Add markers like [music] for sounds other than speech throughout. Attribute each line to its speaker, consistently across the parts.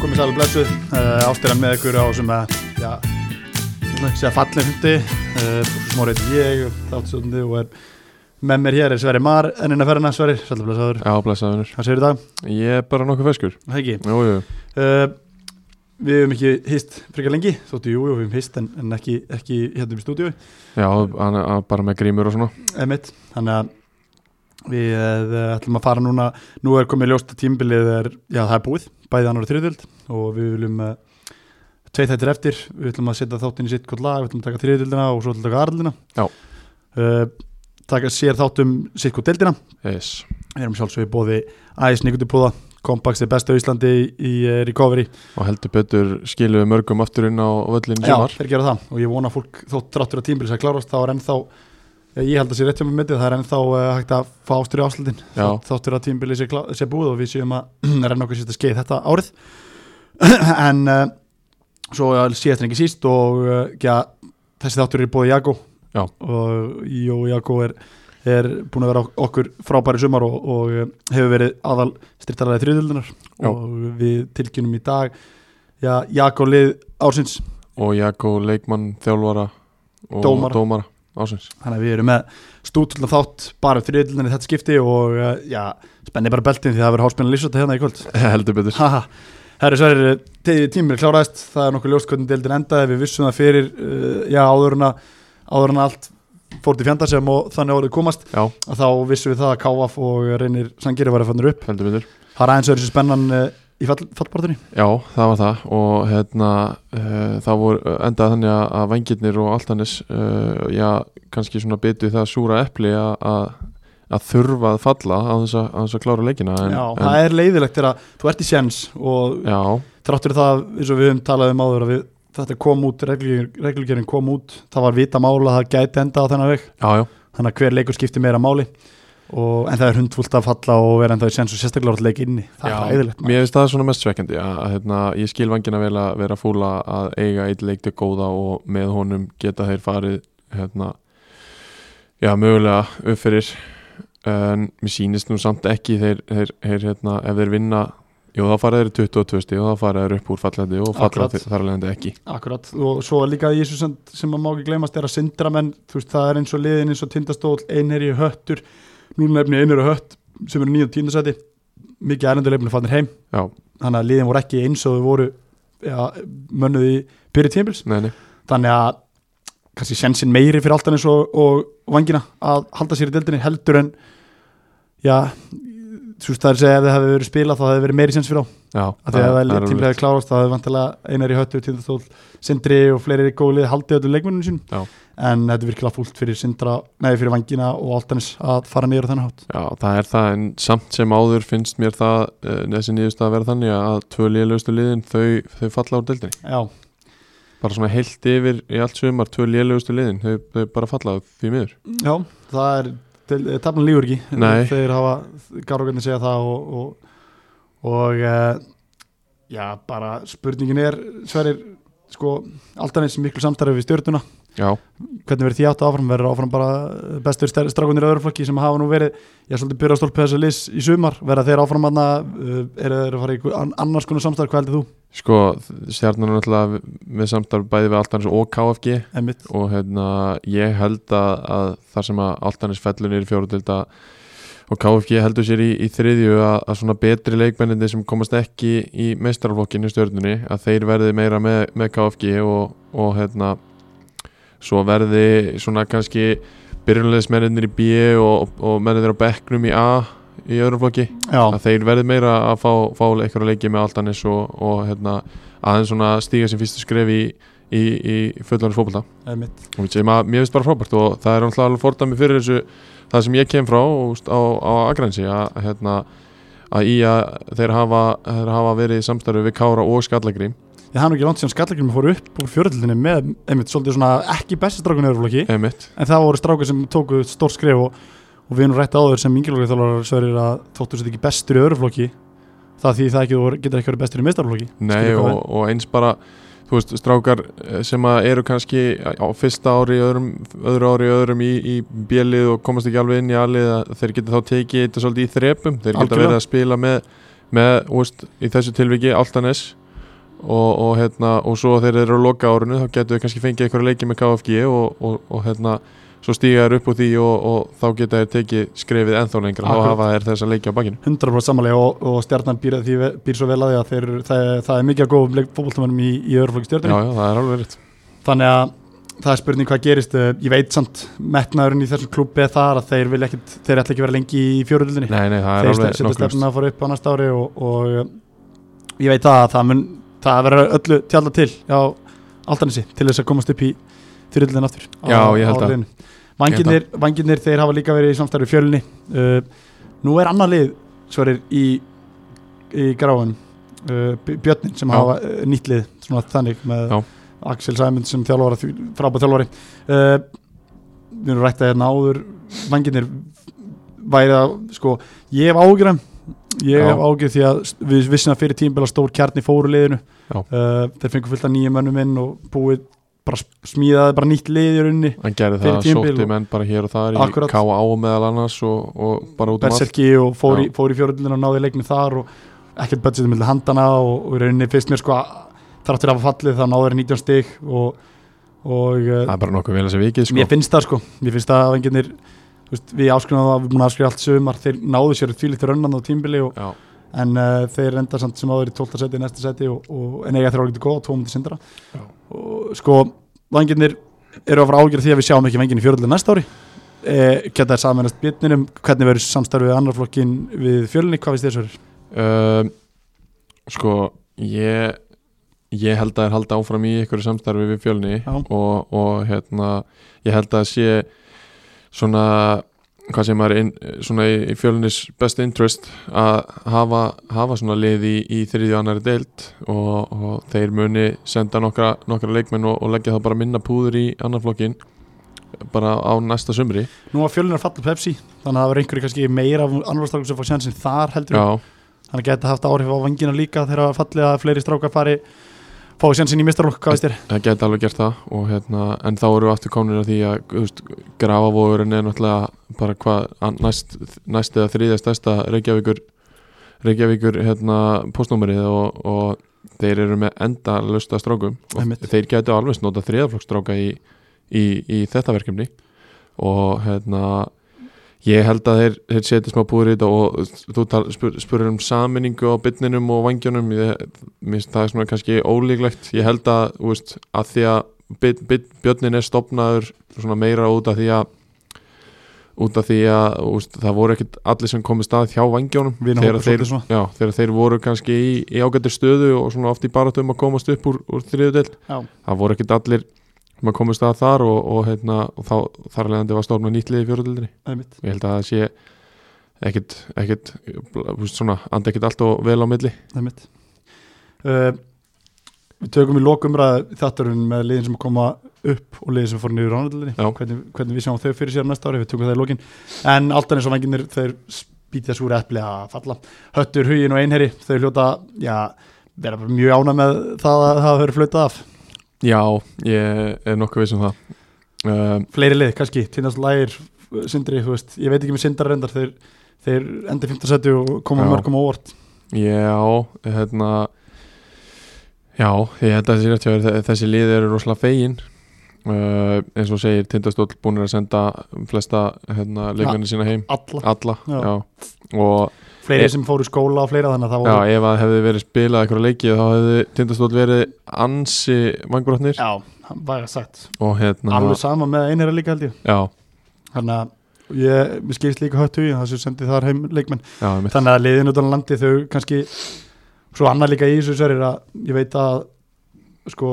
Speaker 1: komið sælu blessuð uh, ástæðan með ykkur á sem að já, ætla ekki að segja fallin hundi uh, smórið ég og þáttsöndi og er með mér hér er Sverri Mar ennina ferðina Sverri, sælu blessaður
Speaker 2: Já, blessaðunir.
Speaker 1: hvað segir dag?
Speaker 2: Ég er bara nokkuð feskur.
Speaker 1: Það ekki
Speaker 2: Jú, jú.
Speaker 1: uh, Við höfum ekki hist frekar lengi þóttu jú, jú, við höfum hist en, en ekki, ekki hérna um stúdíu
Speaker 2: Já, hann er hann er bara með grímur og svona.
Speaker 1: emitt, þannig að við uh, ætlum að fara núna nú er komið ljóst að tímbilið er já það er búið, bæði annar og þriðvöld og við viljum uh, tveit þættir eftir, við ætlum að setja þáttinn í sitt hvort lag, við ætlum að taka þriðvöldina og svo ætlum að taka aðröldina
Speaker 2: Já.
Speaker 1: uh, taka sér þáttum sitt hvort deildina
Speaker 2: Yes.
Speaker 1: við erum sjálfsög í bóði æs nikutupúða kompaks er besta á Íslandi í, í eh, recovery
Speaker 2: Og heldur betur skilum við mörgum aftur inn á völlin í
Speaker 1: Já,
Speaker 2: sumar.
Speaker 1: þeir gera það og ég vona að fólk þótt dráttur að tímbilis að klárast þá er ennþá, ég held að sé rétt hjá mér myndið það er ennþá uh, hægt að fá ástur í áslöldin
Speaker 2: Já.
Speaker 1: þáttur að tímbilið sé, klá- sé búið og við séum að [clears throat] renna okkur sérst að skeið þetta árið [clears throat] en uh, svo síðast en ekki síst og uh, ja, þessi þáttur er búið Jago
Speaker 2: Já.
Speaker 1: og Jó Jago er, er búin að vera ok- okkur frábæri sumar og, og uh, hefur verið aðal styrtaræði þriðuldunar
Speaker 2: Já.
Speaker 1: og við tilkynum í dag já, Jago lið ársins
Speaker 2: Og Jakko Leikmann, þjálfara og
Speaker 1: Dómara.
Speaker 2: dómara ásins.
Speaker 1: þannig að við erum með stúdulna þátt bara þriðuldunar í þetta skipti og uh, já, spenni bara beltin því það verður háspennan lýsvölda hérna í kvöld
Speaker 2: [laughs] heldur betur.
Speaker 1: Haha, herru Sverrir, tegið tímur kláraðist, það eh, er nokkuð ljóst hvernig deildin endaði, við vissum það fyrir, uh, já áður en að, áður en að allt fór til fjandarsefum og þannig orðið komast,
Speaker 2: Já,
Speaker 1: að þá vissum við það að KF og reynir Sangeri var að fannir upp.
Speaker 2: heldur betur.
Speaker 1: Það er aðeins öðru sem spennan uh, í fall, fallbortinni.
Speaker 2: Já, það var það og hérna uh, það voru endað þannig að, að vengirnir og allt hannis uh, já, kannski svona betu það súra epli að, að, að þurfa að falla á þess að, á þess að klára leikina en,
Speaker 1: Já,
Speaker 2: en,
Speaker 1: það er leiðilegt þegar að þú ert í séns og
Speaker 2: Já,
Speaker 1: þráttur það, eins og við höfum talað um áður, að við, þetta kom út, reglugjörn kom út, það var vita mála að það gæti endað á þennan veg.
Speaker 2: já, já,
Speaker 1: þannig að hver leikur skiptir meira máli og, en það er hundfullt að falla og vera en það er séns og sérstaklega átt leik inni það
Speaker 2: já,
Speaker 1: er hæðilegt
Speaker 2: Mér finnst það svona mest svekkjandi að, að hérna, ég skil vangina vel að vera fúla að eiga eitt leik til góða og með honum geta þeir farið hérna, já, mögulega upp fyrir en mér sýnist nú samt ekki þeir, þeir, þeir hérna, ef þeir vinna Jú, þá fara þeir í 22 stíð og þá fara þeir upp úr fallandi og falla
Speaker 1: Akkurat.
Speaker 2: þeir þar alveg ekki.
Speaker 1: Akkurat, og svo líka í þessu sem, sem að má ekki gleymast er að syndra menn þú veist, það er eins og liðin eins og tindastóll einherji höttur, núna nefni einherji hött sem eru nýjum tíndasæti mikið erlenduleifinu fannir heim
Speaker 2: Já,
Speaker 1: þannig að liðin voru ekki eins og þau voru ja, mönnuð í byrju tímbils
Speaker 2: nei, nei,
Speaker 1: þannig að kannski sensin meiri fyrir alltaf eins og, og vangina að halda sér í deildinni heldur en já, þú veist það er að segja ef það hefði verið spilað þá hefði verið meiri sens fyrir á
Speaker 2: já.
Speaker 1: að því að það er
Speaker 2: alveg-
Speaker 1: tímlega klárast þá hefði vantilega einar í höttu, tindastól, sindri og fleiri gólið haldið öllum leikmenninu sín
Speaker 2: Já.
Speaker 1: en þetta er virkilega fúlt fyrir sindra nei fyrir vangina og alltaf eins að fara niður á þennan hátt
Speaker 2: Já, það er það, en samt sem áður finnst mér það, uh, þessi nýðust að vera þannig að tvö lélugustu liðin, þau, þau falla úr deildinni.
Speaker 1: já,
Speaker 2: Bara svona heilt yfir í allt sumar, tvö lélugustu liðin, þau, þau bara falla því miður.
Speaker 1: já, það er til- eh, taflan lífur ekki
Speaker 2: Nei.
Speaker 1: þeir hafa, garrogarnir segja það og og, og uh, já, bara spurningin er sverir, sko alltaf eins miklu samstarfi við stjórnuna
Speaker 2: Já,
Speaker 1: hvernig verður því átt áfram, verður áfram bara eh, bestur strákunir öðruflokki sem hafa nú verið ég svolítið byrja að stólpa þessu liðs í sumar verða þeir áfram aðna, eru þeir að fara í einhver ann- annars konar samstarf, hvað heldur þú?
Speaker 2: sko, stjarnan er náttúrulega við- við samtarf bæði við Altanis og KFG
Speaker 1: Emmitt,
Speaker 2: og hérna, ég held að, að þar sem að Altanis fellur niður í fjóru deilda og KFG heldur sér í, í þriðju að, að svona betri leikmennindi sem komast ekki í meistarflokkinu stjörnunni að þeir verði meira með, með KFG og, og hérna svo verði svona kannski byrjunleðismennir í B og, og mennir á bekknum í A í öðrum flokki
Speaker 1: já,
Speaker 2: að þeir verði meira að fá, fá einhverja leiki með Aldanis og, og hérna, aðeins svona stíga sem fyrstu skref í, í, í fullanins fókbalta
Speaker 1: emmitt
Speaker 2: sem að mér finnst bara frábært og það er alltaf alveg fordæmi fyrir þessu það sem ég kem frá og, st- á, á Akransi að, hérna, að í að þeir hafa, þeir hafa verið í samstarfi við Kára og Skallagrím
Speaker 1: ég hann ekki langt síðan skallakirnum fóru upp úr fjörðildinni með, emmitt, svolítið svona ekki bestur strákunir öðruflokki,
Speaker 2: emitt
Speaker 1: en það voru strákur sem tóku stór skrif og, og við erum rétt áður sem yngilokki þólar sverir að þóttu sér ekki bestur í öðruflokki það því það ekki, þú getur ekki verið bestur í meistarflokki
Speaker 2: Nei og, og eins bara þú veist, strákar eh, sem að eru kannski á fyrsta ári, í öðrum, öðru ári í öðrum í, í bjölið og komast ekki alveg inn í alið að þeir geta þá tekið þetta svolítið í þrepum, þeir geta
Speaker 1: Algjörlega.
Speaker 2: verið að spila með, með þú veist, í þessu tilviki Altanes og, og, hérna, og svo þegar þeir eru að loka árinu þá getur þeir kannski fengið einhverja leiki með KFG og, og, og hérna, svo stíga þeir upp úr því og, og þá geta þeir tekið skrefið ennþá lengra, þá
Speaker 1: Akkurat.
Speaker 2: hafa þeir þessa leiki á bakinu
Speaker 1: 100% samanlega og, og stjarnan býr, að því, býr svo vel að því að þeir, það, er- það er mikið að góðum fókbaltumannum í, í öðruflokki
Speaker 2: Já,
Speaker 1: stjarnan
Speaker 2: já, það er alveg rétt
Speaker 1: þannig að það er spurning hvað gerist eh, ég veit samt metnaðurinn í þessum klubbi er þar að þeir vilja ekkit, þeir ætla ekki að vera lengi í fjöröldinni
Speaker 2: Nei, nei, það er
Speaker 1: þeir
Speaker 2: alveg
Speaker 1: setja
Speaker 2: nokkuð
Speaker 1: stefna að fara upp á næsta ári og, og eh, ég veit það að það mun það verður öllu tjálta til á Altanesi til þess að komast upp í þyrildin aftur á-
Speaker 2: Já, ég
Speaker 1: á
Speaker 2: held að.
Speaker 1: liðinu. Vangirnir, vangirnir þeir hafa líka verið í samstarfi fjölunni uh, nú er annað lið svarir í, í gráin uh, Björnin sem
Speaker 2: Já.
Speaker 1: hafa uh, nýtt lið svona þannig með
Speaker 2: Já.
Speaker 1: Axel Sæmund sem þjálfara frábæð þjálfari uh, við erum rætt að hérna áður vangirnir væri að sko, ég hef ágjur ég
Speaker 2: Já.
Speaker 1: hef ágjur því að st- við vissum að fyrir tímbila stór kjarni fóru liðinu
Speaker 2: Já.
Speaker 1: uh, þeir fengur fullt af nýjum mönnum inn og búið bara s- smíðaði bara nýtt lið í rauninni
Speaker 2: Hann gerði
Speaker 1: fyrir
Speaker 2: það,
Speaker 1: tímabil
Speaker 2: sótti
Speaker 1: og-
Speaker 2: menn bara hér og þar í
Speaker 1: Akkurat.
Speaker 2: K.A. meðal annars og, og bara út um allt
Speaker 1: berserki og fór í,
Speaker 2: Já.
Speaker 1: fór í fjóruðlinu og náði leikni þar og ekkert budgetið millir handana og, og í rauninni fyrst mér sko að- þráttur að hafa fallið þá náður 19 stig og, og uh,
Speaker 2: Það er bara nokkuð vel að segja vikið sko
Speaker 1: mér finnst það sko mér finnst það að vengirnir veist, við áskrifum það, við erum búin að afskrifa allt sögumar þeir náðu sér þvílíkt rönnan á tímbili og,
Speaker 2: Já,
Speaker 1: en uh, þeir enda samt sem áður í 12. seti, næsta seti og, og en eiga þeir álítið góð og tómundi sindra
Speaker 2: Já.
Speaker 1: og sko, vangirnir eru að fara ágjörð því að við sjáum ekki vangirni fjörðlega næsta ári eh, geta þeir samennast björninum hvernig verður samstarfið annar flokkin við fjörlinni, hvað finnst þér svo?
Speaker 2: um, Sko, ég ég held að það er halda áfram í einhverju samstarfi við fjölni
Speaker 1: Já.
Speaker 2: og, og hérna ég held að sé svona hvað sem er inn, svona í, í fjölnis best interest að hafa, hafa svona lið í, í þriðju og annari deild og, og þeir muni senda nokkra, nokkra leikmenn og, og leggja það bara minna púður í annar flokkin bara á næsta sumri
Speaker 1: Nú að fjörlinni er fallið Pepsi þannig að það verður einhverju kannski meira af annarstrákum sem fá sjansin þar heldur en-
Speaker 2: Já,
Speaker 1: þannig að geta haft áhrif á vangina líka þegar fallið að fleiri strákar fari fá sjansin í mistarlokk, hvað finnst þér?
Speaker 2: það geti alveg gert það og, hérna, en þá eru við aftur komin að því að þú veist, grafavogurinn er náttúrulega bara hvað an- næst, næst eða þriðja stærsta Reykjavíkur Reykjavíkur hérna, postnúmerið og, og þeir eru með enda lösta strákum og
Speaker 1: Einmitt.
Speaker 2: þeir getu alveg nota þriðaflokkstráka í, í, í þetta verkefni og hérna ég held að þeir, þeir setja smá búður í þetta og þú tal, spur, spurur um saminningu á bytninum og vangjunum ég, minnst það er svona kannski ólíklegt ég held að, þú veist, að því að byt, byt, björnin er stopnaður svona meira út af því að út af því að þú veist, það voru ekkert allir sem komið stað hjá vangjónum
Speaker 1: Vinahópur
Speaker 2: þeir,
Speaker 1: svolítið svona.
Speaker 2: já, þegar þeir voru kannski í, í ágættir stöðu og svona oft í baratum að komast upp úr, úr þriðudel
Speaker 1: Já.
Speaker 2: það voru ekkert allir sem að komast að þar og, og, hérna, og þá, þar leðandi var stofna nýtt liði í fjóruðildinni
Speaker 1: Einmitt.
Speaker 2: ég held að það sé ekkit, ekkit þú veist, svona, andi ekkit allt og vel á milli
Speaker 1: Einmitt. Uh, við tökum í lokumræðu þátturinn með liðin sem koma upp og liðin sem fór niður ránaldinni
Speaker 2: Já.
Speaker 1: hvernig, hvernig við sjáum þau fyrir sér næsta ári við tökum það í lokin en alltaf eins og venginir þeir spýtja súri epli að falla höttur, hugin og einherri þau hljóta já, vera bara mjög ána með það að hafa verið flötað af
Speaker 2: já, ég er nokkuð viss um það um,
Speaker 1: fleiri lið kannski, tindast lægir sindri, þú veist, ég veit ekki með sindar reyndar þeir, þeir endi 15 seti og koma
Speaker 2: Já.
Speaker 1: mörgum á óvart
Speaker 2: Já, hérna Já, ég held að þessi rétt hjá þér, þe- þessi lið eru rosalega fegin uh, eins og segir Tindastóll búinir að senda flesta hérna, leikmenni sína heim
Speaker 1: alla,
Speaker 2: alla,
Speaker 1: Já.
Speaker 2: já, og
Speaker 1: fleiri
Speaker 2: Ég-
Speaker 1: sem fóru í skóla og fleira þannig að það
Speaker 2: já,
Speaker 1: voru
Speaker 2: ef að hefði verið spilað einhverja leiki þá hefði Tindastóll verið ansi vangbrotnir
Speaker 1: já, það var sagt
Speaker 2: og hérna,
Speaker 1: alveg sama með einherra líka held ég
Speaker 2: já,
Speaker 1: þannig að ég, mér skilst líka hött hugin það sem sendið þar heim leikmenn
Speaker 2: já, mitt,
Speaker 1: þannig að liðin utan á landi þau kannski svo annað líka í þessu sér er að ég veit að sko,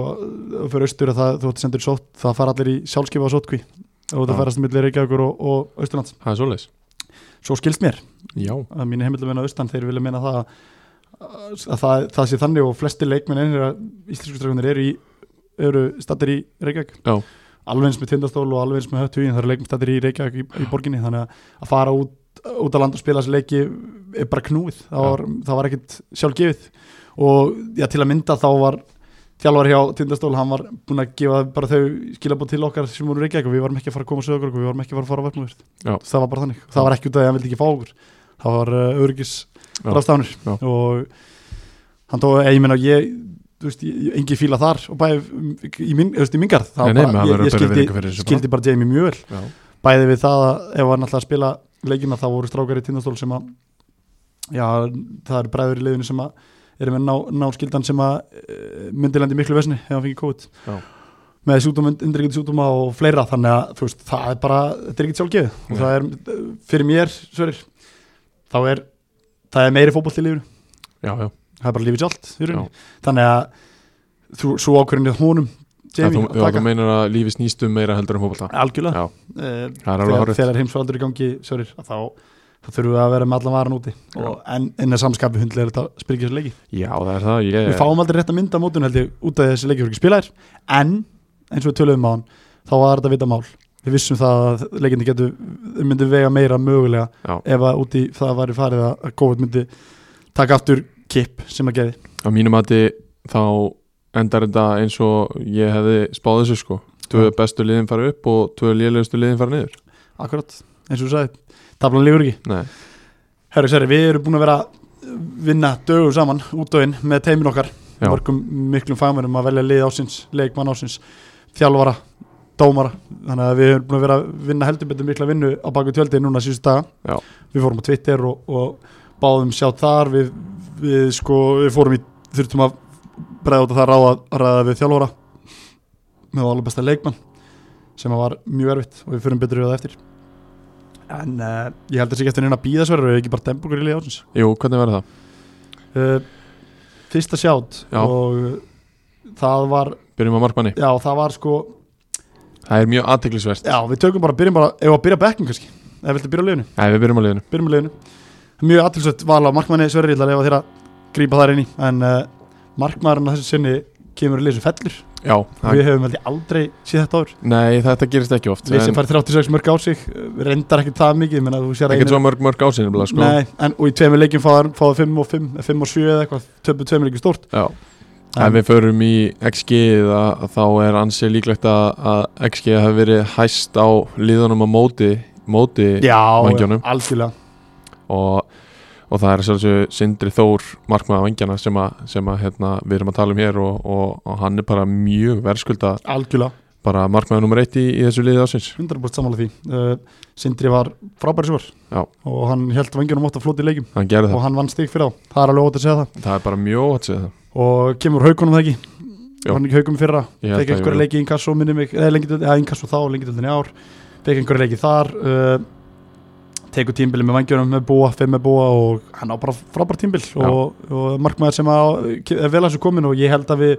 Speaker 1: fyrir austur að það, þú ætti sendur sótt það fara allir í sjálfskipa og sóttkví og
Speaker 2: Já.
Speaker 1: það farast millir Reykjavíkur og, og Austurlands
Speaker 2: það er svoleiðis
Speaker 1: svo skilst mér
Speaker 2: Já,
Speaker 1: að mínu heimilamenn á austan þeir vilja meina það að, að það, það sé þannig og flesti leikmenn einir að íslensku strákunir eru, í- eru stattir í Reykjavík
Speaker 2: Já.
Speaker 1: alveg eins með tindastól og alveg eins með höttugin það eru leikmenn stattir í Reykjavík í, í borginni þannig að, að fara út, út að land og spila þessi leiki er bara knúið það
Speaker 2: Já.
Speaker 1: var, það var ekkit sjálfgefið og já, til að mynda þá var þjálfar hjá Tindastól, hann var búinn að gefa bara þau skilabóð til okkar sem voru í Reykjavík og við varum ekki að fara að koma sögur og við varum ekki að fara að fara að
Speaker 2: Já.
Speaker 1: verðmúður það var bara þannig, það var ekki út af því að hann vildi ekki fá okkur það var uh, örgis
Speaker 2: Já.
Speaker 1: ráðstafnur
Speaker 2: Já.
Speaker 1: og hann tók, eh, ég meina ég þú veist, engi fíla þar og bæði í, minn, þú veist, í mingar þá
Speaker 2: Nei, nei, maður
Speaker 1: ég, ég
Speaker 2: verður að bera
Speaker 1: skildi,
Speaker 2: virðingu fyrir þessu bara.
Speaker 1: skildi bara Jamie mjög vel
Speaker 2: já,
Speaker 1: bæði við það að ef hann alltaf að spila leikina þá voru strákar í tindastól sem að já, það eru bræður í leiðinu sem að eru með ná, náskildan sem að e, myndi lendi miklu vesni ef hann fengi kót
Speaker 2: Já.
Speaker 1: með sjútum, undirrikið sjútum og fleira þannig að þú veist, það er bara, þetta er ekkert sjálfgefið og
Speaker 2: Nei.
Speaker 1: það er, fyrir mér, Sörir þá er, það er meiri fótboll í lífinu,
Speaker 2: já, já.
Speaker 1: það er bara lífið sjálft í rauninni. þannig að þú, svo ákvörðinni húnum,
Speaker 2: Jamie,
Speaker 1: Jamie,
Speaker 2: þú, já, þú meinar að lífi snýst um meira heldur en fókbalta
Speaker 1: algjörlega
Speaker 2: Já.
Speaker 1: Eh,
Speaker 2: það er alveg
Speaker 1: þegar,
Speaker 2: horrið
Speaker 1: þegar heimsfaldur í gangi sörir, að þá, þá þurfum við að vera með allan varan úti og, en, en að samskapi hundlega er þetta spyrkja þessi leiki
Speaker 2: já, það er það, ég
Speaker 1: við fáum aldrei rétt að mynda mótun held ég út af því að þessi leiki fyrir ekki spilaðir en eins og við töluðum á hann þá var þetta vita mál við vissum það að leikindi getur þeir myndu vega meira mögulega
Speaker 2: Já.
Speaker 1: ef að úti það væri farið að að COVID myndi taka aftur kipp sem að geði
Speaker 2: á mínum mati þá endar þetta eins og ég hefði spáð þessu sko tvö
Speaker 1: Já.
Speaker 2: bestu liðin fara upp og tvö lélegustu liðin fara niður
Speaker 1: akkurat eins og við sagði taflan lífur ekki
Speaker 2: Nei.
Speaker 1: Herru, sérri, við erum búin að vera að vinna dögum saman út og inn með teimin okkar
Speaker 2: Já.
Speaker 1: mörgum miklum fagmennum að velja lið ásins, leikmann ásins þjálfara, dómara þannig að við erum búin að vera að vinna heldur betur mikla vinnu á baku tjöldið núna síðustu daga
Speaker 2: Já.
Speaker 1: við fórum á Twitter og, og báðum sjá þar við, við, sko, við fórum í þurftum að bregða út að það ráða, ráða við þjálfara með alveg besta leikmann sem að var mjög erfitt og við fyrir betur í það eftir en uh, ég held að sé ekki eftir neina bíðasverður eða ekki bara dembugur í liði ásins
Speaker 2: Jú, hvernig verður það?
Speaker 1: uh, fyrsta sjátt
Speaker 2: Já.
Speaker 1: og uh, það var
Speaker 2: Byrjum á markmanni
Speaker 1: já það var sko
Speaker 2: Það er mjög aðteklisvert
Speaker 1: já við tökum bara byrjum bara ef að byrja bekkum kannski eða viltu byrja á liðinu
Speaker 2: Nei, við byrjum á liðinu
Speaker 1: byrjum á liðinu mjög aðtilsvægt val á markmanni sverri ég ætla að lefa þér að grípa þar inn í en uh, markmaðurinn að þessu sinni kemur í liðinu fellur
Speaker 2: Já, það,
Speaker 1: við hefum veldig aldrei síð þetta ár
Speaker 2: nei, þetta gerist ekki oft
Speaker 1: við sem
Speaker 2: en
Speaker 1: fær 36 mörg á sig uh, reyndar ekki það mikið menna,
Speaker 2: Ekki svo mörg mörg ásinn sko.
Speaker 1: Nei, en, og í tveimur leikjum fáðu fáðu 5 og 5, 5 og 7 eða eitthvað, töpu tveimur leikjum stórt
Speaker 2: Já Ef við förum í XG það, þá er ansi líklegt að, að XG hafi verið hæst á liðunum á móti, móti
Speaker 1: já,
Speaker 2: vængjunum.
Speaker 1: algjörlega
Speaker 2: og, og það er sjálfsög Sindri Þór markmaða vangjana sem, að, sem að, hérna, við erum að tala um hér og, og, og hann er bara mjög verðskulda
Speaker 1: algjörlega
Speaker 2: bara markmaða nummer eitt í, í þessu liði ásins
Speaker 1: 100% samanlega því uh, Sindri var frábæri svar
Speaker 2: Já.
Speaker 1: og hann held vangjunum ótt að flóti leikjum
Speaker 2: hann gerði
Speaker 1: og
Speaker 2: það,
Speaker 1: hann vann stig fyrir þá, það er alveg ótt að segja
Speaker 2: það er bara mjög ótt segið það
Speaker 1: það og kemur haukunum það ekki
Speaker 2: Jó.
Speaker 1: hann ekki haukum í fyrra,
Speaker 2: Ég held
Speaker 1: fekk
Speaker 2: það,
Speaker 1: einhverja
Speaker 2: jú, jú.
Speaker 1: leiki í inkasso, minni mig, eða lengjadöld, eða inkasso þá og lengjadöldin í ár, fekk einhverja leiki þar uh, tekur tímbili með vangjunum með búa, fimm með búa og hann á bara frábært tímbil
Speaker 2: Já.
Speaker 1: og, og markmaður sem á, er vel að þessu komin og ég held að við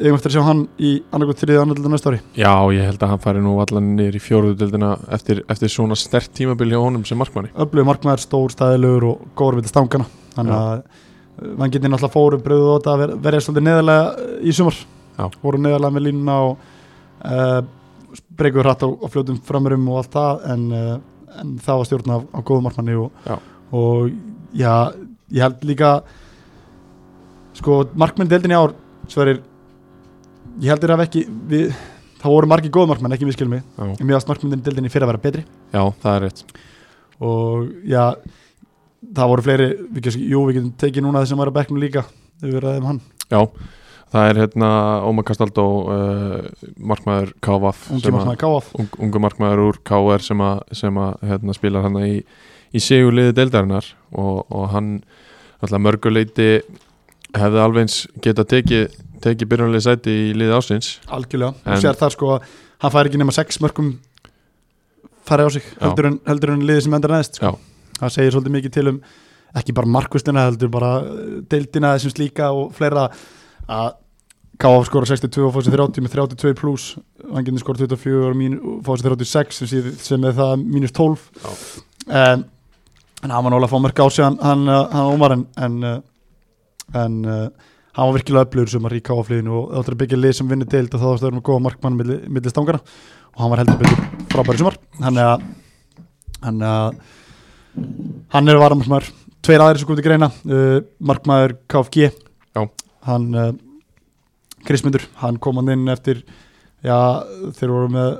Speaker 1: eigum eftir að sjá hann í annarkoð þriðið annarkoð næsta ári
Speaker 2: já, ég held að hann fari nú allan niður í fjóruðu dildina eftir, eftir svona stert tímabil hjá honum sem markmanni
Speaker 1: öflugur markmaður, stór, staðilegur og góður við stangana þannig
Speaker 2: Já.
Speaker 1: að uh, vangirnir náttúrulega fóru bröðu á þetta að ver- verja svolítið neðarlega eh, í sumar
Speaker 2: Já.
Speaker 1: voru neðarlega með línuna og uh, breykuðu hratt á, á fljótum framurum og allt það en, uh, en það var stjórn af, af góðum markmanni og,
Speaker 2: Já.
Speaker 1: og já, ég held líka sko markmenn deildin í ár sverir ég held þér að ekki við, það voru margir góð markmenn, ekki miskil mig
Speaker 2: Já.
Speaker 1: en mér varst markmennin deildin í fyrir að vera betri
Speaker 2: já, það er rétt
Speaker 1: og já það voru fleiri, við, kannski- jú við getum tekið núna þessum var að bekknum líka þegar við ræðum hann,
Speaker 2: já, það er hérna Ómar Kastaldó uh, markmaður KVF
Speaker 1: ungi markmaður Káaf
Speaker 2: ung, ungu markmaður úr KR sem að, sem að hérna, spilar hann í, í sigurliði deildarinnar og, og hann alltaf mörguleiti hefði alveg eins geta tekið teki byrjunlega sæti í liði ásins
Speaker 1: algjörlega,
Speaker 2: En-
Speaker 1: þú sér það sko að hann fær ekki nema sex mörkum færi á sig,
Speaker 2: Já.
Speaker 1: heldur en, heldur en liðið sem endar neðst sko.
Speaker 2: Já.
Speaker 1: það segir svolítið mikið til um ekki bara markvistina, heldur bara eh, deildina þessum slíka og fleira að Káaf skora 62 og fór sér 30 með 32 pluss hann getur skora 24 og mín- og fór sér 36 sem, sé- sem er það mínus 12
Speaker 2: Já.
Speaker 1: um, en hann var nálega að fá mörg á sig hann, hann, uh, hann Ómar en, en, uh, en uh, hann var virkilega öflugur sem að ríka áflýðinu og áttur að byggja lið sem vinnur deild og þá áttur að vera með góða markmann milli, milli stangana og hann var heldur betur frábæri sumar hann er að hann, uh, hann er varamarkmaður tveir aðri sem kom til greina uh, markmaður KFG
Speaker 2: Já.
Speaker 1: hann uh, Krismundur, hann kom hann inn eftir já, þeir voru með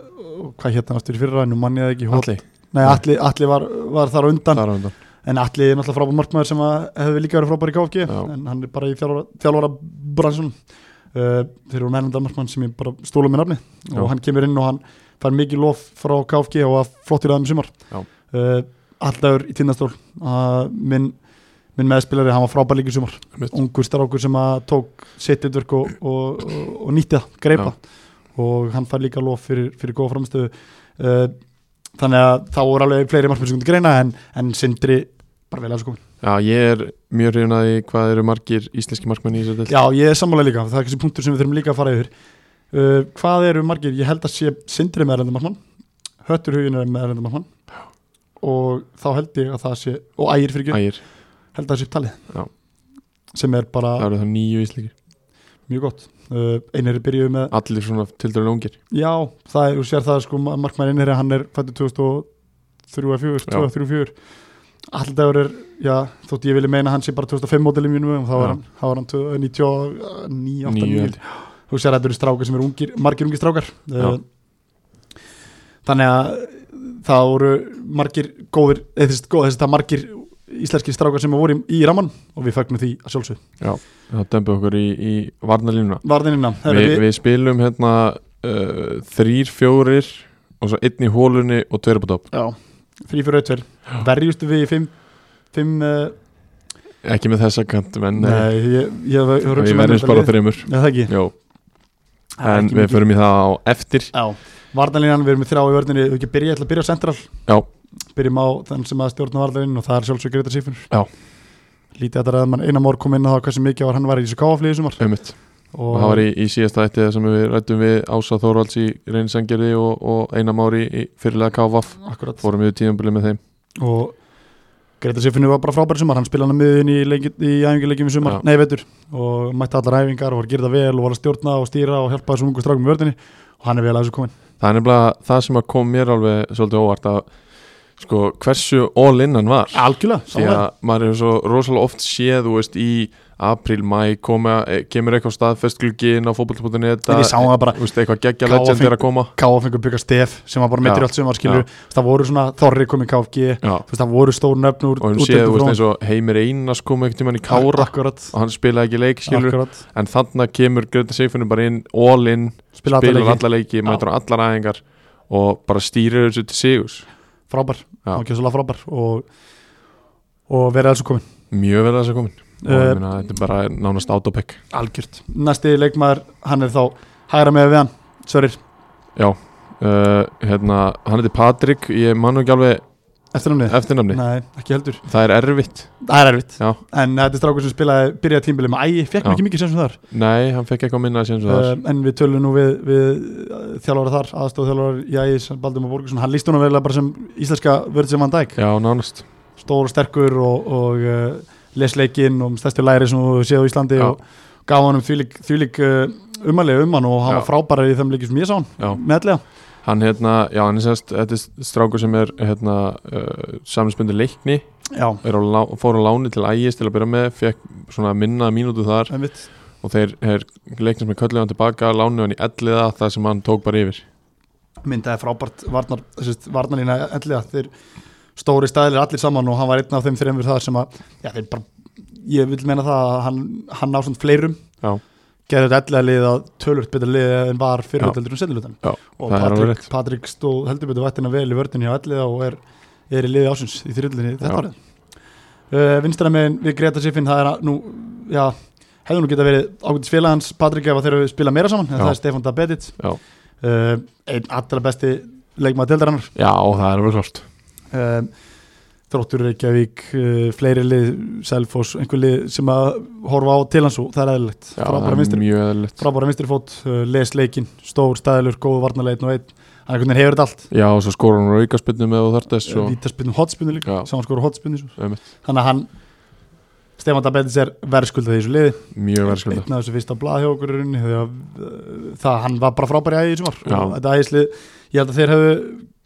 Speaker 1: hvað hétt hann aftur í fyrra, nú mann ég það ekki Holt-
Speaker 2: Alli,
Speaker 1: Nei, Atli, Atli var, var þar á undan
Speaker 2: þar á undan
Speaker 1: en Atli er náttúrulega frábær markmaður sem að hefur líka verið frábær í KFG
Speaker 2: Já.
Speaker 1: en hann er bara í þjálfara, þjálfara fútbransunum uh, þeir eru mennan Danmarkmann sem ég bara stóla með nafni
Speaker 2: Já.
Speaker 1: og hann kemur inn og hann fær mikið lof frá KFG og að flottir aðeins um sumar
Speaker 2: Já.
Speaker 1: uh, Allagur í tindastól uh, minn, minn meðspilari, hann var frábær líka í sumar
Speaker 2: Einmitt.
Speaker 1: ungur strákur sem að tók sitt ytverk og, og, og, og nýtti það, greipa og hann fær líka lof fyrir, fyrir góða framstöðu uh, þannig að þá voru alveg fleiri markmenn sem kundi greina en, en sindri bara vel að sko
Speaker 2: Já, ég er mjög hrifin að því hvað eru margir íslenski markmenn í þessu delt
Speaker 1: Já, ég er sammála líka, það er kannski punktur sem við þurfum líka að fara yfir uh, Hvað eru margir? Ég held að sé Sindri með erlendamarkmann Höttur hugin er með erlendamarkmann og þá held ég að það sé og ægir fyrir ekki,
Speaker 2: Ægir,
Speaker 1: held að það sé upp talið
Speaker 2: Já.
Speaker 1: sem er bara
Speaker 2: það eru það nýju íslenskir
Speaker 1: mjög gott uh, Einar er byrjuð með,
Speaker 2: Allir svona tildurlega ungir
Speaker 1: já, það er, þú sér það sko, markmann Einar, hann er fættu 2003-04
Speaker 2: Já.
Speaker 1: 2004 Alldagur er, já, þótt ég vilja meina að hann sé bara 2005 mótilið mínum og þá
Speaker 2: Já.
Speaker 1: var hann, þá var hann eh, 99, 8,
Speaker 2: Nýju
Speaker 1: 9
Speaker 2: held ég.
Speaker 1: þú sér að þetta eru strákar sem eru ungir, margir ungir strákar Eh,
Speaker 2: Já.
Speaker 1: þannig að það voru margir góðir eða þess góð, þess að það margir íslenskir strákar sem voru í, í raman og við fagnum því að sjálfsög
Speaker 2: Það dömbu okkur í, í varnalínuna
Speaker 1: varðinina,
Speaker 2: Vi,
Speaker 1: við, við,
Speaker 2: Við spilum hérna uh, þrýr, fjórir og svo einn í hólunni og tveir upp á topp
Speaker 1: já þrý fyrir auðver, verjustu við í fimm fimm, uh,
Speaker 2: Ekki með þessa kant, menn
Speaker 1: nei, ég, ég, ég
Speaker 2: Við verðum bara þreymur
Speaker 1: Já, það ekki,
Speaker 2: Jó,
Speaker 1: Það er
Speaker 2: en
Speaker 1: ekki
Speaker 2: við
Speaker 1: mikið.
Speaker 2: förum í það á eftir
Speaker 1: Já, varðanlínan, við erum með þrjá í vörðinni, við ekki að byrja, ég ætla að byrja á central
Speaker 2: Já.
Speaker 1: Byrjum á þann sem að stjórna varðanlínan og það er sjálfsög Gretar Sýfunur
Speaker 2: Já.
Speaker 1: Lítið að um það er að mann einan mór kom inn á það hversu mikið var hann var í þessu káaflíði sumar
Speaker 2: Ömmit
Speaker 1: og,
Speaker 2: Og það var í, í síðasta ætti sem við rættum við Ása Þórvalds í reynisangjörði og, og Einar Mári í fyrirlega KVF
Speaker 1: Akkurat
Speaker 2: Fórum við tíðanbili með þeim
Speaker 1: og Greta Siffinu var bara frábæri sumar hann spilaði hann miðin í, leiki, í æfingarleikjum í sumar,
Speaker 2: Já.
Speaker 1: nei veitur og mætti allar æfingar og var að gera það vel og var að stjórna og stýra og hjálpa þessum ungu strákum í vörðinni og hann er vel að þessu komin
Speaker 2: Það er nefnilega það sem að kom mér alveg svolítið óvart að sko hversu all in hann var
Speaker 1: Algjörlega,
Speaker 2: því að maður hefur svo rosalega oft séð þú veist í apríl, mæ koma, eh, kemur eitthvað staðfest glugginn á fótboll.net
Speaker 1: Ég sá hann bara-
Speaker 2: þú veist, eitthvað geggja
Speaker 1: Káa
Speaker 2: legend er að koma
Speaker 1: K.A. fengur byggja stef sem var bara meittur í
Speaker 2: Já.
Speaker 1: allt sumar skilur það voru svona þorri komið KFG
Speaker 2: Já.
Speaker 1: þú veist, það voru stór nöfn úr
Speaker 2: og hún séð þú veist eins og Heimir Einars kom einhvern tímann í Kára
Speaker 1: akkurat,
Speaker 2: og hann spilaði ekki leik skilur
Speaker 1: akkurat.
Speaker 2: en þannig kemur Greta Seifunum bara inn all in,
Speaker 1: spila
Speaker 2: spilar
Speaker 1: allar leiki,
Speaker 2: alla leiki, mætur á allar aðingar og bara stýrir þessu til sigurs
Speaker 1: frábær
Speaker 2: Já.
Speaker 1: hann kemur svolítið frábær og, og verið þessu komin
Speaker 2: mjög vel að þessu komin og
Speaker 1: Eh,
Speaker 2: ég meina þetta er bara nánast autopick
Speaker 1: algjört, næsti leikmaður hann er þá hægra með við hann Sörir,
Speaker 2: uh, hérna, hann heiti Patrik ég mann ekki alveg
Speaker 1: eftir námið
Speaker 2: eftirnafni
Speaker 1: Nei, ekki heldur,
Speaker 2: það er erfitt
Speaker 1: það er erfitt
Speaker 2: Já.
Speaker 1: En þetta er strákur sem spilaði, byrjaði tímbilið með ægi Fekk
Speaker 2: Já.
Speaker 1: mikið mikið sem sem þar
Speaker 2: nei, hann fekk eitthvað minna sem það
Speaker 1: uh, En við tölum nú við, við þjálfara þar Aðstof þjálfara í ægi, Baldum og Borgarsson Hann líst hún að vera bara sem íslenska vörð sem hann dæk
Speaker 2: já, nánast
Speaker 1: Stór og sterkur og, og uh, lesleikinn Og stærstu læri sem þú séð á Íslandi
Speaker 2: Já.
Speaker 1: Og gaf hann um þvílík, þvílík uh, umalega um hann Og hann
Speaker 2: Já.
Speaker 1: var frábærar í þeim leikið sem ég sá hann
Speaker 2: já.
Speaker 1: Meðlega,
Speaker 2: hann hérna, já, hann er sérst þetta er strákur sem er hérna uh, saminspöndu leikni
Speaker 1: já,
Speaker 2: er á, lá- fór á láni til ægis til að byrja með fekk svona minna mínútu þar
Speaker 1: en vitt
Speaker 2: og þeir, þeir leiknir sem er kölluð hann tilbaka lánu hann í elliða þar sem hann tók bara yfir
Speaker 1: myndaði frábært varnar, sérst, varnarlína elliða þeir stóri staðilir allir saman og hann var einn af þeim þreymur þar sem að já, þeir bara, ég vil meina það að hann, hann ná svona fleirum
Speaker 2: Já.
Speaker 1: gerði þetta elliða lið að tölvöld betur lið en var
Speaker 2: Já.
Speaker 1: fyrirhaldildur um setjulutan
Speaker 2: Já,
Speaker 1: og
Speaker 2: það er alveg
Speaker 1: Patrik,
Speaker 2: rétt.
Speaker 1: Patrik stóð heldur betur vættina vel í vördin hjá elliða og er, er í liði ásins í þyrildinni
Speaker 2: Já.
Speaker 1: þetta árið uh, vinstra megin við Greta Siffin það er að nú, já hefðu nú geta verið ágætis félagans Patrik ef að þeir eru spila meira saman, en
Speaker 2: Já.
Speaker 1: það er Stefán Dabedit
Speaker 2: já,
Speaker 1: uh, einn allra besti leikmaður deildarinnar
Speaker 2: já það er alveg klart
Speaker 1: uh, Þróttur Reykjavík uh, fleiri lið, Selfoss einhver lið sem að horfa á til hans og það er eðlilegt,
Speaker 2: já, það
Speaker 1: frábæra
Speaker 2: er
Speaker 1: vinstri
Speaker 2: mjög eðlilegt
Speaker 1: frábæra vinstri fót, uh, les leikin stór, staðilur, góð varnarleitin og einn hann einhvern veginn hefur þetta allt,
Speaker 2: já, og svo skóra hann raukaspilnum eða þar þess
Speaker 1: Svo...
Speaker 2: og
Speaker 1: vítaspinnu, hotspinnu líka
Speaker 2: Já.
Speaker 1: sem hann skora hotspinnu svo.
Speaker 2: Einmitt.
Speaker 1: þannig að hann Stefán Dabetis er verðskuldað í þessu liði
Speaker 2: mjög verðskulda
Speaker 1: einn af þessu fyrsta blað hjá okkur í rauninni þegar uh, það, hann var bara frábær í ægi í sumar
Speaker 2: Já.
Speaker 1: og þetta ægislið, ég held að þeir hefðu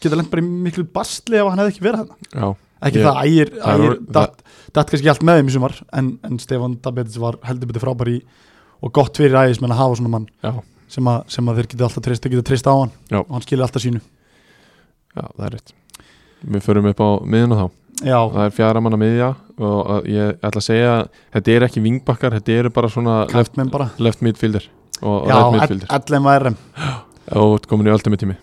Speaker 1: geta lent bara í miklu bastli ef hann hefði ekki verið hann
Speaker 2: já,
Speaker 1: ekki
Speaker 2: Ég-
Speaker 1: það, ægir,
Speaker 2: það er
Speaker 1: ægir
Speaker 2: orð-
Speaker 1: datt, datt kannski allt með þeim í sumar en, en Stefan Dabetis var heldur betur frábær í og gott fyrir ægismenn að hafa svona mann
Speaker 2: já,
Speaker 1: sem að, sem að þeir geta alltaf treyst, geta treyst á hann
Speaker 2: Já.
Speaker 1: og hann skilir alltaf sínu
Speaker 2: já, það er rétt við förum upp á miðuna þá
Speaker 1: já,
Speaker 2: það er fjara manna miðja og að ég ætla að segja þetta eru ekki vingbakkar, þetta eru bara svona left,
Speaker 1: kallmenn bara
Speaker 2: left midfielder og, og
Speaker 1: Já,
Speaker 2: right midfielder
Speaker 1: allan var RM
Speaker 2: og komin í ultimate tími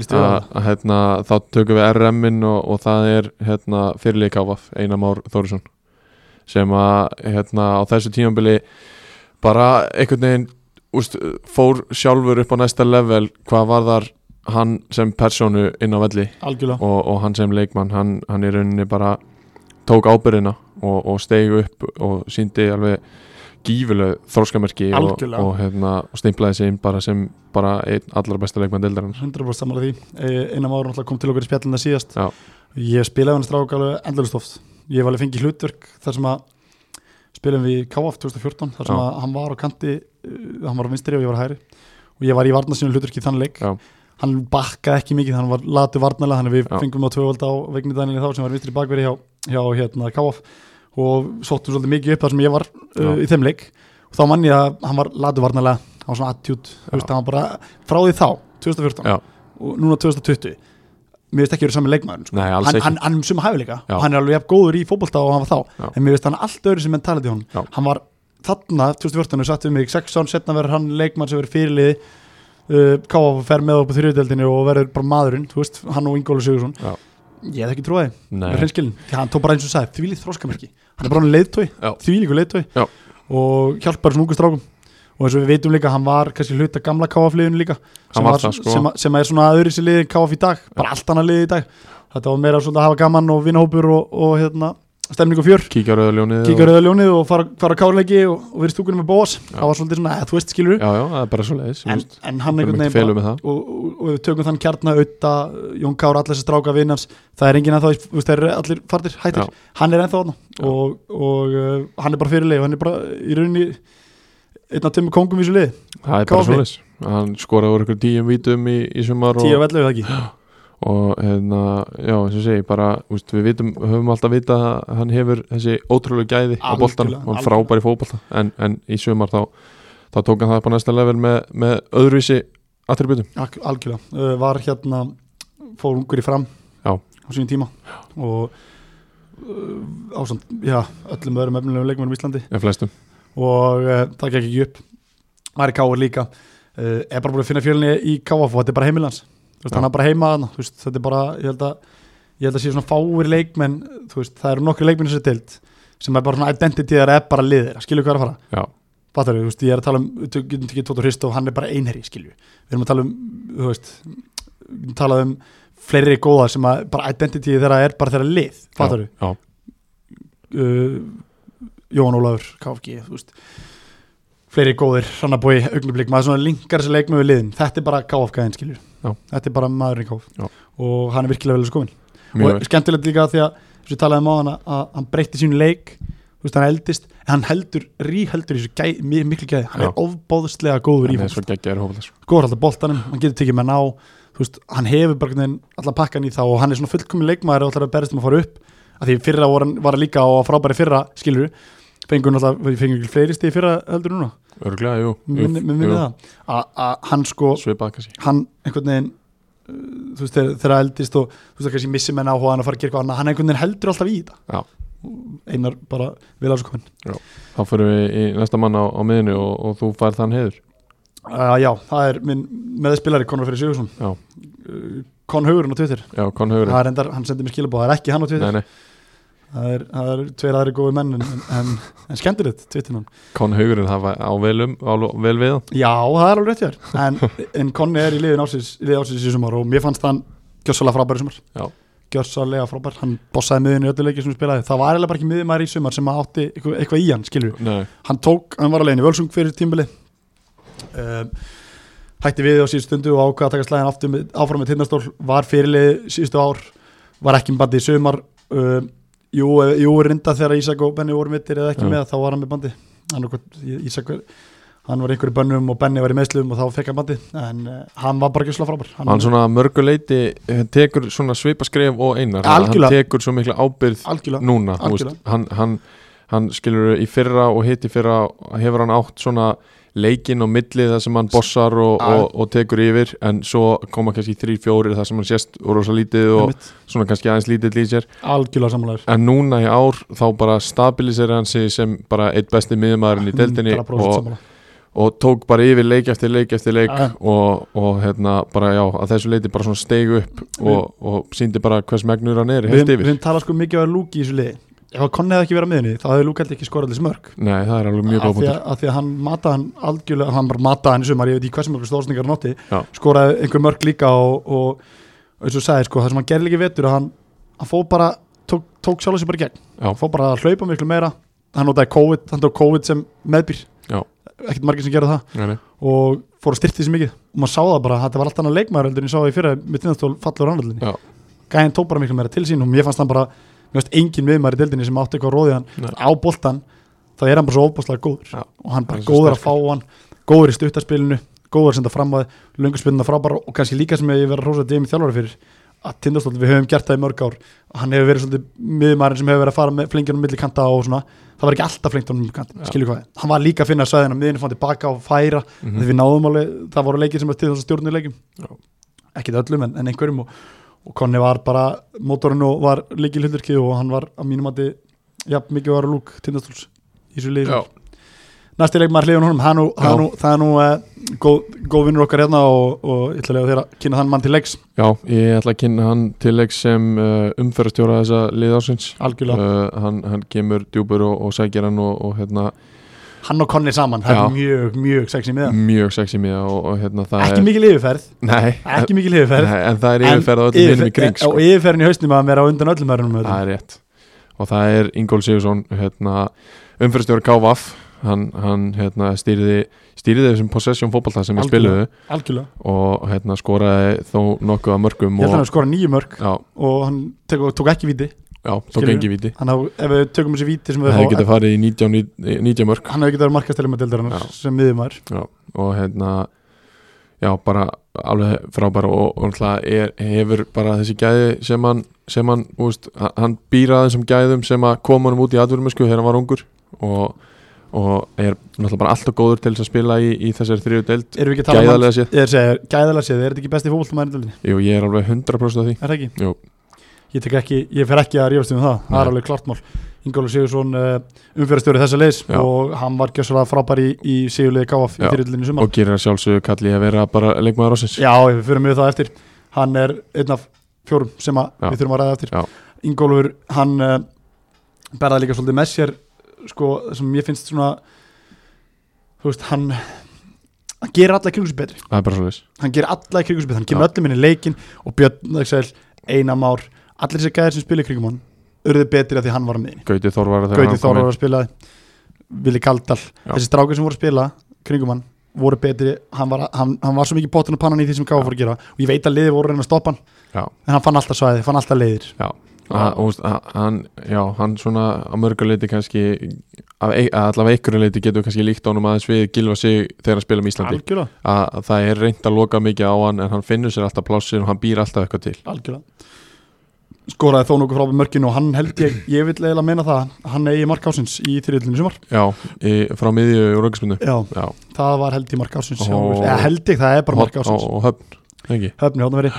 Speaker 1: Lístu við á það?
Speaker 2: að hérna, þá tökum við RM-in og, og það er hérna, fyrirleik áfaf Einar Már Þórisson sem að hérna, á þessu tímambili bara einhvern veginn úst, fór sjálfur upp á næsta level hvað var þar hann sem personu inn á velli
Speaker 1: Algjörlega
Speaker 2: og, og hann sem leikmann hann, hann í rauninni bara tók ábyrðina og, og steig upp og síndi alveg gífuleg þróskamerki og,
Speaker 1: Algjörlega.
Speaker 2: og, hérna, og stimplaði sig inn bara sem bara einn allra besta leikmann deildarinn
Speaker 1: 100% samanlega því Einar Már náttúrulega kom til okkur í spjallina síðast
Speaker 2: Já.
Speaker 1: Ég spilaði hann strák alveg endalust oft Ég hef alveg fengið hlutverk þar sem að spilaðum við í KF 2014 þar sem
Speaker 2: Já.
Speaker 1: að hann var á kanti uh, hann var á vinstri og ég var á hæri og ég var í varnarsinu hlutverki í þann leik
Speaker 2: Já.
Speaker 1: hann bakkaði ekki mikið, hann var latu varnarlega þannig að við
Speaker 2: Já.
Speaker 1: fengum á tvövalda á vegni Daniel þá sem var vinstri bakveri hjá, hjá hérna, KF og sóttum svolítið mikið upp þar sem ég var uh,
Speaker 2: Já.
Speaker 1: í þeim leik og þá mann ég að hann var latu varnarlega hann var svona attitude, þú veist, hann var bara frá því þá 2014
Speaker 2: Já.
Speaker 1: og núna 2020 mér veist ekki verið saman leikmaður sko.
Speaker 2: Nei, alls
Speaker 1: hann,
Speaker 2: ekki
Speaker 1: hann, hann sem hæfileika
Speaker 2: Já.
Speaker 1: og hann er alveg jafn góður í fótbolta og hann var þá
Speaker 2: Já.
Speaker 1: en mér veist hann allt öðru sem mentality hún
Speaker 2: Já.
Speaker 1: hann var þarna 2014 og satt við mig 6 án setna verður hann leikmann sem verður fyrirliði uh, káfa og fer með upp á þriðdeldinu og verður bara maðurinn, þú veist, hann og Ingólu Sigursson
Speaker 2: Já.
Speaker 1: ég hef ekki trúið
Speaker 2: Nei.
Speaker 1: með hreinskilin, því hann tók bara eins og sagði því líkt þróskamerki, hann er bara hann leiðtói
Speaker 2: Já.
Speaker 1: því líku leiðtói
Speaker 2: Já.
Speaker 1: og hjálpar svona ungu strákum og eins og við veitum líka, hann var kannski hluta gamla káafliðinu líka sem,
Speaker 2: var
Speaker 1: var,
Speaker 2: það, sko.
Speaker 1: sem, að- sem að er svona öðru sér liðin káaf í dag, bara allt annað liði í dag þetta var meira svona að hafa gaman og vinahópur og, og hérna, stemning og fjör
Speaker 2: kíkja á rauðaljónið
Speaker 1: kíkja rauða ljónið og fara, fara kárleiki og, og verið stúkunum með bóas, það var svolítið svona, eh, þú veist skilur
Speaker 2: já, já, það er bara svo leiðis
Speaker 1: en, en hann
Speaker 2: Förum
Speaker 1: einhvern veginn
Speaker 2: ekki
Speaker 1: bara-
Speaker 2: felum með það.
Speaker 1: og, og, og við tökum þann kjarna auðta Jón Kár, allir þessi stráka vinnans það er enginn að þá, þú veist, það er allir fartir hættir,
Speaker 2: Já.
Speaker 1: hann er ennþá þarna
Speaker 2: Já.
Speaker 1: og, og uh, hann er bara fyrirlið og hann er bara í rauninni einn af tömmu kongum í þessu lið,
Speaker 2: það er bara
Speaker 1: Káfi.
Speaker 2: svo leiðis hann skoraði úr ykkur tíum vítum í, í sumar
Speaker 1: tíu af
Speaker 2: og,
Speaker 1: ellu eða ekki
Speaker 2: og hérna, já, eins og segi bara, úst, við vitum, höfum alltaf vita að hann hefur þessi ótrúlega gæði á
Speaker 1: Algjörlega,
Speaker 2: boltan, hann
Speaker 1: algjörlega.
Speaker 2: frábær í fótbolta en, en í sumar þá þá tók hann það upp á næsta level með, með öðruvísi attributum
Speaker 1: Al algjörlega, uh, var hérna fór ungur í fram
Speaker 2: Já.
Speaker 1: á sínum tíma og uh, ásand, já, öllum öðrum efnilegum leikmennum í Íslandi
Speaker 2: en flestum,
Speaker 1: og uh, það gekk ekki upp Mæri Káur líka uh, er bara búin að finna fjölinni í Káaf og þetta er bara heimilans þú veist,
Speaker 2: Já.
Speaker 1: hann er bara heima þarna, þú veist, þetta er bara, ég held að ég held að sé svona fáir leikmenn þú veist, það eru nokkri leikmenn sem deild sem er bara svona identity þegar er bara liðir skilju hvað er að fara
Speaker 2: já,
Speaker 1: Fattar þú veist, ég er að tala um við getum ekki Tóta Hristof, hann er bara einherri, skilju við erum að tala um, þú veist talað um fleiri góða sem að bara identity þeirra er bara þeirra lið fattar
Speaker 2: já, já,
Speaker 1: þú uh, Jón Ólafur, KFG, þú veist fleiri góðir, Hrannabói, Augnablík maður svona lingar þessi leikmið við liðin þetta er bara KFG-in, skilju
Speaker 2: Já.
Speaker 1: þetta er bara maðurinn í
Speaker 2: Já.
Speaker 1: KF og hann er virkilega vel að skoðin
Speaker 2: mjög
Speaker 1: og skemmtilegt líka því að þess að talaði um á hann að hann breytti sínu leik þú veist hann eldist, en hann heldur ríheldur í þessu gæ, mi- miklu gæði hann
Speaker 2: Já.
Speaker 1: er ofbóðslega góður
Speaker 2: vel
Speaker 1: í
Speaker 2: hann er
Speaker 1: fólk,
Speaker 2: svo geggjaður sko. hófaldar
Speaker 1: góður Sko, alltaf boltanum hann getur tekið menn á, þú veist, hann hefur bara einhvern veginn allan pakkan í þá og hann er svona fullkomin leikmaður og alltaf að berist um að fara upp að því fyrra var hann, var hann líka og frábæri fyrra skilur, fengur alltaf fengur ekki fleiri stíð fyrra heldur en núna
Speaker 2: örglega, jú, jú,
Speaker 1: minni, minni
Speaker 2: jú,
Speaker 1: það, að að hann sko
Speaker 2: svipað kannski
Speaker 1: hann einhvern veginn uh, þú veist þegar þegar eldist og þú veist að kannski missi menn áhuga hann að fara að gera eitthvað annað hann einhvern veginn heldur alltaf í þetta
Speaker 2: Já.
Speaker 1: einar bara vil að þessu komin
Speaker 2: þá fyrir við í næsta mann á, á miðinu og, og þú fær þann heiður
Speaker 1: uh, já það er minn með spilari Conor Freyr Sigursson
Speaker 2: Já.
Speaker 1: uh, Con Hugurinn á Twitter
Speaker 2: já, konn högur
Speaker 1: það er endar hann sendi mér skilabóð það er ekki hann á Twitter
Speaker 2: nei, nei,
Speaker 1: það er, það er tveir aðri góði menn en, en, en, en skemmtilegt Twitter hann
Speaker 2: konn högurinn það var á vel, um, á lo- vel við hann
Speaker 1: já það er alveg rétt hér en,
Speaker 2: [laughs]
Speaker 1: en Conny er í liðin ásins í liðin ásins í sumar og mér fannst hann gjössalega frábær í sumar
Speaker 2: Já.
Speaker 1: gjössalega frábær hann bossaði miðinu í öllu leikið sem hann spilaði það var eiginlega bara ekki miðumæri í sumar sem að átti eitthvað, eitthvað í hann skilur
Speaker 2: nei,
Speaker 1: hann tók, hann var alveg í Völsung fyrir tímbili um, hætti við á síðustu stundu og ákvaða að taka slæðin aftur með, áfram með tindastól var fyrirlið síðustu ár var ekki með bandi í sumar um, jú, eh, jú reynda þegar Ísak og Benni voru mittir eða ekki
Speaker 2: Já.
Speaker 1: með þá var hann með bandi hann, okkur, Ísak, var- hann var einhverju bönnum og Benni var í meðslum og þá fekk hann bandi en uh, hann var bara ekki slá frábær
Speaker 2: hann svona mörguleiti eh, tekur svona svipaskref og einar hann-
Speaker 1: Algjörlega.
Speaker 2: hann tekur svo mikla ábyrð
Speaker 1: algjörlega
Speaker 2: núna þú veist,
Speaker 1: Algjörlega.
Speaker 2: hann, hann, hann skilur í fyrra og hitt í fyrra hefur hann átt svona leikinn á milli þar sem hann bossar og,
Speaker 1: Já.
Speaker 2: og, og tekur yfir en svo koma kannski þrý, fjórir þar sem hann sést rosa lítið og
Speaker 1: einmitt.
Speaker 2: svona kannski aðeins lítið í sér
Speaker 1: algjörlega sammálaður
Speaker 2: en núna í ár þá bara stabilisir hann sig sem bara eitt besti miðumæðurinn í deildinni
Speaker 1: 100%
Speaker 2: og,
Speaker 1: sammála.
Speaker 2: og tók bara yfir leik eftir leik eftir leik
Speaker 1: Já.
Speaker 2: og, og hérna bara já að þessu leiti bara svona steig upp og, og síndi bara hvers megnur hann er
Speaker 1: Við
Speaker 2: heilt
Speaker 1: við
Speaker 2: yfir
Speaker 1: höfum talað sko mikið af Lúki í þessu liði Ef að Konni hefði ekki verið á miðunni þá hefði Lúki alltaf ekki skorað allir smörk
Speaker 2: Nei, það er alveg mjög
Speaker 1: af
Speaker 2: góð
Speaker 1: því,
Speaker 2: punktur
Speaker 1: að, af því að hann mataði hann algjörlega hann bara mataði hann í sumar, ég veit í hversum okkur stóðsningar hann átti
Speaker 2: Já.
Speaker 1: skoraði einhver mörk líka og, og eins og sagði sko, það sem hann gerði líka í vetur að hann, hann fóð bara, tók, tók sjálf sér bara í gegn
Speaker 2: Já.
Speaker 1: hann fóð bara að hlaupa miklu meira hann notaði COVID, hann tók COVID sem meðbyr
Speaker 2: Já.
Speaker 1: ekkert margir sem gerði það
Speaker 2: Nei, nei.
Speaker 1: og fór að styrta þessi mikið og maður sá það bara, þetta var allt annað leikmaður heldur en ég sá það í fyrra með tindastól fallur
Speaker 2: Já.
Speaker 1: rannallinni gæðin tók bara miklu meira til sín og mér fannst hann bara mér fannst engin viðmaður í deildinni sem átti eitthvað róðið hann
Speaker 2: Nei.
Speaker 1: á boltan, þá er hann bara svo óbúslega góður
Speaker 2: Já.
Speaker 1: og hann
Speaker 2: Hann
Speaker 1: bara
Speaker 2: er svo
Speaker 1: góður að fá
Speaker 2: sterkur.
Speaker 1: hann góður í stuttarspilinu, góður að senda fram að lönguspilinu frábæra og kannski líka sem ég verið að rósa Demi þjálfari fyrir að tindastól, við höfum gert það í mörg ár hann hefur verið svolítið miðmaðurinn sem hefur verið að fara með flingjunum milli kanta og svona það var ekki alltaf flingjunum milli kanta,
Speaker 2: Já.
Speaker 1: skilju hvað hann var líka að finna svæðina, miðinu fann tilbaka og færa
Speaker 2: Mhm.
Speaker 1: þegar við náðum alveg, það voru leikir sem var til þess að stjórnu leikum
Speaker 2: Já.
Speaker 1: ekkit öllum en, en einhverjum og, og Konni var bara mótorinn og var leikil hildurki og hann var að mínum að já, mikið var lúk tindastóls í þessu liði
Speaker 2: Já,
Speaker 1: næsti leikmaður hliðun honum, hann nú, hann nú, það er nú eh, góð, góð vinnur okkar hérna og, og ég ætla að lega þér að kynna þann mann til leiks
Speaker 2: já, ég ætla að kynna hann til leik sem uh, umferðarstjóra þessa liðársins
Speaker 1: algjörlega,
Speaker 2: uh, hann, hann kemur djúpur og, og sækir hann og, og hérna
Speaker 1: hann og Konni saman það
Speaker 2: Já.
Speaker 1: er mjög, mjög sexy miða
Speaker 2: mjög sexy miða og, og hérna það
Speaker 1: ekki
Speaker 2: er
Speaker 1: mikil yfirferð,
Speaker 2: Nei,
Speaker 1: ekki mikil yfirferð
Speaker 2: nei, en það er
Speaker 1: En
Speaker 2: yfirferð á öllum vinum í
Speaker 1: Yfirferð-
Speaker 2: kring sko.
Speaker 1: og yfirferðin í hausnum að vera á undan öllum verðunum
Speaker 2: það er rétt og það er Ingól Sigursson hérna, umfyrstjóri KVF hann, hann hérna, stýriði stýriði þessum possession fótballta sem við
Speaker 1: Algjörlega.
Speaker 2: spiluðu
Speaker 1: algjörlega,
Speaker 2: og hérna, skoraði þó nokkuð að mörgum
Speaker 1: ég held að hann
Speaker 2: og,
Speaker 1: hafi skorað nýju mörk
Speaker 2: já,
Speaker 1: og hann tek, tók ekki víti
Speaker 2: já, tók
Speaker 1: Skilurðu?
Speaker 2: engi viti
Speaker 1: þannig að ef við tökum þessi víti sem við
Speaker 2: það hefði getið
Speaker 1: fá, e-
Speaker 2: farið í 19, í 19 mörg
Speaker 1: hann hefur getið að vera markastelema deildarinnar
Speaker 2: Já.
Speaker 1: sem miðjumar
Speaker 2: og hérna já, bara alveg frábæra og, og náttúrulega er, hefur bara þessi gæði sem hann, sem hann, úst, hann býraði þessum gæðum sem að koma hann út í atverðumösku þegar hann var ungur og, og er náttúrulega bara alltaf góður til þess að spila í, í þessari þriðu deild
Speaker 1: erum við ekki að tala um hann
Speaker 2: gæðalega séð,
Speaker 1: Ég er að segja, gæðalega séð, er þetta ekki besti fókvöldumæður í deildinni?
Speaker 2: jú ég er alveg 100% af því
Speaker 1: Er það ekki?
Speaker 2: Jú.
Speaker 1: Ég, tek ekki, ég fer ekki að rífast um það, það er
Speaker 2: Nei.
Speaker 1: alveg klart mál Ingólu Sigursson uh, umfyrastjóri þessa leis
Speaker 2: Já.
Speaker 1: og hann var gjössalega frábær í, í Sigurliði KF í
Speaker 2: Já.
Speaker 1: fyrirlinni sumar
Speaker 2: og gerir að sjálfsögðu kalli að vera bara leikmaður ásins
Speaker 1: Já, við fyrir mjög það eftir Hann er einn af fjórum sem að
Speaker 2: Já.
Speaker 1: við þurfum að ræða eftir
Speaker 2: Já.
Speaker 1: Ingólfur, hann uh, berðaði líka svolítið með sér sko, sem ég finnst svona þú veist, hann hann gerir alla kringus betri
Speaker 2: það er bara svo leis
Speaker 1: hann gerir alla í kringum spil, hann kemur
Speaker 2: Já.
Speaker 1: öllum inn í leikin og Björn Axel, Einamár allir þessi gæðir sem spila í kringum hann urðu betri af því hann var með
Speaker 2: Gauti Þorvar
Speaker 1: Gauti Þórar að spila Vili Kaldal,
Speaker 2: Já.
Speaker 1: þessi strákar sem voru að spila kringum hann, voru betri hann var, hann, hann var svo mikið bóttun og pannan í því sem Gáfa
Speaker 2: Já.
Speaker 1: fór að gera og ég veit að liði voru að reyna að stoppa hann
Speaker 2: Já.
Speaker 1: en hann fann alltaf svæði, fann alltaf leiðir
Speaker 2: Að- og, veist, að- hann, já, hann svona að mörguleiti kannski af ei- að allavega einhverju leiti getur við kannski líkt ánum aðeins við gilva sig þegar hann spila um Íslandi
Speaker 1: algjörlega,
Speaker 2: að að það er reynd að loka mikið á hann en hann finnur sér alltaf plássin og hann býr alltaf eitthvað til
Speaker 1: algjörlega skoraði þó nokkuð frábæð mörkin og hann held ég, ég vil eiginlega meina það, hann eigi mark ásins í þriðlunum sumar,
Speaker 2: já, í, frá miðju úr aukaspundu
Speaker 1: já,
Speaker 2: já,
Speaker 1: það var held ég mark ásins
Speaker 2: Ó.
Speaker 1: hjá Úlfi. Eða held ég, það er bara mark
Speaker 2: Horn
Speaker 1: ásins
Speaker 2: og, og höfn, ekki
Speaker 1: höfni hóðnveri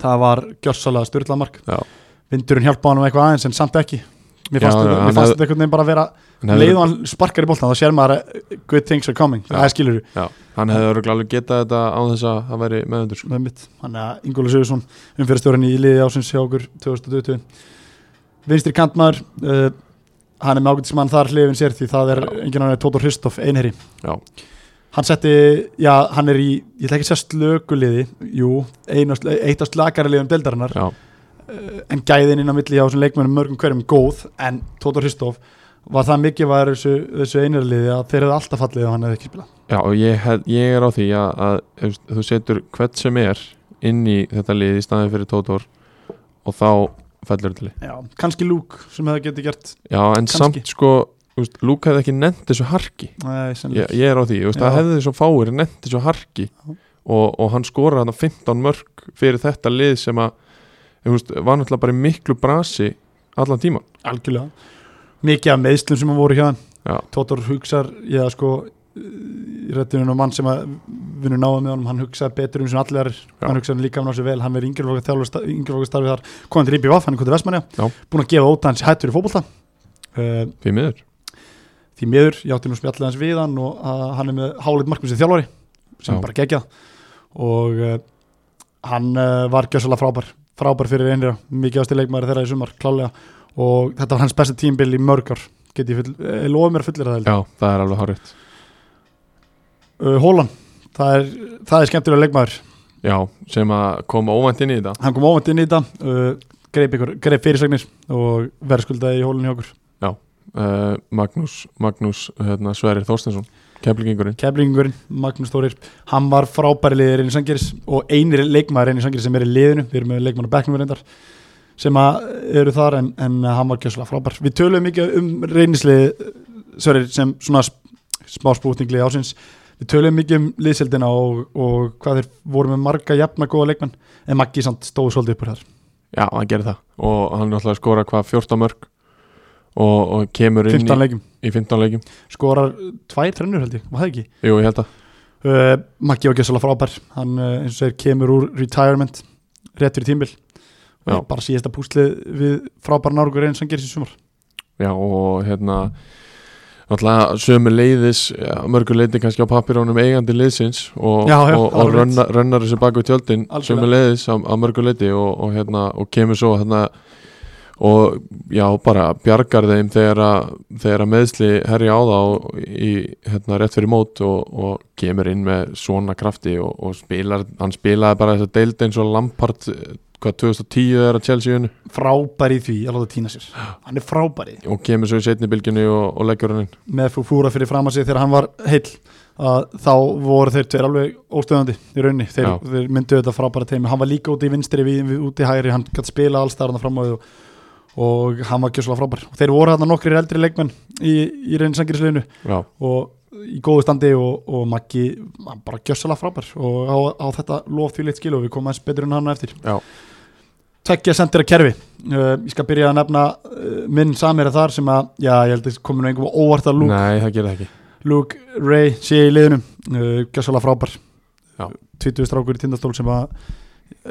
Speaker 1: það var gjörsalega styrlað mark
Speaker 2: Já.
Speaker 1: vindurinn hjálpaði hann um eitthvað aðeins en samt ekki mér
Speaker 2: Já,
Speaker 1: fannst,
Speaker 2: já,
Speaker 1: þetta,
Speaker 2: hann
Speaker 1: mér fannst
Speaker 2: hef-
Speaker 1: þetta einhvern veginn bara að vera
Speaker 2: hann
Speaker 1: leið
Speaker 2: hefði,
Speaker 1: og hann sparkar í boltan þá sér maður að good things are coming
Speaker 2: Já.
Speaker 1: það er skilur
Speaker 2: já, hann hefði örugglega alveg getað þetta á þess að það væri meðundur sko.
Speaker 1: það er mitt þannig að Ingóla Sigursson umfyrirstjórin í liði ásins hjá okkur 2020 vinstri kantmaður uh, hann er með ágætismann þar hlifin sér því það er
Speaker 2: Já.
Speaker 1: enginn annar en Tóthor Hristoff einherri
Speaker 2: sko. Já.
Speaker 1: hann setti já hann er í ég ætla ekki að segja slökuliði jú einast, eitt af slakari liðum deildarinnar
Speaker 2: já,
Speaker 1: uh, en gæðin inn á milli á þessum leikmennum mörgum hverjum góð en Tóthar Hristof var það mikið var þessu, þessu einarliði að þeir hefði alltaf fallið ef hann hefði ekki spilað
Speaker 2: já, og ég, hef, ég er á því að, að þú veist, þú setur hvert sem er inn í þetta lið í staðin fyrir Tótor og þá fellur þetta lið
Speaker 1: Já. kannski Lúk sem hefði getið gert
Speaker 2: Já, en
Speaker 1: Kannski.
Speaker 2: samt sko úst, Luke hefði ekki nefnt þessu harki
Speaker 1: nei, eh, sem-
Speaker 2: ég, ég er á því, úst, það
Speaker 1: Já.
Speaker 2: hefði þessu fáir nefnt þessu harki
Speaker 1: Já.
Speaker 2: og, og hann skoraði hann 15 mörg fyrir þetta lið sem að úst, var náttúrulega bara í miklu brasi allan tíman
Speaker 1: algjörlega mikið af meðslum sem hann voru hjá hann
Speaker 2: Já.
Speaker 1: Tóthar hugsar já, sko, uh, í rættunum og mann sem að vinur náða með honum, hann hugsaði betur um sem allir aðrir.
Speaker 2: Já.
Speaker 1: hann hugsaði líka um náðu sér vel, hann verið yngjörflokkar starfið þar, komið til IBVF, hann er kvöldur Vestmanja
Speaker 2: Já.
Speaker 1: búin að gefa óta hans hættur í fótbolta uh,
Speaker 2: því miður
Speaker 1: því miður, ég átti nú spjallið hans við hann og að, hann er með hálit markmið sem þjálfari sem
Speaker 2: Já.
Speaker 1: er bara gegjað og uh, hann uh, var gjössalega frábær frábær fyrir einra, mikið ástu leikmaður þeirra í sumar, klálega og þetta var hans besta tímbil í mörg ár get ég full, eh, lofa mér fullir að það
Speaker 2: já, það er alveg hárétt
Speaker 1: uh, Hólan, það er, það er skemmtilega leikmaður
Speaker 2: já, sem að koma óvænt inn í þetta
Speaker 1: hann kom óvænt inn í þetta uh, greip, ykkur, greip fyrirsagnir og verðskuldaði í hólun hjá okkur
Speaker 2: uh, Magnús, Magnús hérna, Sverrir Þorstensson kemplingingurinn
Speaker 1: Keflingurinn, Magnús Þórir hann var frábæri liðir inn í Sangeris og einir leikmaður inn í Sangeris sem er í liðinu við erum með leikmann á bekknum reyndar sem að eru þar en, en hann var kjössalega frábær við töluðum mikið um reynislið Sörir sem svona sp- smá spútinglið ásins við töluðum mikið um liðseldina og, og hvað þeir voru með marga jafna góða leikmann en Maggi samt stóð svolítið uppur þar
Speaker 2: já, hann gerir það og hann er alltaf að skora hvað 14 mörg og, og kemur inn
Speaker 1: 15 leikum,
Speaker 2: í, í 15 leikjum
Speaker 1: skorar tvær trennur held ég, var það ekki?
Speaker 2: jú, ég held að
Speaker 1: uh, Maggi var gjössalega frábær hann uh, eins og segir kemur úr retirement rétt fyrir tímbil
Speaker 2: Já.
Speaker 1: og bara síðasta púslið við frábæran árgur eins og hann gerir sér sumar
Speaker 2: já, og hérna alltaf sömu leiðis ja, mörgu leiði kannski á papirónum eigandi leiðsins og,
Speaker 1: Já, já,
Speaker 2: og, og
Speaker 1: alveg rétt.
Speaker 2: rönna, rönnar þessu baku tjöldin
Speaker 1: Algjörlega.
Speaker 2: sömu leiðis á, á mörgu leiði og, og hérna og kemur svo hérna og já, bara bjargar þeim þegar að, þegar að meðsli herja á þá og í, hérna, rétt fyrir mót og, og kemur inn með svona krafti og, og spilar, hann spilaði bara þessa deildi eins og Lampard eh, hvað 2010 er að Chelsea unnu
Speaker 1: frábær í því að láta týna sér hann er frábær í því.
Speaker 2: og kemur svo í setni bylginu og, og leggur hann inn
Speaker 1: með fúra fyrir fram að sig þegar hann var heill að þá voru þeir tveir alveg óstöðandi í raunni, þeir,
Speaker 2: Já.
Speaker 1: þeir myndu þetta frábæra teimi, hann var líka úti í vinstri við, við úti í hægri, hann gætt spila alls þar hann fram á því og, og hann var gjössalega frábær og þeir voru þarna nokkrir eldri leikmenn í, í reynsangirisleginu
Speaker 2: já,
Speaker 1: og í góðu standi og, og Maggi hann bara gjössalega frábær og á, á þetta lof því leitt skil og við komum aðeins betur en hann á eftir
Speaker 2: Já.
Speaker 1: Tveggja sendir að kerfi uh, ég skal byrja að nefna uh, minn samir þar sem að, já ég held að kominu einhver óvart að Luke,
Speaker 2: nei það gerir það ekki
Speaker 1: Luke Ray sé í liðinu, uh, gjössalega frábær
Speaker 2: Já.
Speaker 1: 20 strákur í tindastól sem að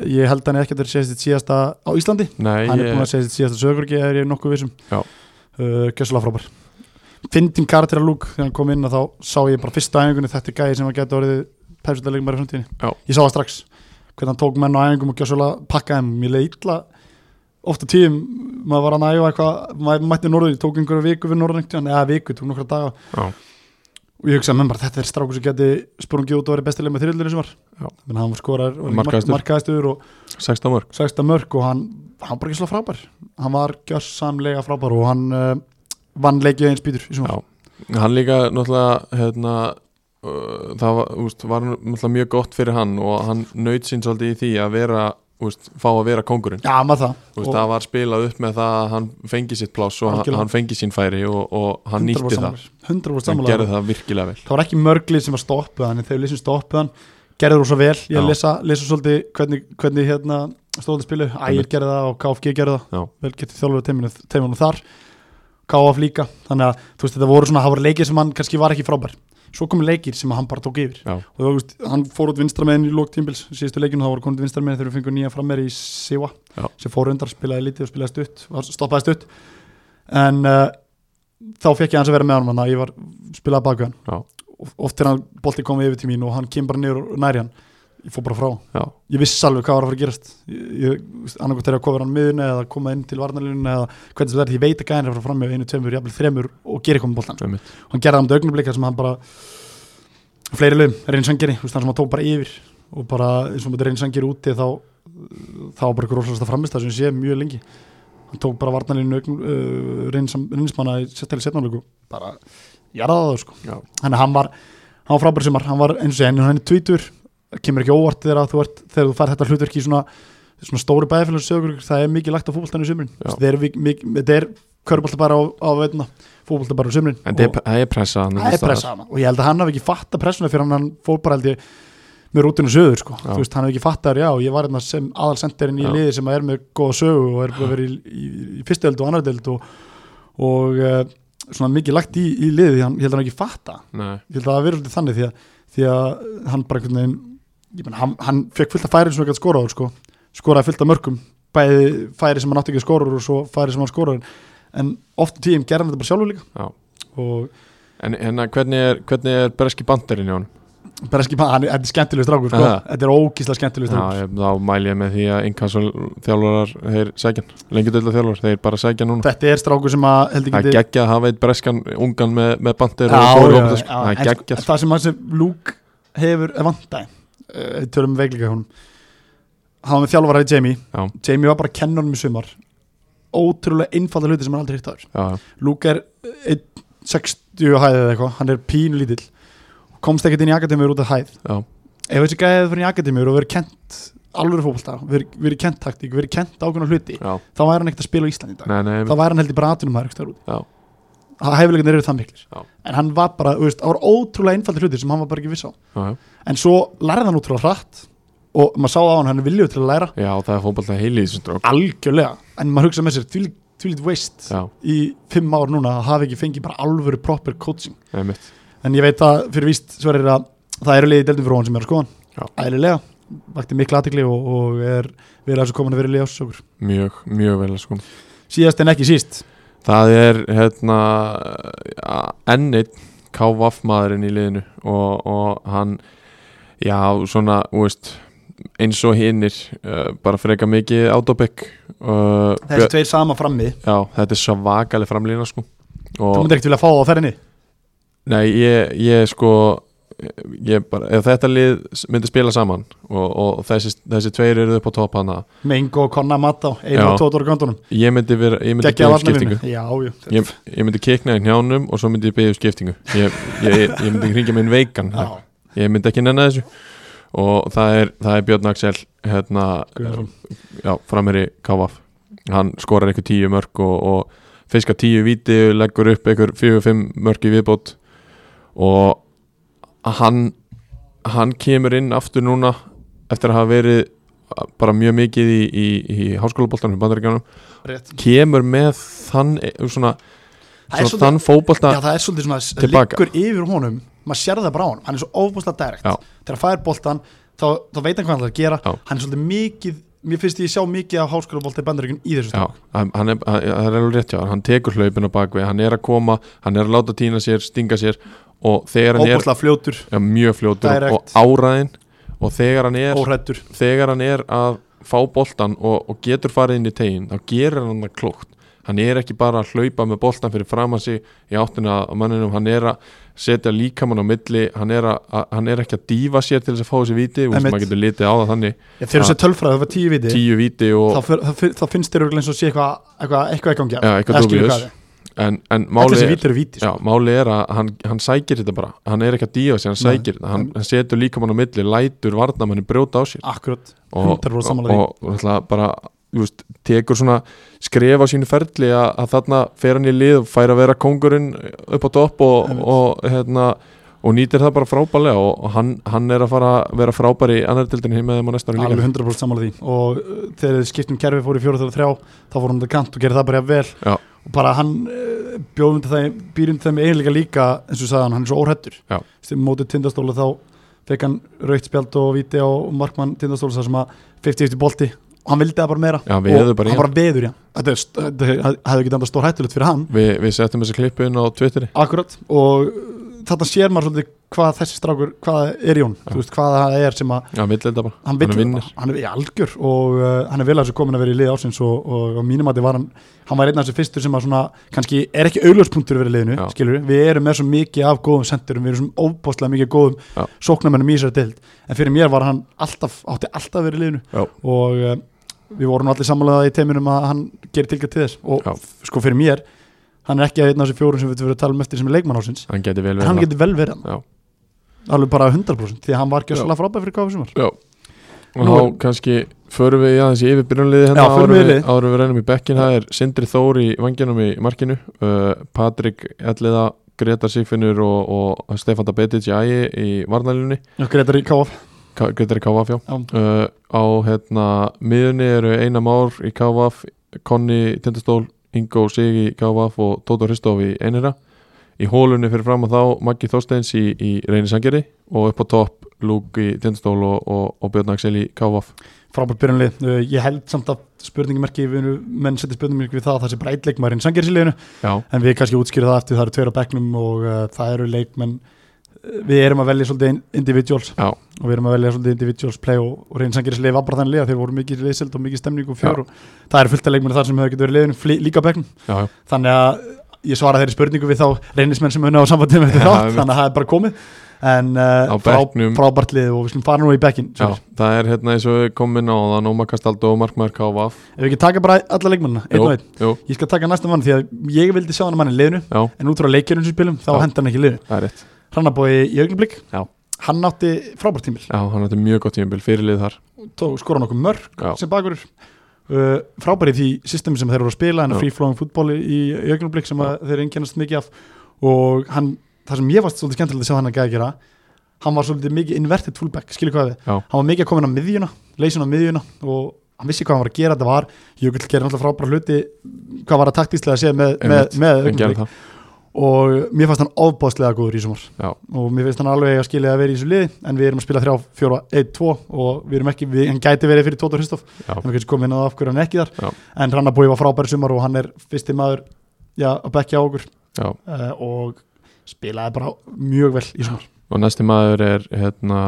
Speaker 1: ég held hann ekki að þetta sé sitt síðasta á Íslandi
Speaker 2: nei,
Speaker 1: hann er
Speaker 2: ég-
Speaker 1: búin að segja þetta síðasta sögurki er ég nokkuð vissum
Speaker 2: Já.
Speaker 1: uh, gjössalega frábær fyndin karakter að lúk þegar hann kom inn að þá sá ég bara fyrsta æfingunni þetta er gæði sem að geta orðið pepsutalegum bara í
Speaker 2: Já.
Speaker 1: framtíðinni ég sá það strax hvernig hann tók menn á æfingum og gjössalega pakkaði þeim ég leið illa ofta tíðum maður var að næfa eitthvað maður mætti norður ég tók einhverju viku við norður eða viku tók nokkra daga
Speaker 2: Já.
Speaker 1: og ég hugsaði með bara þetta er strákur sem geti sprungið út og verið bestileg með þyrildinu sem var
Speaker 2: Já.
Speaker 1: menn hann skorar og
Speaker 2: Markahæstur.
Speaker 1: markaðistur og
Speaker 2: 16 mörg
Speaker 1: 16 mörg og hann, hann bara ekki slá frábær hann var gjörsamlega frábær og hann uh, vann leikið eins býtur í sumar.
Speaker 2: Já. hann líka náttúrulega hérna, uh, það var, úst, var náttúrulega mjög gott fyrir hann og hann naut sín svolítið í því að vera úst, fá að vera kongurinn
Speaker 1: já, maður það
Speaker 2: Þú veist,
Speaker 1: Og
Speaker 2: það var spilað upp með það að hann fengi sitt pláss og hann,
Speaker 1: Algjörlega.
Speaker 2: hann fengi sín færi og, og hann
Speaker 1: 100%
Speaker 2: nýtti það
Speaker 1: sammála. 100%
Speaker 2: hann
Speaker 1: sammála
Speaker 2: gerði það virkilega vel
Speaker 1: það var ekki mörglið sem var stoppuð hann en þegar lýsum stoppuð hann gerður úr svo vel ég
Speaker 2: Já.
Speaker 1: lesa, lesa svolítið hvernig, hvernig hérna, stóðið spilu, Ægir gerði það og KFG gerði það
Speaker 2: Já.
Speaker 1: vel getið þjálfur teiminu, teiminu þar KF líka, þannig að þú veist þetta voru svona, það voru leikir sem hann kannski var ekki frábær svo komu leikir sem hann bara tók yfir
Speaker 2: já,
Speaker 1: og þú veist, hann fór út vinstramegin í lók tímbils síðustu leikinu, þá voru konið vinstramegin þegar við fengum nýja frammeir í Siva
Speaker 2: Já.
Speaker 1: sem fór undar, spilaði lítið og spilaði stutt var- stoppaði stutt en uh, þá fekk ég hans að vera með honum þannig að ég var, spilaði baku hann
Speaker 2: Já.
Speaker 1: Og oft þegar hann bolti komið yfir til mín og hann kemur bara niður og næri hann ég fór bara frá,
Speaker 2: já,
Speaker 1: ég vissi alveg hvað var að fara að gerast ég, annarkoð þegar að kofa hann miðunni eða koma inn til varnalunni eða hvernig sem það er, ég veit að gæðin er að fara fram með einu, tveimur, jafnvel þremur og gera komið boltan
Speaker 2: einmitt.
Speaker 1: hann gerði það um dögnublika sem hann bara fleiri lögum, reynir sangeri þannig sem hann tók bara yfir og bara eins og mútið reynir sangeri úti þá þá var bara ykkur rosalasta framist það sem ég sé mjög lengi hann tók bara varnalínu uh, reynismanna í setjæli setnáleiku bara jarðaði það sko
Speaker 2: Já.
Speaker 1: þannig að hann var, hann var frábær sumar hann var eins og sé, en hann er tvítur kemur ekki óvart þegar að þú ert þegar þú fær þetta hlutverki í svona, svona stóri bæðfélags það er mikið lagt á fótboltan í sumrin
Speaker 2: Já.
Speaker 1: þetta er, vik- mik- þetta er körbólta bara á, á veitna fótbolta bara á sumrin
Speaker 2: en það er- það er pressa hann
Speaker 1: það er pressa hana og ég held að hann hafi ekki fatta pressuna fyrir hann hann fór bara held ég með rútinu söður sko,
Speaker 2: Já.
Speaker 1: þú veist, hann hafi ekki fatta já, ég var hérna sem aðalsenderinn í
Speaker 2: Já.
Speaker 1: liði sem er með góða sögu og er búin að vera í, í, í fyrstu held og annar held og, og uh, svona mikið lagt í, í liðið því hann ég held að hann ekki fatta
Speaker 2: Nei,
Speaker 1: ég held að það verður svolítið þannig því að, því að hann bara einhvern veginn ég menn, hann, hann fekk fullt af færi sem hann gæti skora á sko. skoraði fullt af mörgum bæði færi sem hann átti ekki að skora úr og svo færi sem hann skoraði en oft og tíum gerði hann þetta bara sjálfur líka
Speaker 2: Já.
Speaker 1: og
Speaker 2: en hérna hvernig er, hvernig er breski bandarinn hjá hann?
Speaker 1: bara skipað, hann er, þetta er skemmtilegur strákur sko.
Speaker 2: Aha.
Speaker 1: þetta er ógísla skemmtilegur
Speaker 2: Já,
Speaker 1: strákur
Speaker 2: ég, þá mæl ég með því að inkassal þjálfarar, þeir sækja hann. lengi dölda þjálfarar, þeir bara sækja hann núna
Speaker 1: þetta er strákur sem að held
Speaker 2: það
Speaker 1: ekki
Speaker 2: er geggjað að hafa eitt breskan ungan með, með bandir og
Speaker 1: já,
Speaker 2: fóru
Speaker 1: já,
Speaker 2: opið
Speaker 1: já,
Speaker 2: sko. það er
Speaker 1: en
Speaker 2: geggjað
Speaker 1: sko, það sem, sem Luke hefur vandaði uh, tölum við veikleika húnum hann var með þjálfaraði Jamie
Speaker 2: Já.
Speaker 1: Jamie var bara kennunum í sumar ótrúlega einfalda hluti sem hann aldrei hitt aður
Speaker 2: já,
Speaker 1: Luke er eh, einn 60 á hæð eða eitthvað, hann er pínu lítill komst ekkert inn í akademiur út af hæð
Speaker 2: já,
Speaker 1: ef þessi gæði fyrir í akademiur og verið kent alveg fókbalta, verið, verið kent taktík verið kent ákveðna hluti,
Speaker 2: já,
Speaker 1: þá væri hann ekkert að spila á Íslandi í dag,
Speaker 2: nei, nei,
Speaker 1: þá væri hann held í bara atunum maður eitthvað
Speaker 2: Já.
Speaker 1: út það hefurleikin eru það miklir
Speaker 2: Já.
Speaker 1: en hann var bara, þú veist, það var ótrúlega einfaldi hluti sem hann var bara ekki viss á,
Speaker 2: já, já,
Speaker 1: en svo lærði hann ótrúlega hratt og maður sá á hann, hann er viljuð til að læra
Speaker 2: já, það er fótballtað heilið þessum drók
Speaker 1: algjörlega, en maður hugsa með sér þvílít veist
Speaker 2: já,
Speaker 1: í fimm ár núna að hafa ekki fengið bara alvöru proper coaching
Speaker 2: einmitt,
Speaker 1: en ég veit að fyrir víst sverðir að það eru liðið deldum fyrir hún sem er að
Speaker 2: Já.
Speaker 1: skoðan ælilega, vakti mikla aðtikli og, og er verið að þessu komin að vera liðið ásokkur
Speaker 2: mjög, mjög vel sko.
Speaker 1: síðast en ekki síst
Speaker 2: það er hérna ennit KVF maðurinn í liðinu og, og hann já, svona, þú veist eins og hinnir, uh, bara freka mikið autopick uh,
Speaker 1: þessi tveir sama frammi,
Speaker 2: já, þetta er svakaleg framlýna sko
Speaker 1: þú
Speaker 2: og
Speaker 1: myndir ekkert vilja fá það á ferðinni
Speaker 2: Nei, ég, ég sko ég bara, ef þetta lið myndi spila saman og, og þessi, þessi tveir eru upp á topp hana
Speaker 1: Mengo og Konna Matta, einu
Speaker 2: Já.
Speaker 1: og tóður göndunum
Speaker 2: ég myndi, vera, ég myndi
Speaker 1: geggja
Speaker 2: byggja
Speaker 1: að
Speaker 2: upp
Speaker 1: varna
Speaker 2: skiptingu
Speaker 1: já, jú,
Speaker 2: ég, ég myndi kikna í hnjánum og svo myndi ég byggja upp skiptingu ég, ég, ég myndi hringja minn veikan
Speaker 1: já,
Speaker 2: ég myndi ekki nenni þessu og það er, það er Björn Axel hérna,
Speaker 1: Guðnarsson.
Speaker 2: já, framherri KVF hann skorar einhver tíu mörg og, og fiskar tíu víti, leggur upp einhver fjögur-fimm mörg í viðbót og hann hann kemur inn aftur núna eftir að hafa verið bara mjög mikið í, í, í háskólaboltanum í bandaríkjánum,
Speaker 1: rétt
Speaker 2: kemur með þann, eh, svona,
Speaker 1: það er
Speaker 2: svona
Speaker 1: svolítið,
Speaker 2: þann fótbolta
Speaker 1: já, það er svolítið svona það
Speaker 2: Tilbaka.
Speaker 1: liggur yfir honum, maður sér það bara á honum hann er svo ofbúslega direkt,
Speaker 2: Já.
Speaker 1: þegar hann fær boltan þá, þá veit hann hvað hann ætlar að gera
Speaker 2: Já.
Speaker 1: hann er svolítið mikið, mér finnst ég sjá mikið af háskólabolta í bandaríkun í þessu
Speaker 2: Já, hann hann er, hann, það er alveg rétt hjá, þér, hann tekur hlaupin á bakvið, hann er að koma, hann er að láta týna sér, stinga sér og þegar hann er
Speaker 1: óbúslega fljótur,
Speaker 2: já, mjög fljótur
Speaker 1: Direct.
Speaker 2: og áræðin og þegar hann er,
Speaker 1: óhrættur
Speaker 2: þegar hann er að fá boltan og, og getur farið inn í tegin, þá gerir hann það klókt. Hann er ekki bara að hlaupa með boltan fyrir fram að sig í áttina að manninum, hann er að setja líkamann á milli, hann er, að, að, hann er ekki að dífa sér til þess að fá þessi víti, þú veist,
Speaker 1: Einmitt.
Speaker 2: maður getur litið á það þannig,
Speaker 1: Já, þegar þú sér tölfræði, það var tíu viti
Speaker 2: tíu víti og,
Speaker 1: þá, fyr, þá, fyr, þá finnst þér örugglega eins og sé eitthvað eitthvað eitthvað ekki gangi að
Speaker 2: Já, eitthvað dubious. en, en
Speaker 1: Allir
Speaker 2: málið
Speaker 1: sem
Speaker 2: er-
Speaker 1: vítir eru sko. vítir
Speaker 2: Já, máli er að hann, hann sækir þetta bara hann er ekki að dífa sig, hann
Speaker 1: Nei.
Speaker 2: sækir þetta hann, hann setur líkamann á milli, lætur varnamanni brjóta á sér
Speaker 1: Akkurat,
Speaker 2: og,
Speaker 1: 100%
Speaker 2: og,
Speaker 1: sammála því.
Speaker 2: og náttúrulega bara þú veist, tekur svona skref á sínu ferli að, að þarna fer hann í lið og fær að vera kongurinn upp á topp og,
Speaker 1: Einmitt.
Speaker 2: og, hérna, og nýtir það bara frábælega og, og hann, hann er að fara að vera frábæri í annardildinu heim með þeim á næsta ári
Speaker 1: alveg
Speaker 2: líka
Speaker 1: 100% sammála því og uh, þegar skiptum kerfi fór í 4-3-3 þá fór hann til kant og gerði það bara jafn vel
Speaker 2: Já.
Speaker 1: og bara hann uh, bjóð undir það býr undir þeim eiginlega líka eins og sagði hann, hann er svo óhrættur
Speaker 2: Já.
Speaker 1: sem mótið tindastóla þá fekk hann raukt spjald og viti á markmann tindastóla þar sem að 50-50 bolti og hann vildi það bara meira
Speaker 2: Já, við
Speaker 1: og
Speaker 2: hefðum bara í
Speaker 1: hann
Speaker 2: hann.
Speaker 1: bara veður já þetta, er st- þetta hefði ekki enda stór hættulegt fyrir hann
Speaker 2: hérna. Við, við settum þessi klippu inn á Twitteri
Speaker 1: Akkurat og þetta sér maður svolítið hvað þessi strákur, hvað er í hún
Speaker 2: Já.
Speaker 1: þú veist hvað það er sem að
Speaker 2: Já, vill þetta bara
Speaker 1: hann, vill
Speaker 2: Hann
Speaker 1: þetta.
Speaker 2: vinnur.
Speaker 1: hann er í algjör og uh, hann er vel að þessu komin að vera í lið ásins og, og á mínum að var hann hann var einn af þessu fyrstur sem að svona kannski er ekki augljóspunktur verið í liðinu,
Speaker 2: Já.
Speaker 1: skilur við við erum með svo mikið af góðum sendurum, við erum svo óbáslega mikið af
Speaker 2: Já.
Speaker 1: góðum sóknarmennum í þessari deild en fyrir mér var hann alltaf, átti alltaf verið í liðinu
Speaker 2: Já.
Speaker 1: og uh, við vorum allir sammálaða í teiminum að hann gerir tilgætt til þess og
Speaker 2: Já.
Speaker 1: sko fyrir mér hann er ekki einn af þessu fjórun sem við þurfum að tala um eftir sem er leikmann ásins,
Speaker 2: Hann geti vel verið
Speaker 1: hann
Speaker 2: það.
Speaker 1: getur vel verið
Speaker 2: Já.
Speaker 1: hann alveg bara 100% því að hann var ekki frábæð fyrir KFC var.
Speaker 2: Já, og
Speaker 1: Nú
Speaker 2: þá
Speaker 1: er-
Speaker 2: kannski förum við aðeins í yfir byrjunliði hérna
Speaker 1: Já, förum
Speaker 2: áður
Speaker 1: við
Speaker 2: við,
Speaker 1: yfir.
Speaker 2: áður en við reynum í bekkin það er Sindri Þór í vanginum í markinu uh, Patrik Elliða Gretar Sifinur og, og Stefán Dabetic í ægi í varnalunni
Speaker 1: Grétar í KF
Speaker 2: Gretar í KVF já
Speaker 1: Já.
Speaker 2: uh, á hérna miðunni eru Einar Már í KVF Konni Tindastól Ingo Sigi Gáfaf og Tóta Hristof í einira í hólunni fyrir fram að þá Maggi Þorsteins í, í reynisangeri og upp á topp Lúki Tindstól og, og, og Björn Axel í Gáfaf
Speaker 1: frábært byrjanlið, Uh, ég held samt að spurningamarki við erum- menn setja spurningamarki við það að það sé breytleikmarin sangerisliðinu
Speaker 2: Já,
Speaker 1: en við kannski útskýra það eftir það eru tveir á bekknum og uh, það eru leikmenn uh, við erum að velja svolítið in- individuals
Speaker 2: Já.
Speaker 1: og við erum að velja svolítið individuals play og, og reynsangerisliði var bara þannig liða þeir voru mikið leysild og mikið stemning og fjör
Speaker 2: Já.
Speaker 1: og það eru fullt af leikmenn þar sem hefur getur verið liðinu fli- líka á bekknum
Speaker 2: já, já,
Speaker 1: þannig að ég svara þeirri spurningu við þá reynismenn sem unna á sambandinu með
Speaker 2: [laughs] Já,
Speaker 1: þetta þátt
Speaker 2: einmitt.
Speaker 1: þannig að það er bara komið en uh,
Speaker 2: Á bekknum.
Speaker 1: frábært lið og við skulum fara nú í bekkin
Speaker 2: já, það er hérna eins og við komum inn á það Nóma Kastaldó og Markmaður Gáfaf
Speaker 1: ef við ekki taka bara alla leikmennina einn og einn
Speaker 2: jú,
Speaker 1: ég skal taka næsta mann því að ég vildi sjá hann mann í liðinu
Speaker 2: já,
Speaker 1: en út frá leikjörnum sem við spilum þá
Speaker 2: Já.
Speaker 1: hendur hann ekki í liðinu
Speaker 2: það er rétt
Speaker 1: Hrannabói í augnablik
Speaker 2: Já.
Speaker 1: hann átti frábært tímil
Speaker 2: Já, hann átti mjög gott tímabil, fyrirlið þar
Speaker 1: tók skora nokkuð mörg
Speaker 2: Já,
Speaker 1: sem bakur uh, frábæri því systemi sem þeir eru að spila en
Speaker 2: Já.
Speaker 1: free flowing fútbol í, í augnablik sem að þeir einkennast mikið af og hann, það sem ég varst svolítið skemmtilegt að sjá hann að gæða gera hann var svolítið mikið inverted fullback, skilur hvað við
Speaker 2: Já.
Speaker 1: hann var mikið að koma inn á miðjuna, leysin á miðjuna og hann vissi hvað hann var að gera, þetta var Jökull gerir alltaf frábæra hluti hvað var að taktíslega að segja með,
Speaker 2: Einmitt,
Speaker 1: með, með
Speaker 2: hann
Speaker 1: augnablik
Speaker 2: gerði það
Speaker 1: og mér fannst hann ofbáslega góður í sumar
Speaker 2: Já.
Speaker 1: og mér finnst hann alveg að skilja að vera í þessu liði en við erum að spila 3, 4, 1, 2 og við erum ekki, við, hann gæti verið fyrir Tóta Hristof
Speaker 2: Já.
Speaker 1: hann er kannski komið inn á af hverju hann er ekki þar
Speaker 2: Já.
Speaker 1: en Rannabói var frábæri sumar og hann er fyrsti maður já, að bekja á okkur
Speaker 2: Já,
Speaker 1: uh, og spilaði bara mjög vel í sumar
Speaker 2: og næsti maður er hérna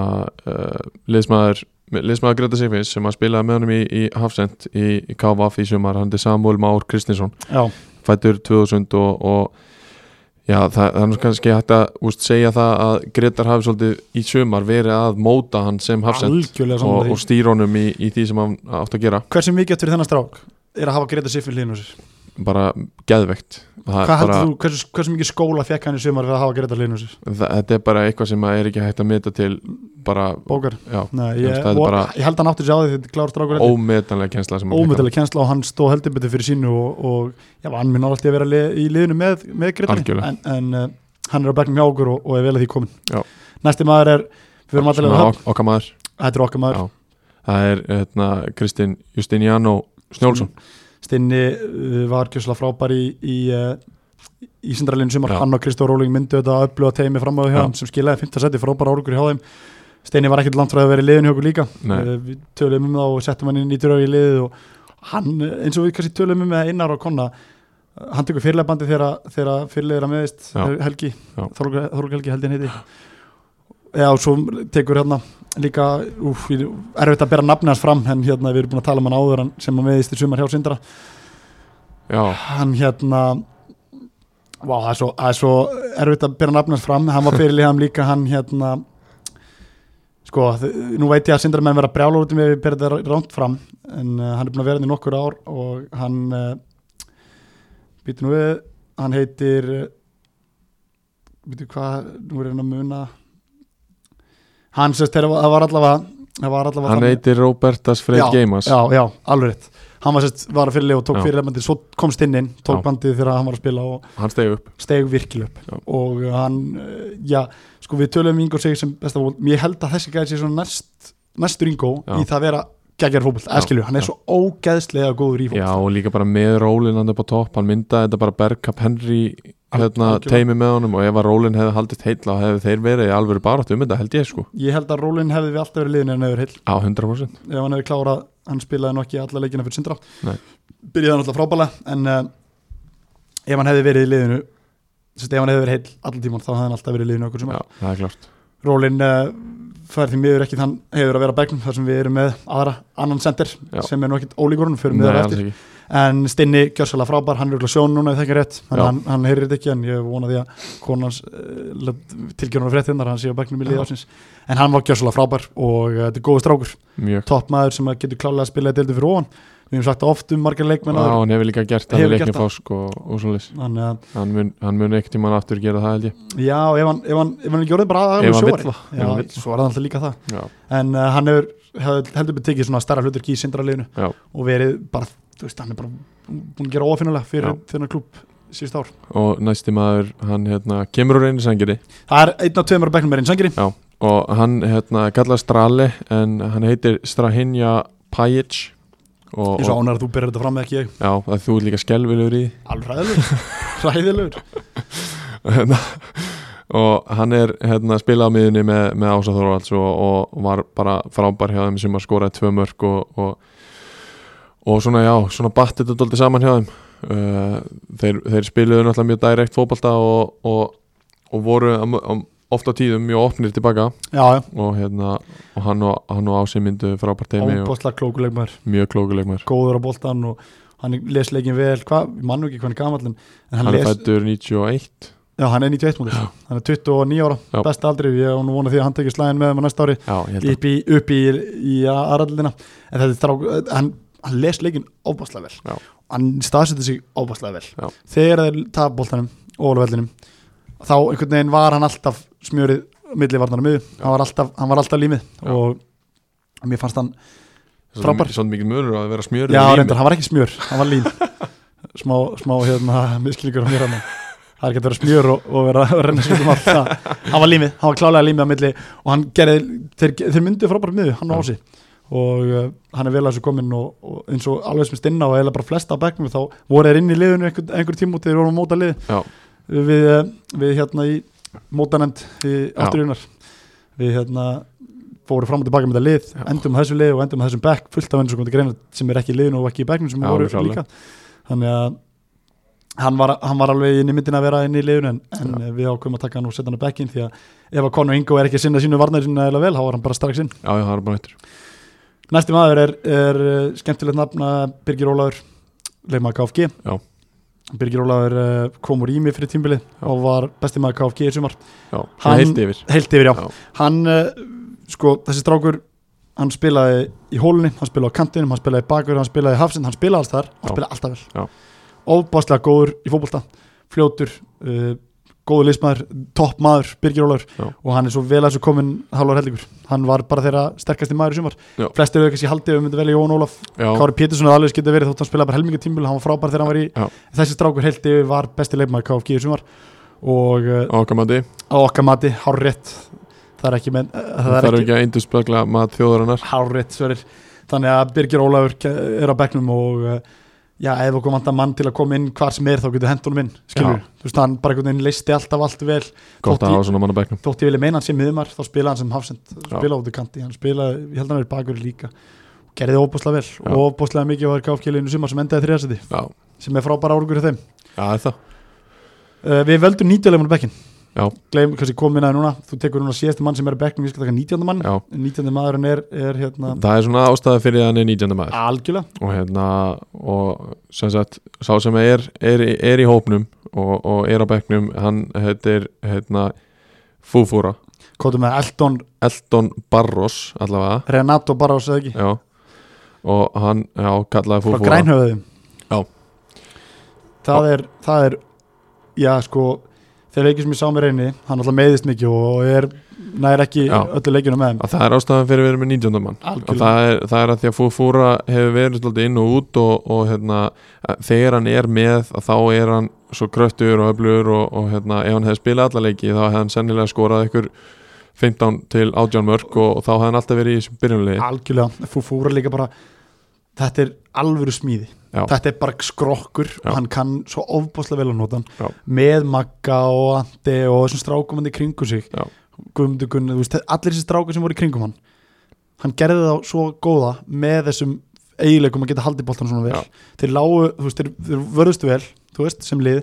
Speaker 2: uh, liðsmaður liðsmaður Greta Sigfins sem að spilaði með honum í, í Hafsend í, í KVF í sumar, hann er Samuel Már Kristinsson
Speaker 1: já,
Speaker 2: fættur 2000 og, og já, það, það er nú kannski hægt að úst, segja það að Gretar hafi svolítið í sumar verið að móta hann sem Hafsend
Speaker 1: algjörlega
Speaker 2: og,
Speaker 1: saman
Speaker 2: og stýra honum í, í því sem hann átt að gera
Speaker 1: hversu mikið fyrir þennan strák er að hafa greita sér fyrir liðinu sér
Speaker 2: bara geðvegt það,
Speaker 1: hvað
Speaker 2: er bara,
Speaker 1: heldur þú, hversu, hversu mikið skóla fekk hann í sumar fyrir að hafa greita liðinu sér
Speaker 2: það, þetta er bara eitthvað sem að er ekki hægt að meta til bara,
Speaker 1: bókar
Speaker 2: já,
Speaker 1: Nei,
Speaker 2: Þú
Speaker 1: ég,
Speaker 2: veist, það er
Speaker 1: og,
Speaker 2: bara-
Speaker 1: ég held að hann átti sér á því þetta er klár strákur held ég.
Speaker 2: ómetanlega kjensla sem hann fékk
Speaker 1: ómöðulega kennsla og hann stóð heldur betur fyrir sínu og, og já, hann minn alltaf að vera lið, í liðinu með, með Gretari
Speaker 2: Algjörlega.
Speaker 1: en, en uh, hann er á bekknum hjá okkur og, og er vel að því komin
Speaker 2: Já.
Speaker 1: næsti maður er, við verum alltaf að
Speaker 2: Svona
Speaker 1: höfn
Speaker 2: ok- okkar maður
Speaker 1: þetta er okkar maður,
Speaker 2: Já. það er hérna, Kristinn Justiniano Snjólfsson
Speaker 1: Mm. Stinni uh, var kjössalega frábær í, í uh, í sindralinu sumar,
Speaker 2: Já.
Speaker 1: hann og Kristó Róling myndu þetta að upplöða teimi framöðu hjá
Speaker 2: Já.
Speaker 1: hann sem skilaði 15 seti frábæra áraugur hjá þeim Stinni var ekkert langt frá því að vera í liðinu hjá okkur líka
Speaker 2: Nei.
Speaker 1: Eh, við töluðum um það og settum hann inn í drög í liðið og hann, eh, eins og við kannski töluðum um með Einar og Konna eh, hann tekur fyrirlefbandi þegar, þegar fyrirleira meðist
Speaker 2: Já.
Speaker 1: Helgi,
Speaker 2: Já.
Speaker 1: Þorlug Helgi heldin heiti Já, og svo tekur hérna líka úf, erfitt að bera nafni hans fram en hérna við erum búin að tala um hann áður hann sem að meðist í sumar hjá Sindra
Speaker 2: já,
Speaker 1: hann hérna Vá, það er svo, það er svo erfitt að bera nafnast fram hann var fyrir liðan líka hann hérna sko, þ- nú veit ég að sindar menn vera brjálur út um ef ég bera þetta ránt fram en uh, hann er búin að vera hérna í nokkur ár og hann uh, býtur nú við, hann heitir uh, býtur hvað nú er hann að muna hann sérst, þegar það var allavega það var allavega
Speaker 2: hann
Speaker 1: þannig-
Speaker 2: heitir Róbertas Freyr
Speaker 1: Já,
Speaker 2: Geimas
Speaker 1: Já, já, alveg rétt Hann var sérst, var að fyrirlega og tók
Speaker 2: Já.
Speaker 1: fyrirlega bandið Svo komst inn inn, tók
Speaker 2: Já.
Speaker 1: bandið þegar hann var að spila og
Speaker 2: hann stegi upp
Speaker 1: steg virkilega upp
Speaker 2: Já.
Speaker 1: og hann, eh, já, sko við tölum Ingo segir sem besta fólk, ég held að þessi gæði sé svona næst, næstur Ingo
Speaker 2: Já.
Speaker 1: í það að vera geggar fólk,
Speaker 2: Já,
Speaker 1: eskilju, hann er
Speaker 2: já.
Speaker 1: svo ógeðslega góður í fólk
Speaker 2: já, og líka bara með rólinn hann upp á topp hann myndaði þetta bara Bergkamp Henry hérna,
Speaker 1: Algjörlega.
Speaker 2: teimi með honum og ef að rólinn hefði haldist heitla hefði þeir verið í alvöru baráttu um þetta held ég sko
Speaker 1: Ég held að Rólin hefði við alltaf verið liðin en hefur heil
Speaker 2: á 100%
Speaker 1: ef hann hefði klárað, hann spilaði nokki alla leikina fyrir sindra
Speaker 2: Nei.
Speaker 1: byrjaði hann alltaf frábæla en uh, ef hann hefði verið í liðinu sérst, ef hann hefði verið heil allan tíman þá hefði hann alltaf verið í liðinu okkur sem
Speaker 2: já, það er klart
Speaker 1: Rólin uh, fær því miður ekki þann hefur að vera á begnum þar sem við erum með aðra annan sendir
Speaker 2: Já.
Speaker 1: sem er nú ekkit ólíkur honum fyrir
Speaker 2: Nei,
Speaker 1: miður
Speaker 2: alls
Speaker 1: eftir
Speaker 2: ekki.
Speaker 1: en Stinni gjörsalega frábær, hann er auðvitað sjón núna ef það ekki er rétt, en
Speaker 2: Já.
Speaker 1: hann, hann heyrir þetta ekki en ég vona því að konans uh, tilgjörnum fréttinnar, hann sé á begnum í
Speaker 2: Já.
Speaker 1: liði ásins en hann var gjörsalega frábær og uh, þetta er góð strákur,
Speaker 2: mjög
Speaker 1: topp maður sem að getur klálega að spila þetta fyrir ofan, við hefum sagt það oft um margar
Speaker 2: og
Speaker 1: leikmenn áður.
Speaker 2: hann hefur líka gert það
Speaker 1: Hefur
Speaker 2: í
Speaker 1: gert
Speaker 2: leikni
Speaker 1: það.
Speaker 2: fásk og, og svoleiðis
Speaker 1: þannig að
Speaker 2: hann mun, hann mun ekkert tíma aftur gera það held ég
Speaker 1: já, og ef hann, ef hann, ef hann gjörði bara
Speaker 2: Ef
Speaker 1: aðeins
Speaker 2: hann vill
Speaker 1: sjóari,
Speaker 2: það, ef hann vill
Speaker 1: já, svo er það alltaf líka það
Speaker 2: já,
Speaker 1: en uh, hann hefur hefur heldur betur tekið svona starra hlutur í sindraliðinu
Speaker 2: Já.
Speaker 1: og verið bara, þú veist, hann er bara búin að gera óafinnulega fyrir
Speaker 2: Já.
Speaker 1: þennan klúb síðust ár.
Speaker 2: og næsti maður hann hérna, kemur úr einu sangeri
Speaker 1: Það er einn af tveimur að bekknum er einn sangri
Speaker 2: og hann hérna, kallast Strali en hann heitir Strahinja Pajic og,
Speaker 1: Ég er svo
Speaker 2: og
Speaker 1: ánar að þú berir þetta fram með ekki ég
Speaker 2: já, að þú er líka skelvilegur í því.
Speaker 1: Alveg
Speaker 2: [laughs]
Speaker 1: ræðilegur Ræðilegur
Speaker 2: Hérna, [laughs] og hann er hérna, spilað á miðunni með, með Ása Þorvalds og, og var bara frábær hjá þeim sem að skoraði tvö mörg og, og, og svona já, svona batt þetta dóldi saman hjá þeim uh, þeir, þeir spiluðu náttúrulega mjög direkt fótbalta og, og, og voru am- am- oft á tíðum mjög opnir tilbaka
Speaker 1: Já, já,
Speaker 2: og, hérna, og hann og, hann og Ási myndu frábært teimi og
Speaker 1: óbóðslega klókuleg maður
Speaker 2: mjög klókuleik maður
Speaker 1: Góður á boltan og hann les leikin vel Hvað, ég mann nú ekki hvernig gamall en en hann,
Speaker 2: hann er
Speaker 1: les,
Speaker 2: fættur 91
Speaker 1: já, hann er 91 múlis Hann er 29 ára,
Speaker 2: Já.
Speaker 1: besta aldri Ég á nú vona því að hann tekið slæðin með um næsta ári
Speaker 2: já, ég held að
Speaker 1: upp í, upp í, í aðraldina en þetta er þrák, hann, hann les leikin óbáslega vel
Speaker 2: Já.
Speaker 1: hann staðsetur sig óbáslega vel
Speaker 2: Já.
Speaker 1: þegar þeir tap boltanum og óluvellinum þá einhvern veginn var hann alltaf smjörið milli varnar og miður, hann var alltaf, hann var alltaf límið
Speaker 2: Já.
Speaker 1: og mér fannst hann
Speaker 2: Svona
Speaker 1: Frábær.
Speaker 2: svona mikið munur á að vera smjörið
Speaker 1: já
Speaker 2: í lími.
Speaker 1: reyndar, hann var ekki smjör, hann var lín [laughs] smá, smá hérna miskilíkur á mér hann það er ekki að vera smjör og, og vera að reyna skjóttum allt það, hann var límið, hann var klálega límið á milli og hann gerði, þeir, þeir myndið frábært miður, hann á
Speaker 2: Já.
Speaker 1: ási og uh, hann er vel að þessu kominn og, og eins og alveg sem stinna og eiginlega bara flesta á bekknum þá voru þeir inn í liðinu einhver, einhver tíma út þegar þeir voru að móta lið
Speaker 2: Já.
Speaker 1: við, uh, við hérna í mótanemnd í
Speaker 2: Já.
Speaker 1: átturinar við hérna fóru fram og tilbaka með þetta lið,
Speaker 2: Já.
Speaker 1: endum á þessu lið og endum á þessum bekk fullt af eins og komandi greina sem er ekki í liðinu og ekki í bekknum sem
Speaker 2: Já,
Speaker 1: voru
Speaker 2: alveg
Speaker 1: líka þannig að hann var, hann var alveg inn í myndin að vera inn í liðinu en, en við ákveðum að taka hann og setja hann á bekkin því að ef að Conor Ingo er ekki að sinna sínu varnar sinna eða vel, þá var hann bara strax inn
Speaker 2: já, já, það er bara hættur
Speaker 1: Næsti maður er, er eh, skemmtilegt nafna Birgir Ólafur, leikmaður KFG
Speaker 2: Já.
Speaker 1: Birgir Ólafur eh, kom úr ími fyrir tímbilið
Speaker 2: Já.
Speaker 1: og var besti maður KFG í sumar
Speaker 2: Já, hann
Speaker 1: Hann-
Speaker 2: heilt yfir
Speaker 1: heilt yfir já,
Speaker 2: Já.
Speaker 1: hann eh, sko, þessi strákur hann spilaði í hólunni, hann spilaði á kantinum hann spilaði í bakur, hann spilaði í hafsind, hann spilaði alls þar
Speaker 2: Já.
Speaker 1: hann spilaði alltaf
Speaker 2: Já.
Speaker 1: vel óbáslega góður í fótbolta, fljótur uh, góður liðsmaður, topp maður Birgir Ólafur
Speaker 2: Já.
Speaker 1: og hann er svo vel að þessu komin hálfur hellingur, hann var bara þeirra sterkasti maður í sumar,
Speaker 2: Já.
Speaker 1: flestir auðvitað sér haldið ef við myndum velja Jón Ólaf,
Speaker 2: Já,
Speaker 1: Kári Pétursson hefði alveg getið verið þótt hann spilaði bara helminga tímul, hann var frábær þegar hann var í
Speaker 2: Já.
Speaker 1: þessi strákur heilt yfir var besti leikmaður KFG í sumar og uh,
Speaker 2: okkar mati
Speaker 1: á okkar mati, hárrétt það er ekki, menn, það
Speaker 2: Það
Speaker 1: er
Speaker 2: er
Speaker 1: ekki
Speaker 2: ekki að endur spögla mat þjóðarinnar
Speaker 1: hárrétt sverir þannig að Birgir Ólafur ke- er á bekknum og eh, já, ef okkur vantar mann til að koma inn hvar sem er þá getur hendur honum inn skilur,
Speaker 2: Já.
Speaker 1: þú veist, hann bara einhvern veginn leisti alltaf allt vel,
Speaker 2: Gott
Speaker 1: Þótt
Speaker 2: að
Speaker 1: ég-
Speaker 2: hafa svona mann á bekknum
Speaker 1: þótt ég vilja meina hann sem miðumar þá spilaði hann sem hafsend,
Speaker 2: Já.
Speaker 1: spilaði út í kanti hann spilaði, ég held að hann er bakur líka gerði óbúslega vel
Speaker 2: Já.
Speaker 1: og óbúslega mikið var KFG-liðinu sumar sem endaði þriðarsæti
Speaker 2: Já,
Speaker 1: sem er frábæra árgur í þeim
Speaker 2: já það er það
Speaker 1: uh, Við veldum 90 leikmann á bekkin
Speaker 2: Já.
Speaker 1: Gleim, kannski komin að núna, þú tekur núna síðasti mann sem er á bekkin, við skal taka 19. mann
Speaker 2: Já,
Speaker 1: 19. maðurinn er, er hérna
Speaker 2: það er svona ástæða fyrir að hann er 19. maður
Speaker 1: algjörlega,
Speaker 2: og hérna og sem sagt, sá sem er, er, er í hópnum og, og er á bekknum hann heitir hérna Fúfúra,
Speaker 1: kóttum með Elton
Speaker 2: Elton Barros allavega,
Speaker 1: Renato Barros eða ekki,
Speaker 2: já og hann, já, kallaði
Speaker 1: frá
Speaker 2: Fúfúra
Speaker 1: grænhöfðum
Speaker 2: Já.
Speaker 1: Það er, það er já sko, þegar leikir sem ég sá mér einni hann alltaf meiðist mikið og er nær ekki
Speaker 2: Já.
Speaker 1: öllu leikjunum með þeim
Speaker 2: að það er ástæðan fyrir að vera með 19. mann og
Speaker 1: algjörlega,
Speaker 2: það er, það er að því að Fúfúra hefur verið svolítið inn og út og, og hérna, að þegar hann er með að þá er hann svo kröttur og öflugur og, og hérna, ef hann hefði spilað alla leiki þá hefði hann sennilega skorað ykkur 15 til 18 mörg og, og þá hefði hann alltaf verið í þessum byrjunlegi
Speaker 1: algjörlega fúfúra líka bara þetta er alvöru smíði
Speaker 2: Já.
Speaker 1: þetta er bara skrokkur
Speaker 2: Já.
Speaker 1: og hann kann svo ofbáslega vel að nota hann
Speaker 2: Já.
Speaker 1: með Magga og Andi og þessum strákum hann í kringum sig
Speaker 2: Já.
Speaker 1: Guðmundur Gunnar, þú veist, allir þessi strákar sem voru í kringum hann hann gerði þá svo góða með þessum eiginleikum að geta haldið boltan svona vel
Speaker 2: Já.
Speaker 1: þeir lágu, þú veist, þeir, þeir vörðustu vel þú veist, sem lið,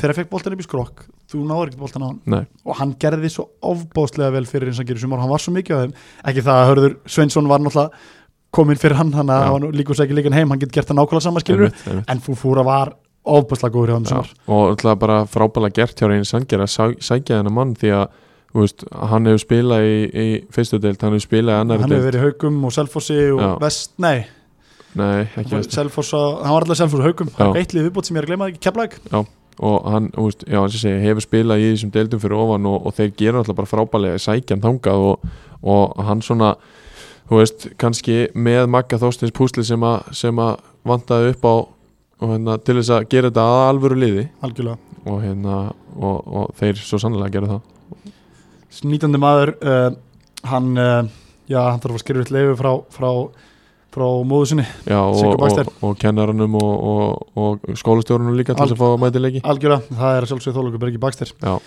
Speaker 1: þegar fekk boltan upp í skrokk þú náður ekkert boltan á hann
Speaker 2: Nei,
Speaker 1: og hann gerði svo ofbóðslega vel fyrir eins og hann gerir sumar, hann var svo mikið á þeim ekki það að Hörður Sveinsson var náttúrulega kominn fyrir hann, þannig
Speaker 2: Já.
Speaker 1: að hann líkus ekki líkan heim hann getur gert það nákvæmlega sama skilur
Speaker 2: einmitt, einmitt.
Speaker 1: en Fúfúra var ofbóðslega góður hjá hann
Speaker 2: Já,
Speaker 1: sumar
Speaker 2: og alltaf bara frábæla gert hjá reyni Sanger að sæ- sækja þennan mann því að þú veist, hann hefur spilað í, í fyrstu deild, hann hefur spilað í annari
Speaker 1: hann hefur
Speaker 2: deild
Speaker 1: verið í haukum og selfossi og
Speaker 2: Já.
Speaker 1: vest, nei,
Speaker 2: Nei, ekki veist
Speaker 1: selfoss og- hann var alltaf selfoss og haukum, hann
Speaker 2: Já.
Speaker 1: er eitt lið viðbót sem ég er að gleyma ekki, keflæk
Speaker 2: og hann, þú veist, já, eins og ég segi, hefur spilað í þessum deildum fyrir ofan og, og þeir gera alltaf bara frábælega sækjan þangað og, og hann svona, þú veist, kannski með Magga Þorstins púsli sem að, sem að vantaði upp á og hérna, til þess að gera þetta að alvöru liði
Speaker 1: algjörlega,
Speaker 2: og hérna, og, og þeir svo sannlega gera það.
Speaker 1: eh, 19. maður uh, hann, uh, já, hann þarf að skrifa eitt leifu frá, frá frá móðu sinni,
Speaker 2: Já, og,
Speaker 1: Sigga Baxter.
Speaker 2: og, og kennaranum og, og, og skólastjórunum líka til þess að fá mætileiki
Speaker 1: algjörlega það er að sjálfsögðu þólugu Bergi Bakster
Speaker 2: Já.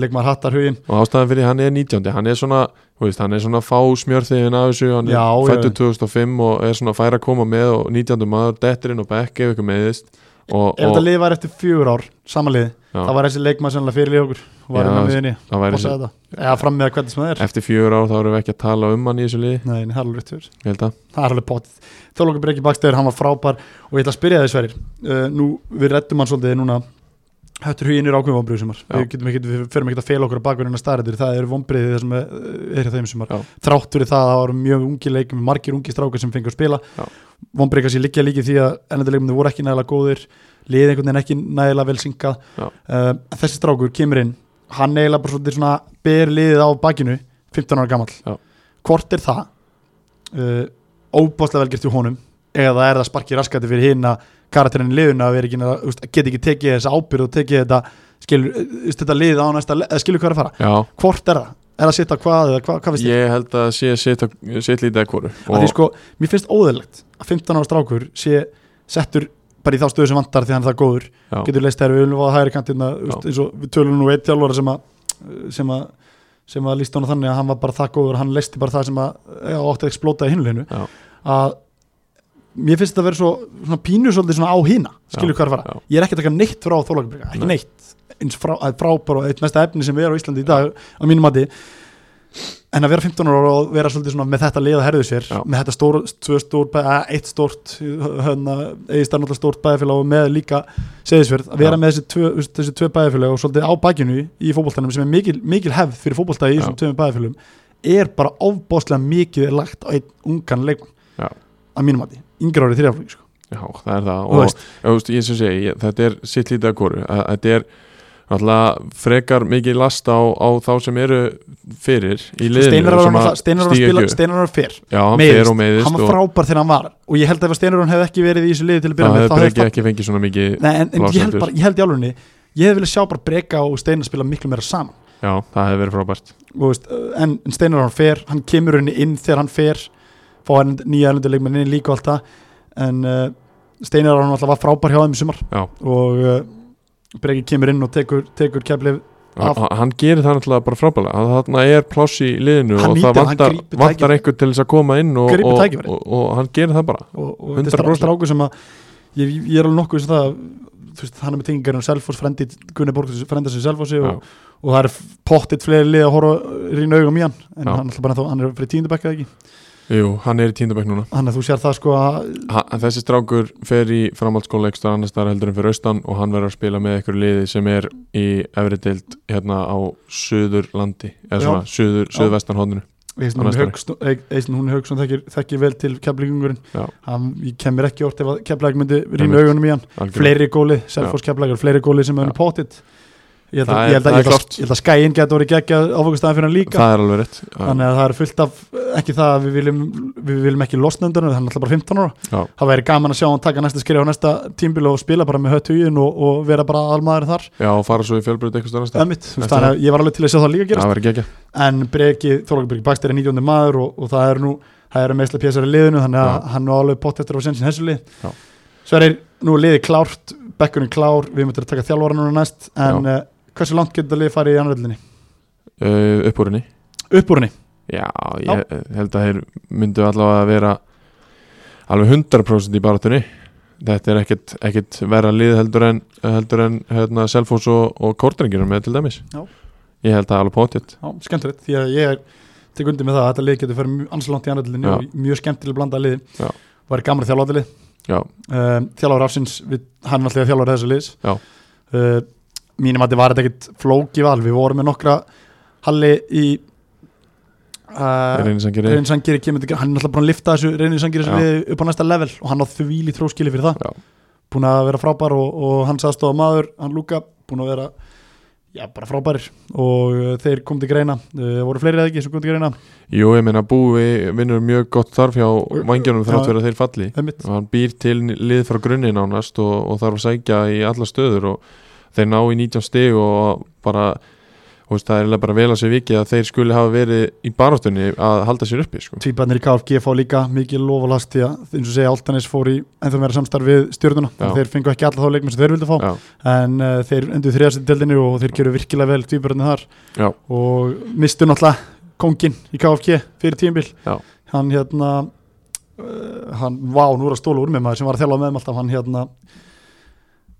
Speaker 1: leikmar hattar hugin
Speaker 2: og ástæðan fyrir hann er 19. hann er svona, þú veist, hann er svona fá smjörþiðin af þessu, hann
Speaker 1: Já,
Speaker 2: er
Speaker 1: já.
Speaker 2: fættur 2005 og er svona fær að koma með og 19. maður dettur inn og bekk ef ykkur meðist og,
Speaker 1: ef þetta
Speaker 2: og
Speaker 1: lið var eftir fjör ár, samanlið
Speaker 2: Já.
Speaker 1: það var þessi leikmar sannlega fyrir lið okkur og var
Speaker 2: Já,
Speaker 1: inn á miðinni
Speaker 2: það væri
Speaker 1: og
Speaker 2: þessi,
Speaker 1: sagði þetta eða fram með að hvernig sem það er
Speaker 2: eftir fjögur ár þá erum við ekki að tala um hann í þessu liði,
Speaker 1: Nei, nei, það er alveg rétt fyrir
Speaker 2: ég held að
Speaker 1: Það er alveg potið. Þjóðlokur Breki Bakstöður, hann var frábær og ég ætla að spyrja þess verir. Uh, nú, við reddum hann svolítið núna, höttur huginn er ákveðum vonbrið sumar.
Speaker 2: Já.
Speaker 1: Við getum ekki, við förum ekki að fela okkur á bakverðina starriður, það eru vonbriðið það sem er, er hjá þeim sumar.
Speaker 2: Já.
Speaker 1: Þrátt fyrir það að það var mjög ungi leikum, margir ungi strákar sem fengur að spila.
Speaker 2: Já.
Speaker 1: Vonbrið kannski liggja líki því að ennenduleikumni voru ekki nægilega góðir, liðið einhvern veginn ekki nægilega vel syngað.
Speaker 2: Já.
Speaker 1: Uh, þessi strákur kemur inn, hann eiginlega bara svolítið svona ber liðið á bakinu, 15 ára gamall hvort er það uh, óbáslega velgjert í honum eða er það sparki raskati fyrir hinn að karakterinn í liðun að vera ekki að úst, geta ekki tekið þessa ábyrð og tekið þetta skilur, úst, þetta lið á næsta le- eða skilur hvað er að fara,
Speaker 2: já,
Speaker 1: hvort er það er það sitt á hvað eða hvað, hvað finnst þér?
Speaker 2: ég held að sé sitt, sitt lítið að hvoru
Speaker 1: Af því
Speaker 2: og,
Speaker 1: sko, mér finnst óðurlegt að 15 ára strákur sé settur bara í þá stöðu sem vantar því hann er það góður
Speaker 2: já,
Speaker 1: getur leist þegar við viljum að hægri kantina úst,
Speaker 2: Já.
Speaker 1: eins og við tölum nú eitt þjálfara sem að sem að sem að líst honum þannig að hann var bara það góður hann leisti bara það sem að já, átti að explóta í hinleginu
Speaker 2: Já.
Speaker 1: að mér finnst þetta að vera svo svona pínu svolítið svona á hína skilur
Speaker 2: Já,
Speaker 1: hvað er að fara,
Speaker 2: já.
Speaker 1: ég er ekki að taka neitt frá þólagarbrika, ekki
Speaker 2: Nei.
Speaker 1: neitt eins frá, að frábara og eitt mesta efni sem við erum á Íslandi í dag á mínum mati en að vera 15 ára og vera svolítið svona með þetta liða herðu sér,
Speaker 2: Já.
Speaker 1: með þetta stór, tvö stór bæ, að, eitt stórt hana, eigi starfnáttúrulega stórt bæðafélag og með líka seðisverð, að vera
Speaker 2: Já.
Speaker 1: með þessi tvö, þú veist, þessi tvö bæðafélag og svolítið á bakinu í fótboltanum sem er mikil, mikil hefð fyrir fótbolta í þessum
Speaker 2: Já.
Speaker 1: tvömi bæðafélagum er bara ofbáslega mikið lagt á einn ungan leikmann
Speaker 2: Já.
Speaker 1: að mínum að því, yngra árið þrjáflöki sko.
Speaker 2: já, það er það
Speaker 1: Þú
Speaker 2: og,
Speaker 1: veist.
Speaker 2: Ég, veist, ég sem segi, ég, þetta er sitt lítið að hvoru Að- að þetta er alltaf frekar mikið last á, á þá sem eru fyrir í liðinu
Speaker 1: Sko, Steinar var
Speaker 2: sem
Speaker 1: náttúrulega- Steinar var að
Speaker 2: stíga
Speaker 1: spila
Speaker 2: ekki upp.
Speaker 1: Steinar var fyrr,
Speaker 2: já, hann fer og
Speaker 1: meiðist,
Speaker 2: meiðist
Speaker 1: hann var
Speaker 2: og-
Speaker 1: frábær þegar hann var og ég held að ef Steinar hann hefði ekki verið í þessu liði til að byrja
Speaker 2: það
Speaker 1: með,
Speaker 2: hefði
Speaker 1: þá hefði
Speaker 2: Breki ekki fengið svona mikið
Speaker 1: Nei, en, en ég held
Speaker 2: Blásendur.
Speaker 1: bara, ég held í álunni ég hefði viljað sjá bara breyka og Steinar spila miklu meira saman
Speaker 2: já, það hefði verið frábært
Speaker 1: Þú veist, uh, en, en Steinar hann fer, hann kemur henni inn þegar hann fer fá hann nýja erlenduleikmenn inn líka og allt það en uh, Steinar hann alltaf var frábær hjá þeim í sumar
Speaker 2: Já.
Speaker 1: og uh, breyki kemur inn og tekur, tekur keflið Af-
Speaker 2: Af, hann gerir það náttúrulega bara frábæla þarna er pláss í liðinu
Speaker 1: Hann
Speaker 2: og
Speaker 1: nýtir,
Speaker 2: það
Speaker 1: hann
Speaker 2: vantar,
Speaker 1: grípur
Speaker 2: vantar
Speaker 1: tækifærið.
Speaker 2: einhver til þess að koma inn og,
Speaker 1: Grípur
Speaker 2: og,
Speaker 1: tækifærið.
Speaker 2: og, og hann gerir það bara
Speaker 1: og, og þetta er
Speaker 2: 100%.
Speaker 1: stráku sem að ég, ég er alveg nokkuð sem það þú veist, hann er með tengingar um Selfoss, frendi Gunni Borg frenda sem Selfossi og, og það er pottitt fleiri lið að horfa rínu augum í hann en
Speaker 2: Já.
Speaker 1: hann, alltaf bara, ennþá- hann er fyrir tíndabækka ekki
Speaker 2: Jú, hann er í tíndabæk núna
Speaker 1: þannig að þú sér það sko að
Speaker 2: ha, þessi strákur fer í framhaldsskóla ekstra annars staðar heldur en fyrir austan og hann verður að spila með einhverju liði sem er í efri deild hérna á Suðurlandi eða
Speaker 1: Já.
Speaker 2: svona, suður,
Speaker 1: Já.
Speaker 2: suðvestan hóðinu
Speaker 1: Eisn
Speaker 2: Á
Speaker 1: hún
Speaker 2: næsta ári.
Speaker 1: Hauksson, Eisn hún Hauksson þekkir, þekkir vel til keflagungurinn
Speaker 2: Já.
Speaker 1: hann ég kem mér ekki orð ef að keflag myndi rýna
Speaker 2: Einmitt.
Speaker 1: augunum í hann fleiri góli, Selfoss keflagur, fleiri góli sem er
Speaker 2: Já.
Speaker 1: hann pottit ég held
Speaker 2: Það
Speaker 1: að-
Speaker 2: er-
Speaker 1: ég held
Speaker 2: það
Speaker 1: að-
Speaker 2: er
Speaker 1: ég held
Speaker 2: klárt.
Speaker 1: að- ég held að skæin getur orðið geggja áfokastæðan fyrir hann líka
Speaker 2: það er alveg rétt Já.
Speaker 1: þannig að það er fullt af, ekki það að við viljum við viljum ekki losna undan hann, hann er alltaf bara 15 ára
Speaker 2: Já.
Speaker 1: það væri gaman að sjá hann taka næsta skrif á næsta tímbil og spila bara með hött hugin og, og vera bara almaður þar,
Speaker 2: Já, og fara svo í fjölbröð eitthvað annars staðar
Speaker 1: ömmit,
Speaker 2: Næsta
Speaker 1: þannig að ég var alveg til að sjá það líka gerast
Speaker 2: það verður gegja
Speaker 1: en Breki Þorlokkabriki Bakster er 19. maður og, og það eru nú það eru meðslega pjæsar í liðinu þannig að
Speaker 2: Já.
Speaker 1: hann var alveg bótt eftir á sensin þessu lið
Speaker 2: Já.
Speaker 1: Sverir, nú er liðið klárt bekkunum klár, við möttum að taka þjálfara núna næst en uh, hversu langt getur þetta lið farið í annaðröldinni?
Speaker 2: uh, uppúrinni
Speaker 1: Uppúrinni,
Speaker 2: Já, ég held að þeir myndu allavega að vera alveg 100% í barátunni þetta er ekkit, ekkit verra lið heldur en, heldur en hérna, Selfos og, og Kortringinum með til dæmis
Speaker 1: Já.
Speaker 2: ég held að alveg potið
Speaker 1: já, skemmtilegt því að ég er tek undir með það að þetta lið getur farið anslánt í annaðröldinni
Speaker 2: Já.
Speaker 1: og mjög skemmtileg blandað lið
Speaker 2: Já.
Speaker 1: var gamla þjálfara lið
Speaker 2: Já,
Speaker 1: um, þjálfara afsins, við, hann er alltaf þjálfara þessu liðs
Speaker 2: Já.
Speaker 1: uh, mínum að þetta var þetta ekkit flóki val, við vorum með nokkra halli í uh,
Speaker 2: reynisangir
Speaker 1: Reynir Sangeri kemur til, hann er alltaf búin að lifta þessu Reynir Sangeri
Speaker 2: Já.
Speaker 1: liði upp á næsta level og hann á þvíli tróskili fyrir það
Speaker 2: Já.
Speaker 1: búin að vera frábær og, og hans aðstofa maður hann Luka, búin að vera já, bara frábærir og uh, þeir kom til greina, uh, voru fleiri eða ekki sem kom til greina,
Speaker 2: Jú, ég meina búi vinnur mjög gott þarf hjá vangjónum þrátt
Speaker 1: Já.
Speaker 2: fyrir að þeir falli
Speaker 1: einmitt
Speaker 2: og hann býr til lið frá grunni nánast og, og þarf að sækja í alla stöður og þeir ná í 19 stig og bara og veist, það er eiginlega bara vel að sér vikið að þeir skuli hafa verið í baróttunni að halda sér uppi sko.
Speaker 1: Tvíbarnir í KFG fá líka mikið lofalast því að eins og segja Altanis fór í ennþá meira samstarf við stjórnuna þannig að
Speaker 2: Já.
Speaker 1: þeir fengu ekki alla þá leikmenn sem þeir vildu fá
Speaker 2: Já,
Speaker 1: en uh, þeir endur þriðastu deldinu og þeir gerðu virkilega vel tvíbarnir þar
Speaker 2: já,
Speaker 1: og mistu náttúrulega kongin í KFG fyrir tímbil
Speaker 2: Já.
Speaker 1: hann hérna uh, hann, vá, nú er að stóla úr með maður sem var að þjála með maður alltaf hann hérna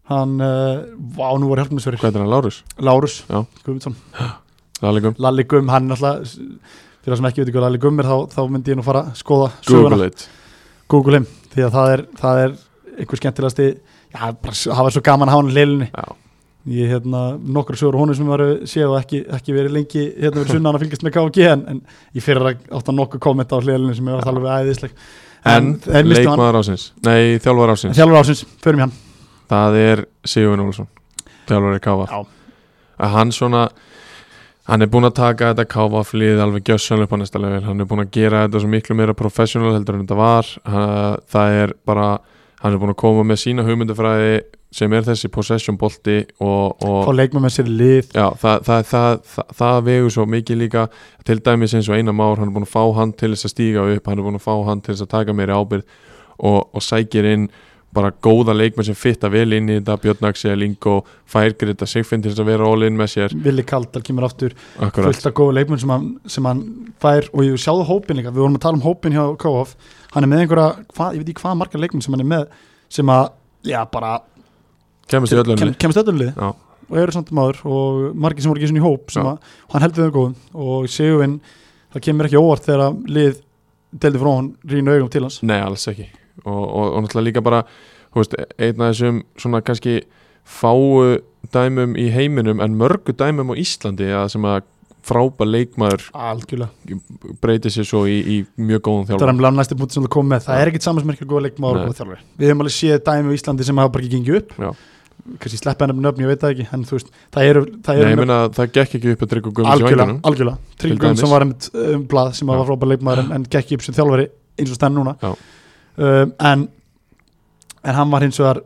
Speaker 1: hann, uh, vá, nú var hjálpmessverið
Speaker 2: hvað er hann Lárus?
Speaker 1: Lárus
Speaker 2: Já.
Speaker 1: Guðmundsson
Speaker 2: Lallegum?
Speaker 1: Lalli Gumm, hann alltaf fyrir það sem ekki veit ekki hvað Lalli Gumm er þá, þá myndi ég nú fara að skoða söguna
Speaker 2: Google it
Speaker 1: Google him, því að það er, það er einhver skemmtilegasti, já, bara s- það var svo gaman að hafa hann í leilinni
Speaker 2: Já.
Speaker 1: ég hérna, nokkur sögur honum sem varu séð og ekki, ekki verið lengi hérna verið sunna hann að fylgjast með KFG en, en ég fyrir að átta nokkuð kommenta á leilinni sem ég var um, alveg æðisleg
Speaker 2: En
Speaker 1: þeir mistu hann,
Speaker 2: leikmaður ásins, nei þjálfar ásins
Speaker 1: þjálfur ásins, förum í hann
Speaker 2: Það er Sigurvin Olsson Þjálfari Káfa
Speaker 1: Já.
Speaker 2: Að hann svona Hann er búinn að taka þetta Káfa flið alveg gjössanlega upp á næsta level Hann er búinn að gera þetta svo miklu meira professional heldur en þetta var Ha- Það er bara Hann er búinn að koma með sína hugmyndafræði sem er þessi possession bolti og, og
Speaker 1: fá leikmenn með sér í lið
Speaker 2: Já, það, það, það, það, það vegur svo mikið líka til dæmis eins og Einar Már, hann er búin að fá hann til þess að stíga upp, hann er búin að fá hann til þess að taka meiri ábyrð og, og sækir inn bara góða leikmenn sem fitta vel inn í þetta, Björn Axel, Ingo Færgrita, Sigfinn til þess að vera all in með sér
Speaker 1: Vili Kaldal kemur aftur
Speaker 2: Akkurat,
Speaker 1: fullt af góðu leikmenn sem hann, sem hann fær og ég sjáðu hópin líka, við vorum að tala um hópin hjá K.O.F. hann er með einhverja, hva, ég veit ekki hvað margar leikmenn sem hann er með sem að, já bara
Speaker 2: kemur sér öllum
Speaker 1: kem, kemst öllum lið
Speaker 2: Já.
Speaker 1: og eru samt maður og margir sem voru ekki svona í hóp sem
Speaker 2: Já.
Speaker 1: að, hann heldur þau góðum og Sigurvin, það kemur ekki á óvart þegar að lið deldi frá hann rýna augum til hans
Speaker 2: Nei, alls ekki og, og, og náttúrulega líka bara þú veist, einn af þessum svona kannski fáu dæmum í heiminum en mörgu dæmum á Íslandi að sem að frábæ leikmaður
Speaker 1: algjörlega,
Speaker 2: breytir sér svo í, í mjög góðan
Speaker 1: þetta er
Speaker 2: þjálfur
Speaker 1: hann næstu punkt sem það kom með, það er ekkit samansmerkja góða leikmenn
Speaker 2: Nei.
Speaker 1: og þjálfari, við hefum alveg séð dæmi á Íslandi sem hafa bara ekki gengið upp
Speaker 2: Já.
Speaker 1: kannski sleppa hennar nöfn, ég veit það ekki en þú veist, það eru, það
Speaker 2: Nei,
Speaker 1: eru
Speaker 2: ég meina að það gekk ekki upp að drikka gummið sem
Speaker 1: algjörlega,
Speaker 2: vængunum
Speaker 1: algjörlega.
Speaker 2: Til
Speaker 1: Tryggvum sem
Speaker 2: dæmis.
Speaker 1: var einmitt um blað sem
Speaker 2: Já.
Speaker 1: var frábær leikmaður en, en gekk upp sem þjálfari eins og stenn núna
Speaker 2: Já.
Speaker 1: um, en, en hann var hins vegar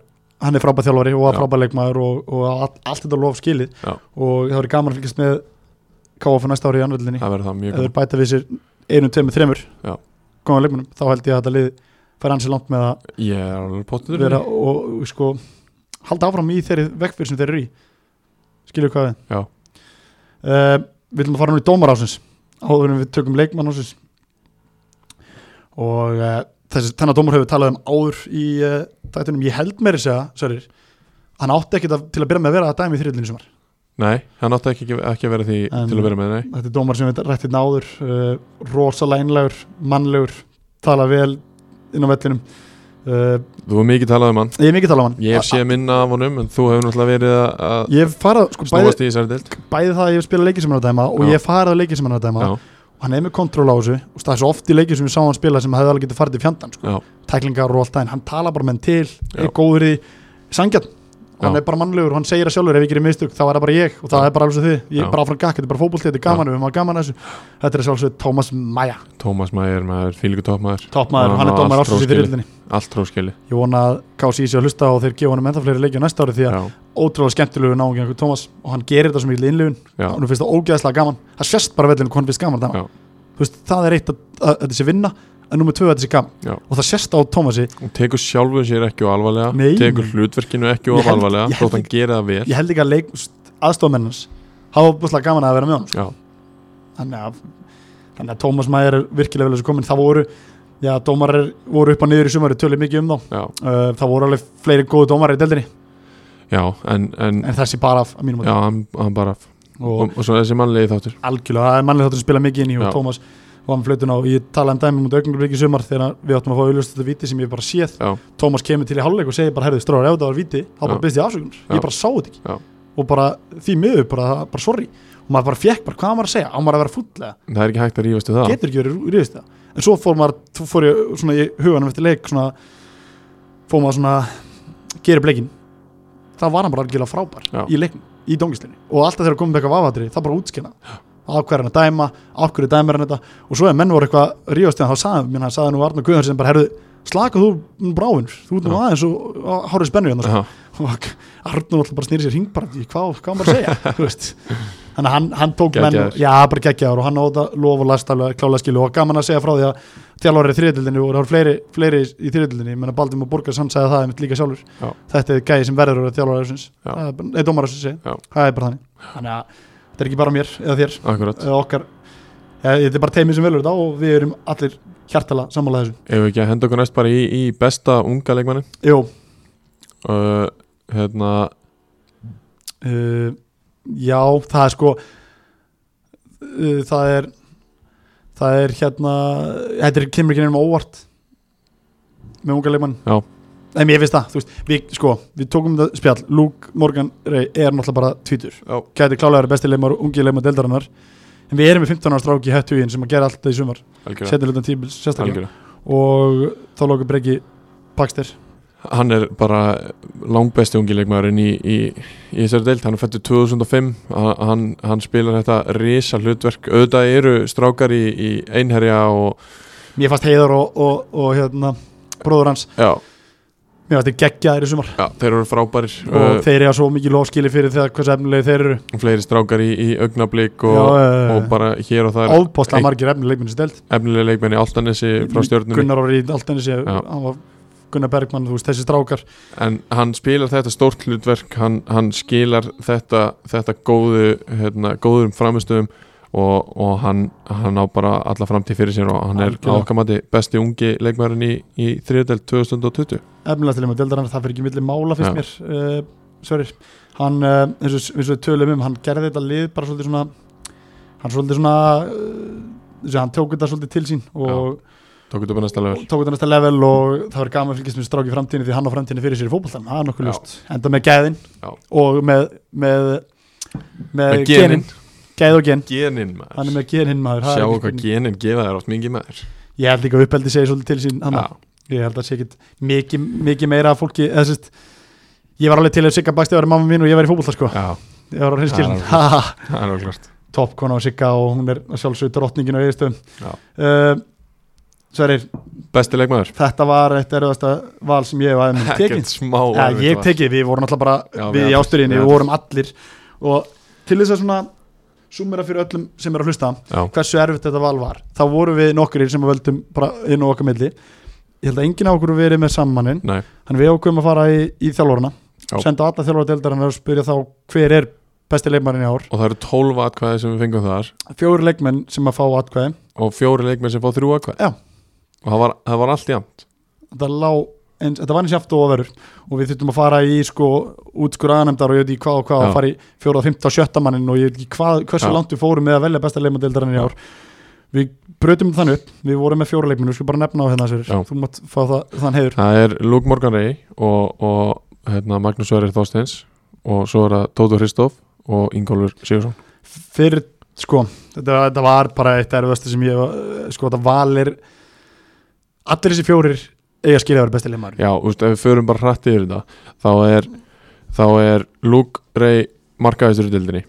Speaker 1: hann er frábær þjálfari og var
Speaker 2: Já.
Speaker 1: frábær leikmaður og, og allt, allt þetta lof skilið
Speaker 2: Já.
Speaker 1: og það verið gaman að fylgjast með KF næsta ári í anvöldinni
Speaker 2: Það verður það mjög
Speaker 1: eða
Speaker 2: góð
Speaker 1: þeir bæta við sér einu, tveimur, þremur
Speaker 2: Já.
Speaker 1: góðan leikmunum, þá held ég að þetta lið fær ansi langt með að
Speaker 2: Ég er alveg pottur
Speaker 1: vera og, og sko halda áfram í þeirri vekkfyrir sem þeir eru í skilju hvað við
Speaker 2: Já.
Speaker 1: Eh, við viljum að fara nú í dómar ásins áður en við tökum leikmann ásins og uh, þessi, þennan dómar hefur við talað um áður í uh, dættunum, ég held meiri segja Sörir, hann átti ekkit að, til að byrja með að vera að dæmi í þriðlunni sem var
Speaker 2: Nei, hann átti ekki, ekki að vera því
Speaker 1: En-
Speaker 2: til að vera með, nei
Speaker 1: þetta er dómar sem við rættið náður uh, rosalega einlegur, mannlegur tala vel inn á vellinum uh,
Speaker 2: Þú hefur mikið talað um hann
Speaker 1: ég er mikið talað um hann
Speaker 2: Ég hef séð minna af honum en þú hefur náttúrulega verið að- að
Speaker 1: ég hef farað, sko, bæði,
Speaker 2: snúast í þessari deild
Speaker 1: bæði það að ég hef spilað leiki sem hann er að dæma og
Speaker 2: Já.
Speaker 1: ég hef farið á leiki sem hann er að dæma
Speaker 2: Já,
Speaker 1: og hann er með kontról á þessu og það er svo oft í leikið sem við sáum hann spila sem hefði alveg getið farið til fjandan sko.
Speaker 2: já,
Speaker 1: tæklingar og allt það en hann tala bara með hann til
Speaker 2: Já.
Speaker 1: er góður í sangjarn hann er
Speaker 2: Já.
Speaker 1: bara mannlegur og hann segir það sjálfur ef ég gerir mistök þá er það bara ég og það
Speaker 2: Já.
Speaker 1: er bara alveg svo þið ég
Speaker 2: Já.
Speaker 1: er bara áfram gakk, þetta er bara fótbolti, þetta er gaman við höfum að gaman að þessu þetta er sjálfsög Tómas Maja
Speaker 2: Tómas Mæger, maður, fílíku toppmaður
Speaker 1: toppmaður
Speaker 2: Já,
Speaker 1: og hann er dómar
Speaker 2: allt
Speaker 1: ásins í
Speaker 2: tróðskilið.
Speaker 1: fyrirlinni
Speaker 2: Allt tróðskili
Speaker 1: ég vona að KC sé að hlusta og þeir gefa hann ennþá fleiri leikið næsta ári því að
Speaker 2: Já,
Speaker 1: ótrúlega skemmtilegu náungi Tómas og hann gerir þetta sem ég innlifun
Speaker 2: já,
Speaker 1: hann finnst það ógeðslega gaman það sérst bara vellinu hvað hann finnst gaman að dæma.
Speaker 2: Já.
Speaker 1: þú veist, það er eitt að, að, að þessi vinna en nummer tvö að þessi gaman
Speaker 2: Já.
Speaker 1: og það sérst á Tómasi
Speaker 2: hún tekur sjálfum sér ekki og alvarlega
Speaker 1: Nei.
Speaker 2: Tekur hlutverkinu ekki
Speaker 1: Ég
Speaker 2: og
Speaker 1: held-
Speaker 2: alvarlega
Speaker 1: ég held
Speaker 2: Þótt hann gera það vel
Speaker 1: ég held ekki að leik aðstofmennans hafa búinlega gaman að vera með honum sko.
Speaker 2: Já,
Speaker 1: þannig að, þannig að Tómas Mæger er virkilega vel að þessu komin það voru já, dómarar voru upp og niður í sumari tölum mikið um þá
Speaker 2: já,
Speaker 1: Uh, það voru alveg fleiri góðu dómarar í deldinni
Speaker 2: já, en, en
Speaker 1: en þessi bara af, af mínum mati
Speaker 2: Já, hann, hann bara
Speaker 1: og
Speaker 2: og, og svo þessi mannlegi þáttur
Speaker 1: algjörlega, það er mannlega þáttur að spila mikið inn í og
Speaker 2: Já.
Speaker 1: Tómas og hann flötun á, ég talaði um dæmi mútið augnablik í sumar þegar við áttum að fá auðlust þetta viti sem ég bara séð
Speaker 2: Já.
Speaker 1: Tómas kemur til í hálfleik og segir bara herðu stráður ef það var viti, þá bara
Speaker 2: Já.
Speaker 1: byrst ég afsökunar
Speaker 2: Já.
Speaker 1: ég bara sá þetta ekki
Speaker 2: Já.
Speaker 1: og bara því miður, bara, bara sorry og maður bara fekk bara hvað á maður að segja, á maður að vera fúllega
Speaker 2: Það er ekki hægt að rífast við það
Speaker 1: getur ekki verið ríðist það en svo fór maður, svo fór ég svona í huganum eftir leik svona, fór maður svona gera bleikin það var hann bara algjörlega frábær
Speaker 2: Já.
Speaker 1: í leiknum, í dongislinni og alltaf þegar komum við eitthvað vafatri, það bara útskina ákvæður hann að dæma, ákvæður dæmir hann þetta og svo ef menn voru eitthvað ríðast þá sagði mér hann, sagði nú Arnar Guðhans sem bara herðu slaka þú brávinur, þú ert nú
Speaker 2: Já.
Speaker 1: aðeins og hárið spennu hérna sko
Speaker 2: Já,
Speaker 1: og Arnur alltaf bara snýri sér hring bara, ég- hvað hvað á maður að segja [laughs] þú veist, þannig að hann, hann tók menn
Speaker 2: Geggjaður.
Speaker 1: já, bara geggjaður og hann áta lof og lasta alveg klálega skilu og gaman að segja frá því að þjálfari í þriðildinni og það voru fleiri, fleiri í þriðildinni menn að Baldur og Borgars hann segja það einmitt líka sjálfur
Speaker 2: Já.
Speaker 1: þetta er gæði sem verður að þjálfari ársins.
Speaker 2: Já.
Speaker 1: Það er bara- nei, dómar ársins, segi
Speaker 2: Já.
Speaker 1: ég. það er bara þannig þannig að þetta er ekki bara mér eða þér
Speaker 2: akkurat
Speaker 1: eða okkar ja, þetta er bara teimið sem velur þetta og við erum allir hjartala sammála þessu
Speaker 2: Ef við ekki að henda okkur næst bara í, í besta unga leikmanni
Speaker 1: Jú,
Speaker 2: uh, Hérna,
Speaker 1: uh, já, það er sko uh, það er það er hérna þetta er- kemur ekki nefnum óvart með unga leikmann
Speaker 2: Já.
Speaker 1: Nei, mér finnst það, þú veist, við, sko, við tókum þetta spjall, Luke Morgan Ray er náttúrulega bara tvítur,
Speaker 2: Já.
Speaker 1: gæti klálega verið besti leikmar, ungi leikmar deildarinnar, en við erum með 15 ára stráki í hættugin sem að gera alltaf í sumar,
Speaker 2: algjörlega,
Speaker 1: setja lutan tímil, sérstaklega,
Speaker 2: algjörlega.
Speaker 1: og þá lóku breggi Pakster,
Speaker 2: Hann er bara langbesti ungi leikmaðurinn í, í, í þessari deild, hann er fættur 2005 Ha- hann, hann spilar þetta risa hlutverk, auðvitað eru strákar í, í einherja og
Speaker 1: mér fannst heiðar og, og, og hérna, bróður hans
Speaker 2: já,
Speaker 1: mér fannst þið geggja þeir í sumar
Speaker 2: já þeir eru frábærir
Speaker 1: og þeir eiga svo mikið lofskili fyrir þegar hversu efnilegi þeir eru
Speaker 2: og fleiri strákar í, í augnablík og, og
Speaker 1: og
Speaker 2: bara hér og það er
Speaker 1: ofbóstlega
Speaker 2: eitt-
Speaker 1: margir efnilegi leikminni stelt
Speaker 2: efnilega leikmenn í Altanesi frá stjörnunni
Speaker 1: Gunnar Orri Altenis
Speaker 2: Já.
Speaker 1: Gunnar Bergmann, þú veist, þessi strákar
Speaker 2: en hann spilar þetta stórt hlutverk hann, hann skilar þetta, þetta góðu, hérna, góðum framistöðum og, og hann, hann á bara alla framtíð fyrir sér og hann er
Speaker 1: Algjörlega.
Speaker 2: ákvæmandi besti ungi leikmærin í, í þriðdelt 2020
Speaker 1: efnilegast leikminni deildar hann, það fyrir ekki milli mála
Speaker 2: Já.
Speaker 1: fyrst mér uh, Sverrir, hann uh, eins, og, eins og við tölum um, hann gerði þetta lið bara svolítið svona hann svolítið svona uh, þessi, hann tók þetta svolítið til sín og
Speaker 2: tók þetta upp að næsta level
Speaker 1: tók þetta næsta level og það var gaman að fylgjast með strák í framtíðinni því hann á framtíðinni fyrir sér í fótboltan það er nokkuð
Speaker 2: Já.
Speaker 1: ljóst, enda með gæðin
Speaker 2: Já.
Speaker 1: og með með, með,
Speaker 2: Með genin,
Speaker 1: gæð og gen,
Speaker 2: genin
Speaker 1: Eh, hann er
Speaker 2: maður
Speaker 1: með genin maður það er
Speaker 2: sjá
Speaker 1: ekki
Speaker 2: hvað
Speaker 1: spurning.
Speaker 2: genin gefa þér átt mingi maður
Speaker 1: ég held líka að uppeldi segi svolítið til sín hann
Speaker 2: Já,
Speaker 1: ég held að sé ekkit mikið mikið meira að fólki eða, sérst, ég var alveg til að sigga bækst eða mamma mín og ég var í fótbolta sko
Speaker 2: já,
Speaker 1: ég var á hreinskilin
Speaker 2: Það það er okkur
Speaker 1: topp kona og sigga og hún er sjálfsögur drottningin á eigistöðum
Speaker 2: Já.
Speaker 1: uh, Sverir,
Speaker 2: besti leikmæður
Speaker 1: þetta var eitt erðasta val sem ég hef aðeins tekið
Speaker 2: ekkert smá
Speaker 1: Já,
Speaker 2: erfitt
Speaker 1: ég
Speaker 2: var.
Speaker 1: tekið, við vorum alltaf bara
Speaker 2: Já, við
Speaker 1: við í
Speaker 2: allir,
Speaker 1: ásturinni,
Speaker 2: við
Speaker 1: við vorum allir og til þess að svona sumera fyrir öllum sem er að hlusta
Speaker 2: Já.
Speaker 1: hversu erfitt þetta val var, þá vorum við nokkurir sem völdum bara inn á okkar milli ég held að enginn á okkur hafi verið með sammaninn
Speaker 2: Nei,
Speaker 1: þannig við ákveðum um að fara í, í þjálfurna
Speaker 2: Já.
Speaker 1: senda alla þjálfara deildarinn og spyrja þá hver er besti leikmærin í ár
Speaker 2: og það eru 12 atkvæði sem við fengum þar
Speaker 1: fjóri leikmenn sem að fá atkvæði
Speaker 2: og fjóri leikmenn sem fá þrjú atkvæði
Speaker 1: Já.
Speaker 2: og það var, það var allt jæmt
Speaker 1: þetta, lá, eins, þetta var eins jaft og verður og við þurftum að fara í sko útskur aðanemdar og ég veit ekki hvað og hvað
Speaker 2: Já.
Speaker 1: og fara í fjóra, fimmta og sjötta mannin og ég veit ekki hvað, hversu
Speaker 2: Já.
Speaker 1: langt við fórum með að velja besta leikmandeildarinn í ár við brötum þannig upp, við vorum með fjóra leikmenn við skulum bara nefna á hérna
Speaker 2: Já.
Speaker 1: sér, þú mátt fá það, þann heiður
Speaker 2: Það er Luke Morgan Rey og, og hérna, Magnús Sverrir Þorsteins og svo er það Tóto Hristóf og Ingólfur Sigursson
Speaker 1: fyrir sko, þetta, þetta var bara eitt erfasta sem ég, eh, sko þetta valir allir þessi fjórir eiga skilja að vera besta leikmann
Speaker 2: Já, úst, ef við förum bara hrætt yfir þetta þá er, þá er Luke Rey markaðistur í dildinni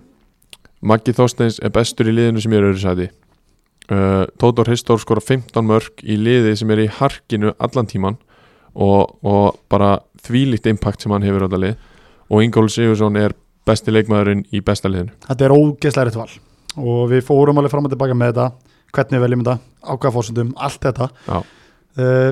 Speaker 2: Maggi Þorsteins er bestur í liðinu sem ég er öðru sæti uh, Tóto Hristóf skora 15 mörg í liði sem er í harkinu allan tíman og, og bara þvílíkt impact sem hann hefur á þetta lið og Ingólfur Sigursson er besti leikmaðurinn í besta liðinu
Speaker 1: þetta er ógeðslega rétt val og við fórum alveg fram og tilbaka með þetta hvernig við veljum þetta, ákvæða fórsöndum allt þetta
Speaker 2: Já.
Speaker 1: Eh,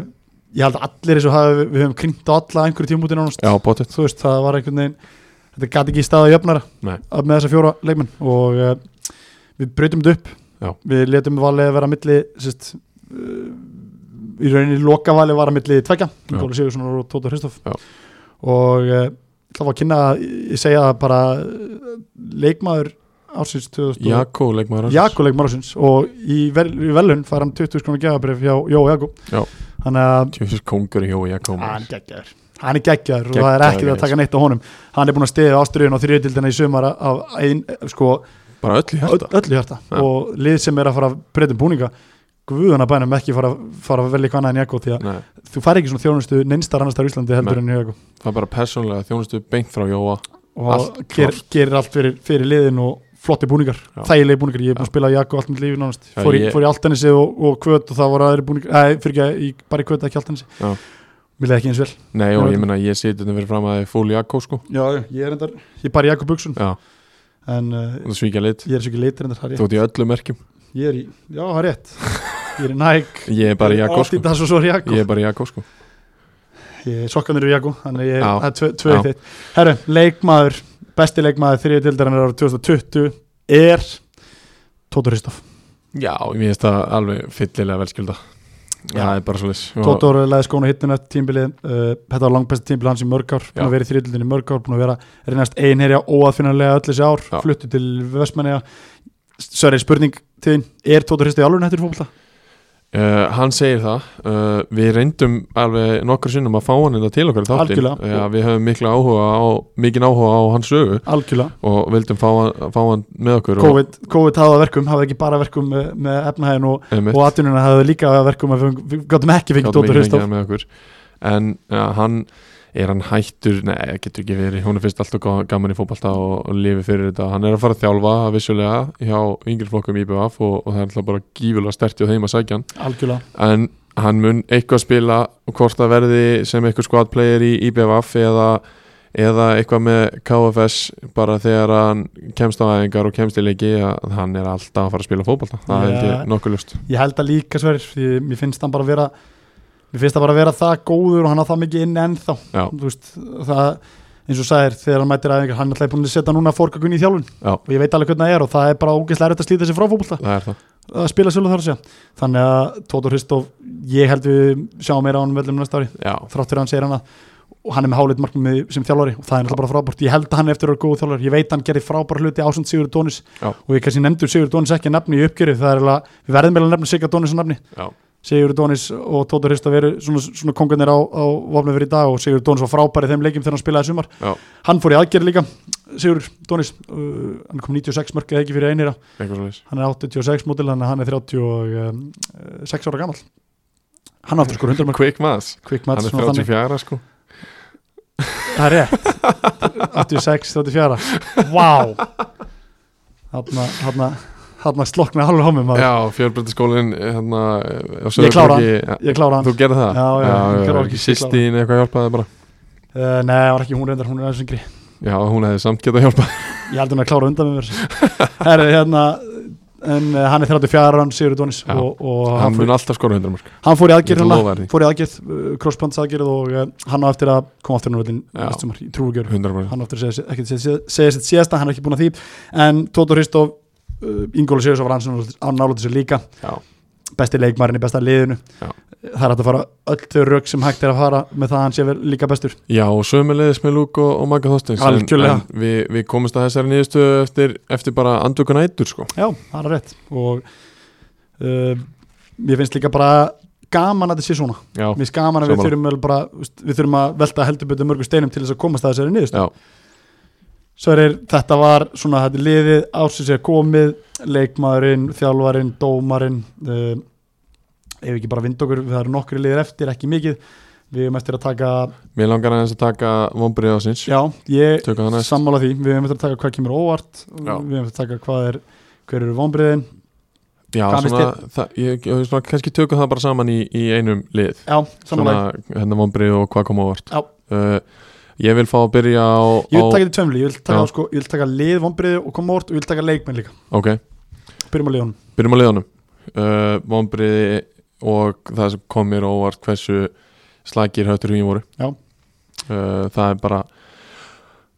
Speaker 1: ég held að allir þessu hafi, við höfum kringt á alla einhverju tímúti nánast,
Speaker 2: Já, bóttið
Speaker 1: þú veist, það var einhvern veginn þetta gæti ekki í staða jöfnara
Speaker 2: Nei.
Speaker 1: að- með þessa fjóra leikmenn og uh, við breytum þetta upp
Speaker 2: Já.
Speaker 1: við letum valið vera milli sérst, uh, í rauninni lokavalið var að milli tvekja,
Speaker 2: Já.
Speaker 1: Góli Sigursson og Tóta Hristof
Speaker 2: Já.
Speaker 1: og uh, það var að kynna að ég segja það bara eh, leikmaður ársins 2000
Speaker 2: Jakko leikmaður ársins.
Speaker 1: Jakob leikmaður ársins og í, vel, í velun fær hann 20 skrona gefabrif hjá Jó Jakob
Speaker 2: Já.
Speaker 1: þannig að
Speaker 2: Tjófis kongur hjá Jakko
Speaker 1: hann
Speaker 2: maður.
Speaker 1: er geggjaður hann er geggjaður og það er
Speaker 2: Geggjaður,
Speaker 1: ekki við að
Speaker 2: geggjaður.
Speaker 1: taka neitt á honum hann er búin að stiða ástriðin og þriðutildina í sumar af ein, sko,
Speaker 2: Bara öll í
Speaker 1: öll,
Speaker 2: hérta
Speaker 1: öllu hjarta
Speaker 2: Já.
Speaker 1: og lið sem er að fara að breyta um búninga guðan að bænum ekki fara, fara að velja hvað annað en Jakob því að
Speaker 2: Nei,
Speaker 1: þú fær ekki svona þjónustu neinstar annars þar í Íslandi heldur en Jakob
Speaker 2: Það er bara persónlega þjónustu beint frá Jóa
Speaker 1: og
Speaker 2: Allt
Speaker 1: ger, gerir allt fyrir, fyrir liðin og flotti búningar,
Speaker 2: Já.
Speaker 1: þægilegi búningar ég er búin
Speaker 2: Já.
Speaker 1: að spila í Jakko allt mitt lífi nánast
Speaker 2: Já,
Speaker 1: fór,
Speaker 2: ég-
Speaker 1: ég... fór í Altanesi og, og Kvöt og það voru aðri búningar, nei, fyrir ekki í- bara í Kvöt ekki Altanesi,
Speaker 2: Já.
Speaker 1: mér leði ekki eins vel
Speaker 2: Nei,
Speaker 1: Já,
Speaker 2: og hérna ég meina ég seti þetta fyrir fram að þið fúl Jakko sko
Speaker 1: já, ég er endar, ég er bara í Jakko Buksun
Speaker 2: Já,
Speaker 1: en uh,
Speaker 2: það svíkja lit
Speaker 1: ég er svo ekki leitur en það er
Speaker 2: þú ert í öllum merkjum
Speaker 1: rétt ég er í, já það er rétt ég er í Nike
Speaker 2: [laughs] ég er bara í Jakko sko.
Speaker 1: Adidas og svo er Jakko
Speaker 2: ég er bara í Jakko sko.
Speaker 1: ég, sokkanir eru Jakko þannig ég,
Speaker 2: Já.
Speaker 1: það er tvö, tvö
Speaker 2: Já.
Speaker 1: eitt eitt herru, leikmaður, besti leikmaður þriðið dildarinn ára 2020 er Tóttur Hristoff
Speaker 2: já, mér finnst það alveg fyllilega velskjölda
Speaker 1: Já.
Speaker 2: það er bara svo leys
Speaker 1: Tóttur leði skónu hittun eftir tímbilið uh, þetta var langbesta tímbilið hans í mörg ár búin
Speaker 2: Já.
Speaker 1: að vera í þriðildinni í mörg ár, búin að vera reynast einherja óaðfinnanlega öll þessi ár
Speaker 2: Já.
Speaker 1: fluttu til Vestmanniða Sörri, spurning til þín, er Tóttur Hristoff í alveg nættur fólkvölda?
Speaker 2: Uh, hann segir það, uh, við reyndum alveg nokkur sinnum að fá hann hérna til okkar í þáttinn,
Speaker 1: Algjörlega.
Speaker 2: Já, við höfum mikla áhuga á, mikinn áhuga á hans sögu
Speaker 1: Algjörlega
Speaker 2: og vildum fá hann, fá hann með okkur og,
Speaker 1: COVID, COVID hafði að verkum, hafði ekki bara verkum með, með efnahæðin og,
Speaker 2: einmitt,
Speaker 1: og atvinnuna hafði líka að verkum að við- við gáttum ekki fengið
Speaker 2: gátum ekki
Speaker 1: Dóttur
Speaker 2: fengið
Speaker 1: Hristoff
Speaker 2: hann með okkur en já, hann, er hann hættur nei, getur ekki verið, hún er fyrst alltaf gá- gaman í fótbalta og, og lifi fyrir þetta hann er að fara að þjálfa vissulega hjá yngri flokkum IBF og, og það er alltaf bara gífulega sterti og þeim að sækja hann
Speaker 1: Algjörlega
Speaker 2: en hann mun eitthvað spila og hvort það verði sem eitthvað skvadplayer í IBVF eða, eða eitthvað með KFS bara þegar hann kemst á aðingar og kemst í leiki að hann er alltaf að fara að spila fótbolta það
Speaker 1: Já.
Speaker 2: held ég nokkuð lust
Speaker 1: Ég held að líka sverjir, því mér finnst hann bara að vera mér finnst það bara að vera það góður og hann á það mikið inn ennþá
Speaker 2: Já.
Speaker 1: Þú veist, það, eins og sagðir, þegar hann mætir aðeins hann er alltaf búin að setja núna fórkakunni í þjálfun
Speaker 2: Já.
Speaker 1: og ég veit alveg hvernig það er og það er bara ógeðslega erfitt að slíta sér frá fótbolta
Speaker 2: það er það,
Speaker 1: að spila svolítið þar að segja þannig að Tóttur Hristof, ég held við sjáum meira á hann völlum næsta ári
Speaker 2: já,
Speaker 1: þrátt fyrir að hann segir hann að og hann er með háleit markmið sem þjálfari og það er náttúrulega bara frábært ég held að hann er eftir að vera góð þjálfari, ég veit að hann gerði frábæra hluti ásand Sigur Dónis
Speaker 2: Já.
Speaker 1: og ég kannski nefndur Sigur Dónis ekki að nafni í uppgjöri það er alveg, við verðum meðlega að nefna Sigur Dónis að nafni
Speaker 2: já,
Speaker 1: Sigur Dónis og Tóta Hrista veru svona, svona kongarnir á, á vopnum fyrir í dag og Sigur Dónis var frábæri þeim leikim þegar hann spilaði í sumar
Speaker 2: Já.
Speaker 1: hann fór í aðgerð líka, Sigur Dónis uh, hann kom 96 mörg eða ekki fyrir einir
Speaker 2: eitthvað svo leis
Speaker 1: hann er 86 mótil þannig að hann er 36 ára gamall hann aftur skor 100 mörg
Speaker 2: Quick Mass,
Speaker 1: quick
Speaker 2: hann
Speaker 1: match
Speaker 2: er
Speaker 1: svona þannig.
Speaker 2: 34 sko
Speaker 1: Það er rétt 86, 34 Vá Þarna, þarna, þarna slokna hálfur hómi maður
Speaker 2: já, fjörbreytaskólin hérna, eh, á
Speaker 1: Ég klára
Speaker 2: Sauðárkróki.
Speaker 1: Ég klára hann
Speaker 2: þú
Speaker 1: uh,
Speaker 2: gerði það?
Speaker 1: Já, já, ég klára
Speaker 2: já,
Speaker 1: ekki,
Speaker 2: ekki
Speaker 1: ég klára.
Speaker 2: sýsti inn eitthvað hjálpaði bara
Speaker 1: Eh, Nei, það var ekki hún reyndar, hún er aðeins yngri
Speaker 2: já, hún hefði samt getað hjálpað
Speaker 1: Ég held hún að klára undan með mér Herri, hérna En uh, hann er 34 hann, Sigur Dónis
Speaker 2: Já.
Speaker 1: og, og
Speaker 2: hann
Speaker 1: hann,
Speaker 2: mun
Speaker 1: fór,
Speaker 2: alltaf skora 100 mörg
Speaker 1: hann fór í
Speaker 2: Ég
Speaker 1: aðgerð
Speaker 2: ætla að
Speaker 1: hérna,
Speaker 2: lofa þér því.
Speaker 1: Fór í aðgerð, uh, crossbands aðgerð Og uh, hann á eftir að koma aftur hann völdin
Speaker 2: Já.
Speaker 1: Næstum sumar, í trúgjör
Speaker 2: 100 mörg
Speaker 1: hann áttur að segja, ekki að segja, segja sitt síðasta hann er ekki búin að því, en Tóta Hristof uh, Ingóla Sigurðsson var hans á nálut sér líka,
Speaker 2: Já.
Speaker 1: besti leikmarinn í besta liðinu,
Speaker 2: Já.
Speaker 1: það er hægt að fara öll þau rauk sem hægt er að fara með það að hann sé vel líka bestur,
Speaker 2: Já, og sömulegðis með Lúk og, og Magga Þorsteins en-
Speaker 1: Algjörlega.
Speaker 2: en Við, við komumst að þessari nýðustu eftir, eftir bara andvökun ættur sko
Speaker 1: já, það er rétt og uh, mér finnst líka bara gaman að þetta sé svona,
Speaker 2: Já,
Speaker 1: mér finnst gaman að við
Speaker 2: Sammála.
Speaker 1: þurfum vel bara, þú veist, við þurfum að velta heldur betur mörgum steinum til þess að komast að þessari niðurst
Speaker 2: já,
Speaker 1: Sverir, þetta var svona þetta er liðið ásins er komið leikmaðurinn, þjálfarinn, dómarinn uh, ef ekki bara vind okkur það eru nokkri liðir eftir, ekki mikið við hefum eftir að taka,
Speaker 2: mér langar aðeins að taka vombrið á sinns
Speaker 1: já, ég
Speaker 2: Tökum það næst
Speaker 1: sammála því, við hefum eftir að taka hvað kemur óvart við hefum eftir að taka hvað er hver eru vonbriðin,
Speaker 2: Já,
Speaker 1: hvað finnst
Speaker 2: svona, það, ég, ég, svona, kannski tökum það bara saman í, í einum lið
Speaker 1: já, sammála því
Speaker 2: Svona, hérna vombrið og hvað kom á vart
Speaker 1: Já.
Speaker 2: uh, Ég vil fá að byrja á,
Speaker 1: ég vil
Speaker 2: á
Speaker 1: taka þetta í tveimli, ég vil taka,
Speaker 2: Já.
Speaker 1: sko, ég vil taka lið vonbriði og koma óvart og ég vil taka leikmenn líka
Speaker 2: Ok,
Speaker 1: byrjum á liðunum,
Speaker 2: byrjum á liðanum uh, Vombriði og það sem kom mér á óvart hversu slagir höttur hugin voru
Speaker 1: Já.
Speaker 2: Uh, það er bara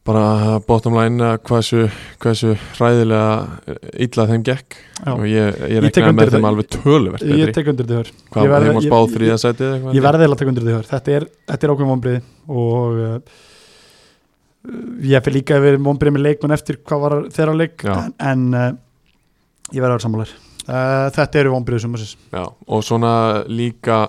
Speaker 2: bara bottom line að hversu, hversu hræðilega illa þeim gekk
Speaker 1: Já.
Speaker 2: og ég, ég
Speaker 1: Ég tek
Speaker 2: reknaði
Speaker 1: undir
Speaker 2: með þeim
Speaker 1: þetta.
Speaker 2: alveg töluvert
Speaker 1: ég
Speaker 2: betri
Speaker 1: tek undir þau
Speaker 2: hvað
Speaker 1: ég
Speaker 2: var
Speaker 1: verð-
Speaker 2: þeim að
Speaker 1: ég-
Speaker 2: spá
Speaker 1: ég-
Speaker 2: þriða sætið eða eitthvað
Speaker 1: Ég verði eiginlega að taka undir því hör Þetta er, þetta er ákveðum vonbriði og uh, ég fyrir líka yfir vonbriði með leikmenn eftir hvað var þeirra leik
Speaker 2: Já.
Speaker 1: en, en uh, ég verði að vera sammálar uh, Þetta eru vonbriði sem
Speaker 2: Já, og svona líka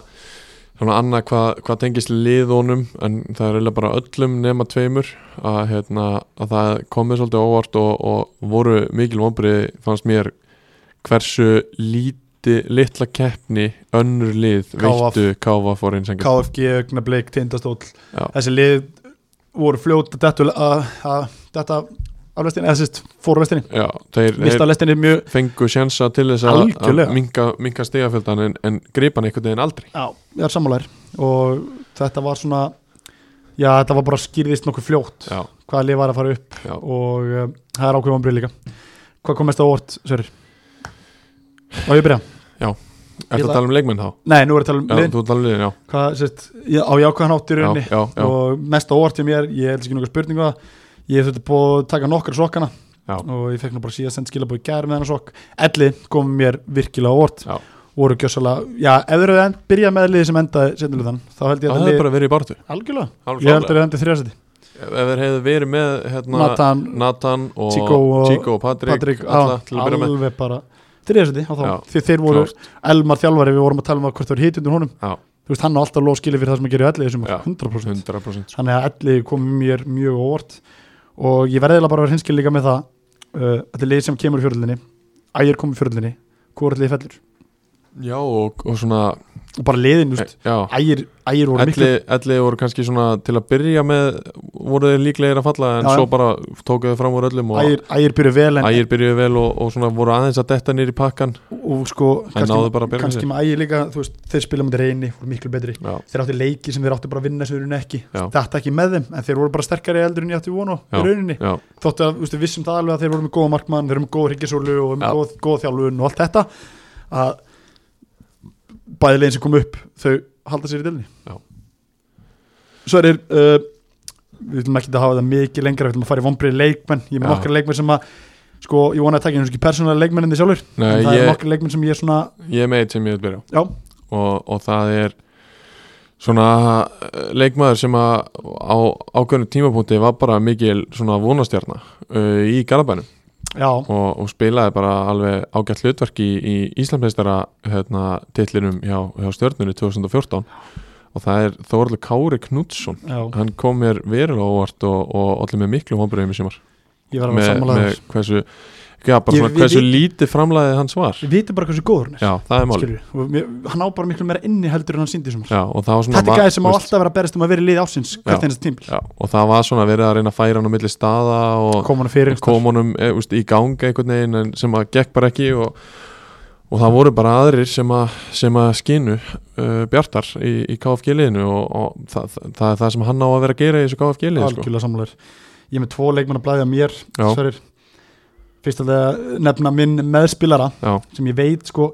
Speaker 2: svona annað hvað hva tengist liðunum en það er eiginlega bara öllum nema tveimur að, hérna, að það komið svolítið á óvart og, og voru mikil vonbrið fannst mér hversu líti, litla keppni önnur lið
Speaker 1: KF.
Speaker 2: veittu káfa fór einsengar
Speaker 1: KFG, Ögnablik, Tindastól
Speaker 2: Já.
Speaker 1: þessi lið voru fljóta þetta aflestinni, eða sérst fórlestinni
Speaker 2: Já, þeir, þeir
Speaker 1: mistalestinni mjög
Speaker 2: fengu sjensa til þess að- að
Speaker 1: Algjörlega.
Speaker 2: minka, minka stegafjöldan en, en gripa hann einhvern veginn aldrei
Speaker 1: Já, ég er sammálar og þetta var svona Já, þetta var bara skýrðist nokkuð fljótt
Speaker 2: Já,
Speaker 1: hvaða lið var að fara upp
Speaker 2: já.
Speaker 1: og uh, það er ákveðum ámbrið líka Hvað kom mest á óvart, Sörir? Á ég að byrja?
Speaker 2: Ertu að
Speaker 1: la-
Speaker 2: tala um leikmenn þá?
Speaker 1: Nei, nú er þetta
Speaker 2: Já,
Speaker 1: alveg liðin
Speaker 2: þú tala um liðin, já
Speaker 1: Hvað, sérst, já, á jákvæðan hátt í
Speaker 2: Já,
Speaker 1: rauninni
Speaker 2: já, já,
Speaker 1: og mest á óvart hjá mér, ég held ekki nokkuð spurningu að ég þurfti búið að taka nokkra sokkana
Speaker 2: Já.
Speaker 1: og ég fekk nú bara síðast send skilabóð í gær með hennar sokk Elli kom mér virkilega á óvart
Speaker 2: Já.
Speaker 1: voru gjössalega, já, ef þeir eru byrjað með liði sem endaði sennilega þann þá held ég
Speaker 2: það
Speaker 1: að
Speaker 2: hefði
Speaker 1: lið,
Speaker 2: bara verið í barðu
Speaker 1: algjörlega ég held að þeir endið þrjásæti,
Speaker 2: Ef þeir hefði verið með hérna,
Speaker 1: Nathan
Speaker 2: Nathan og
Speaker 1: Chico og-
Speaker 2: Chico og Patrick,
Speaker 1: Patrik,
Speaker 2: alla,
Speaker 1: á,
Speaker 2: til að byrja með
Speaker 1: alveg bara þriðarsæti á þá,
Speaker 2: Já,
Speaker 1: því þeir voru
Speaker 2: klárt.
Speaker 1: Elmar þjálfari, við vorum að tala um að hvort þau eru hitundur honum
Speaker 2: Já.
Speaker 1: þú veist, hann á alltaf loð skilið fyrir það sem að gera í elli þessum
Speaker 2: Já,
Speaker 1: 100%
Speaker 2: 100%
Speaker 1: þannig að elli kom mér mjög á óvart og ég verði eiginlega bara að vera hinskil líka með það uh, þetta er leið sem kemur í fjörðlinni ægir kom í fjörðlinni, hvort liði fellur
Speaker 2: Já, og, og svona
Speaker 1: og bara liðin, þú veist,
Speaker 2: Já,
Speaker 1: ægir, ægir voru
Speaker 2: elli,
Speaker 1: miklu
Speaker 2: elli voru kannski svona til að byrja með voru þeir líklegir að falla en
Speaker 1: Já, já.
Speaker 2: svo bara tókuðu fram úr öllum og
Speaker 1: ægir, ægir byrju vel en,
Speaker 2: ægir byrjuðu vel og, og svona voru aðeins að detta nýr í pakkan
Speaker 1: og sko,
Speaker 2: en náðu bara að byrja
Speaker 1: kannski með ægir líka þú veist, þeir spila með reyni, voru miklu betri
Speaker 2: sér Já,
Speaker 1: þeir átti leiki sem þeir áttu bara að vinna sem þeir unni ekki
Speaker 2: Já.
Speaker 1: þetta ekki með þeim, en þeir voru bara sterkari eldur en ég átti vonu á í
Speaker 2: Já.
Speaker 1: rauninni
Speaker 2: já,
Speaker 1: þóttu að þú veist, við vissum það alveg að þeir voru með góða markmann þeir voru með góða hryggisólu og með
Speaker 2: Já.
Speaker 1: góð, góð þjálfun og allt þetta að bæði leginn sem kom upp þau halda sér í
Speaker 2: Já.
Speaker 1: delinni svo er uh, við viljum ekki að hafa það mikið lengra við viljum að fara í vonbrið leikmenn ég er með
Speaker 2: Já.
Speaker 1: nokkra leikmenn sem að sko, ég vona að taka eins og ekki persónulega leikmenn en þið sjálfur
Speaker 2: Nei,
Speaker 1: en það
Speaker 2: ég-
Speaker 1: er nokkra leikmenn sem ég er svona
Speaker 2: ég er með eitt sem ég vil byrja á.
Speaker 1: já,
Speaker 2: og, og það er svona eh, leikmaður sem að á ákveðnum tímapunkti var bara mikil svona vonastjarnar uh, í Garabænum
Speaker 1: já,
Speaker 2: og, og spilaði bara alveg ágætt hlutverk í, í Íslandsmeistara hérna, titlinum hjá, hjá stjörnunni 2014 og það er Þóraldur Kári Knútsson
Speaker 1: já
Speaker 2: hann kom mér verulega óvart og, og allir með miklu hombriðum í sumar
Speaker 1: ég var alveg
Speaker 2: með,
Speaker 1: sammálaður
Speaker 2: með hversu, já, bara
Speaker 1: Ég-
Speaker 2: svona,
Speaker 1: við-
Speaker 2: hversu
Speaker 1: við-
Speaker 2: lítið framlæðið hans var
Speaker 1: við vitum bara hversu góður hann er
Speaker 2: já, það er máli
Speaker 1: skilur, mér, hann á bara miklu meira inni heldur en hann síndi sem
Speaker 2: já, og það var
Speaker 1: þetta
Speaker 2: svona
Speaker 1: er
Speaker 2: va-
Speaker 1: gæði sem á
Speaker 2: veist-
Speaker 1: alltaf að vera að berast um að vera í liði ásins hvert
Speaker 2: Já.
Speaker 1: einast tímbil,
Speaker 2: Já, og það var svona verið að reyna að færa hann á milli staða og
Speaker 1: kom hann fyrir
Speaker 2: kom honum e, úst, í gang einhvern veginn en sem að gekk bara ekki og, og það voru bara aðrir sem að, sem að skinu uh, bjartar í, í KFG-liðinu og, og það, það, það er það sem hann á að vera að gera í þessu KFG-liði sko.
Speaker 1: algjörlega sammálar ég er með tvo leikmenn að blæða mér
Speaker 2: Já.
Speaker 1: sverir, fyrst að nefna minn meðspilara
Speaker 2: Já,
Speaker 1: sem ég veit sko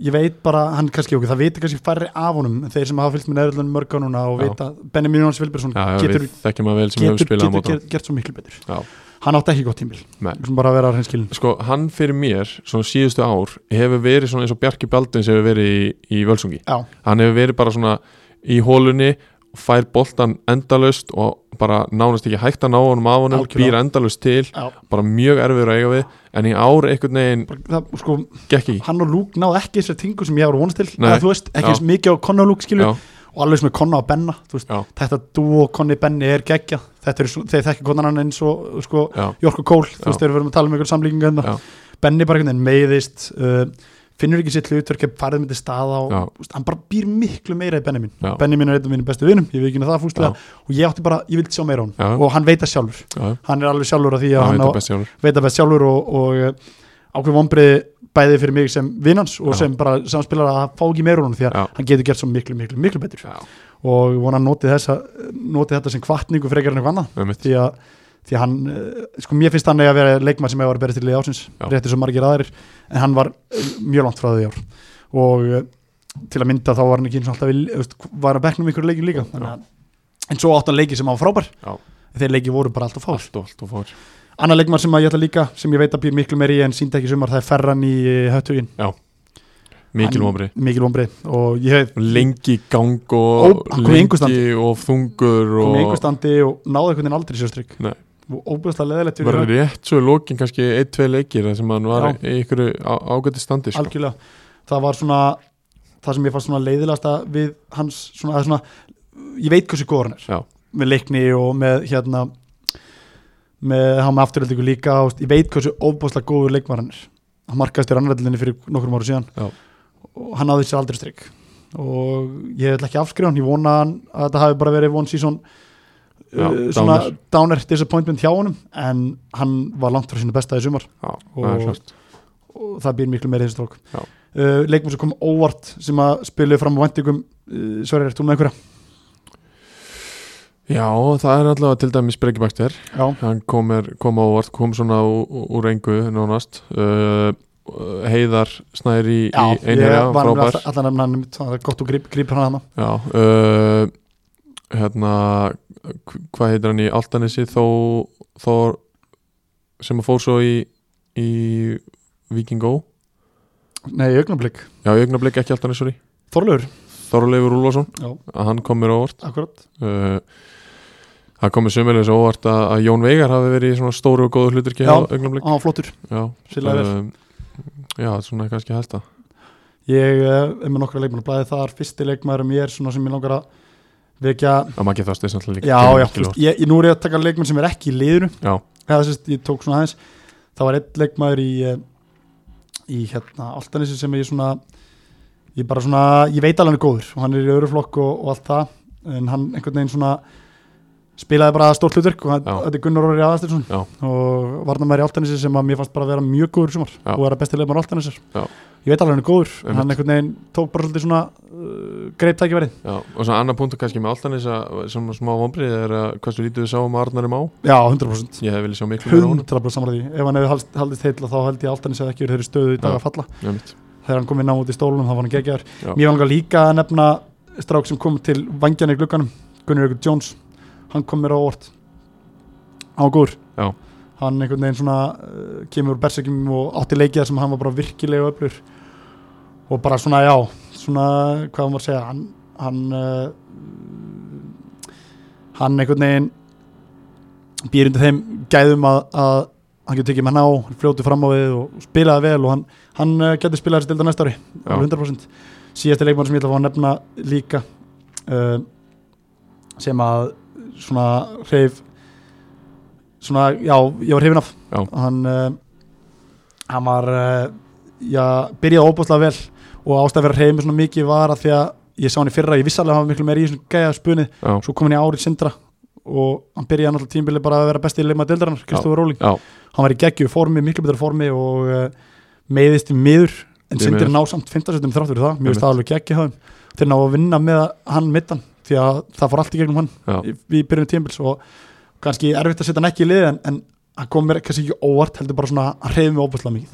Speaker 1: ég veit bara, hann kannski okkur, það viti kannski færri af honum en þeir sem hafa fylgst með neðurlunum mörg á núna og
Speaker 2: Já.
Speaker 1: vita, Benjamin Jóns Vilbersson
Speaker 2: já, já
Speaker 1: getur,
Speaker 2: við þekkjum að vel sem
Speaker 1: getur,
Speaker 2: hefur spilað á
Speaker 1: getur,
Speaker 2: móta
Speaker 1: getur gert svo miklu betur
Speaker 2: Já.
Speaker 1: hann átti ekki gott tímbil,
Speaker 2: Nei.
Speaker 1: sem bara að vera að hreinskilin
Speaker 2: Sko, hann fyrir mér, svona síðustu ár hefur verið svona eins og Bjarki Baldins hefur verið í, í Völsungi
Speaker 1: já,
Speaker 2: hann hefur verið bara svona í hólunni fær boltan endalaust og bara nánast ekki hægt að ná honum af honum
Speaker 1: Algjörlega.
Speaker 2: býr endalaust til,
Speaker 1: já,
Speaker 2: bara mjög erfiður að eiga við en í ár einhvern veginn
Speaker 1: bara, það, sko
Speaker 2: gekk ekki
Speaker 1: hann og Luke náðu ekki þessari tingu sem ég var að vonast til
Speaker 2: Nei.
Speaker 1: eða þú veist, ekki
Speaker 2: Já.
Speaker 1: eins mikið á Conna og Luke skilju
Speaker 2: Já,
Speaker 1: og alveg sem er Conna og Benna þú veist,
Speaker 2: Já.
Speaker 1: þetta dú og Conni Benni er geggja þetta er, þeir þekki konan hann eins og sko,
Speaker 2: já,
Speaker 1: Jorko Kól, þú
Speaker 2: Já.
Speaker 1: veist þegar við erum að tala um einhverjum samlíkinga
Speaker 2: Já.
Speaker 1: hérna. Benni bara einhvern veginn meiðist uh, finnur ekki sitt hlutverk farið myndi staða og
Speaker 2: Já.
Speaker 1: þú veist, hann bara býr miklu meira í Benni mín
Speaker 2: Já.
Speaker 1: Benni mín er einn af mínum bestu vinum, ég veit ekki um það fúslega
Speaker 2: Já.
Speaker 1: og ég átti bara, ég vildi sjá meira á hann
Speaker 2: Já.
Speaker 1: og hann veit það sjálfur,
Speaker 2: já, já,
Speaker 1: hann er alveg sjálfur að því að
Speaker 2: já,
Speaker 1: hann
Speaker 2: þetta
Speaker 1: á,
Speaker 2: er best sjálfur
Speaker 1: veit það best sjálfur og, og eh, ákveð vonbriði bæði fyrir mig sem vinnans og
Speaker 2: Já.
Speaker 1: sem bara samspilar að fá ekki meira úr honum því að
Speaker 2: Já.
Speaker 1: hann getur gert svo miklu, miklu, miklu betur
Speaker 2: Já,
Speaker 1: og ég vona að noti, þessa, noti þetta sem kvartningu frekar en eitthvað annað
Speaker 2: einmitt.
Speaker 1: því að, því að hann, eh, sko mér finnst hann eiga að vera leikmann sem hefur verið berist til liði ásins
Speaker 2: Já.
Speaker 1: rétti svo margir aðrir, en hann var eh, mjög langt frá því í ár og eh, til að mynda þá var hann ekki eins og alltaf í, eh, veist, var að beknum ykkur leikin líka Þannig að, en svo átt hann leiki sem hann var frábær
Speaker 2: Já.
Speaker 1: þeir leiki voru bara alltaf fár
Speaker 2: allt og allt og fór
Speaker 1: Anna leikmann sem að ég ætla líka sem ég veit að býr miklu meiri í en síndi ekki í sumar það er ferran í höttugin
Speaker 2: mikil mómri
Speaker 1: Mikil vombrið og ég hef
Speaker 2: lengi í gang
Speaker 1: Ó,
Speaker 2: og
Speaker 1: hann kom í engu
Speaker 2: lengi og þungur
Speaker 1: komið í
Speaker 2: og
Speaker 1: einhver standi og náði einhvern veginn aldrei sér strikk
Speaker 2: Nei.
Speaker 1: og óbúðslega leðilegt
Speaker 2: var rétt svo í lókin kannski ein, tvei leikir þar sem hann var
Speaker 1: Já.
Speaker 2: í ykkur ágæti standi sko.
Speaker 1: algjörlega það var svona það sem ég fannst svona leiðilegasta við hans svona, eða svona ég veit hversu góður hann er
Speaker 2: Já.
Speaker 1: með leikni og með hérna með hann með afturöldingu líka og, ég veit hversu óbúðslega góður leikmann hann er hann markaðist í rannverðlinni fyrir nokkrum áru síðan
Speaker 2: Já.
Speaker 1: og hann náði sér aldrei strikk og ég ætla ekki að afskrifa hann ég vona hann að þetta hafi bara verið von síðan
Speaker 2: Já,
Speaker 1: uh, svona
Speaker 2: downer.
Speaker 1: downer disappointment hjá honum en hann var langt frá sínu besta í sumar
Speaker 2: Já,
Speaker 1: Og-
Speaker 2: það er klárt.
Speaker 1: og það býr miklu meira í þessu strók
Speaker 2: Já.
Speaker 1: uh, leikmenn sem kom óvart sem að spiluði fram á vendingum uh, Sverrir, ert þú með einhverja?
Speaker 2: Já, það er allavega til dæmis Breki Baxter
Speaker 1: Já,
Speaker 2: hann kom, er, kom á óvart, kom svona ú- ú- úr engu nánast uh, heiðar snæri í,
Speaker 1: já
Speaker 2: í
Speaker 1: ég
Speaker 2: einherja,
Speaker 1: var
Speaker 2: frábær
Speaker 1: alltaf allan nefn hann einmitt, það er gott að gríp, gríp hann að hana
Speaker 2: Já, uh, hérna hv- hvað heitir hann í Altanesi þó, þó sem að fór svo í, í Víkingó
Speaker 1: Nei, augnablík,
Speaker 2: Já, í augnablik ekki Altanesi, sorry
Speaker 1: Þorlaugur
Speaker 2: Þorleifur Úlfarsson,
Speaker 1: Já,
Speaker 2: að hann kom mér á óvart
Speaker 1: akkurat
Speaker 2: uh, Það komið sömulegis á óvart að, að Jón Veigar hafi verið í svona stóru og góðu hluturki
Speaker 1: Já.
Speaker 2: á augnablik
Speaker 1: Á, flottur,
Speaker 2: Já,
Speaker 1: síðlega vel
Speaker 2: Um, Já, svona er kannski helsta
Speaker 1: Ég eh, er með nokkra leikmenn að blæði þar Fyrsti leikmæður um ég er svona sem ég langar að vekja
Speaker 2: að maður geta það stið samtlæð líka
Speaker 1: Já,
Speaker 2: kemur
Speaker 1: já,
Speaker 2: ekki
Speaker 1: þú veist,
Speaker 2: lótt.
Speaker 1: ég, ég nú er ég að taka leikmenn sem er ekki í liðinu
Speaker 2: Já.
Speaker 1: Eða, sérst, ég tók svona aðeins það var einn leikmaður í eh, í hérna Altanesi sem ég svona ég bara svona, ég veit alveg hann er góður og hann er í öðru flokk og, og allt það en hann einhvern veginn svona spilaði bara stórt hlutverk og hann,
Speaker 2: Já.
Speaker 1: þetta er Gunnar Orri Aðastinsson
Speaker 2: Já.
Speaker 1: og varnamæður í Altanesi sem að mér fannst bara að vera mjög góður í sumar
Speaker 2: Já.
Speaker 1: og er að besti leikmaður Altanesir
Speaker 2: Já.
Speaker 1: ég veit alveg hann er góður,
Speaker 2: Einmitt.
Speaker 1: hann einhvern veginn tók bara svolítið svona uh, greip tækifæri
Speaker 2: Já, og svo annar punktu kannski með alltaf þess sem smá vombrið er að hversu lítið við sáum að Arnar er má
Speaker 1: já, 100%
Speaker 2: ég hef viljað sjá miklu meira á honum.
Speaker 1: 100% samræði ef hann hefði haldist- haldist heitla þá held ég Altanis hefði ekki verið í þeirri stöðu í dag
Speaker 2: Já.
Speaker 1: að falla
Speaker 2: Einmitt.
Speaker 1: þegar hann kom inn á út í stólunum þá var hann geggjar
Speaker 2: Já.
Speaker 1: mér langar líka að nefna strák sem kom til vangjan í glugganum Gunnar Jökull Jones hann kom mér á orð hann var góður
Speaker 2: Já.
Speaker 1: hann einhvern veginn svona uh, kemur úr berserkjum og átti leikið þar sem hann var bara virkilega öflur og bara svona já svona hvað hann var að segja hann hann, uh, hann einhvern veginn býr undir þeim gæðum að, að hann getur tekið menn á, hann fljóti fram á við og spilaði vel og hann, hann uh, getur spilað þessi delta næsta ári,
Speaker 2: Já.
Speaker 1: alveg 100% síðasti leikmann sem ég ætla að fá að nefna líka uh, sem að svona hreif svona, já, ég var hrifin af
Speaker 2: Já.
Speaker 1: hann uh, hann var uh, já, byrjaði óbúslega vel og ástæði að vera hrifin svona mikið var að því að ég sá hann í fyrra, ég vissi alveg að hann var miklu meira í svona gæja spunið
Speaker 2: Já.
Speaker 1: svo kom hann í árið sindra og hann byrjaði náttúrulega tímbili bara að vera besti leikmaður deildarinnar, Kristofur Róling
Speaker 2: Já.
Speaker 1: hann var í geggju formi, miklu betra formi og uh, meiðist í miður en
Speaker 2: Því
Speaker 1: sindir
Speaker 2: miður.
Speaker 1: ná samt 15 setjum þrátt fyrir það mjög
Speaker 2: Einmitt.
Speaker 1: staðalveg geggju hafum til að ná að vinna með hann mittan því að það fór allt í gegnum hann
Speaker 2: Já.
Speaker 1: í, í byrjunum tímbils og kannski erfitt að setja hann ekki í liðin en hann kom mér kannski ekki óvart heldur bara svona að reyði mig óbúslega
Speaker 2: Já.
Speaker 1: mikið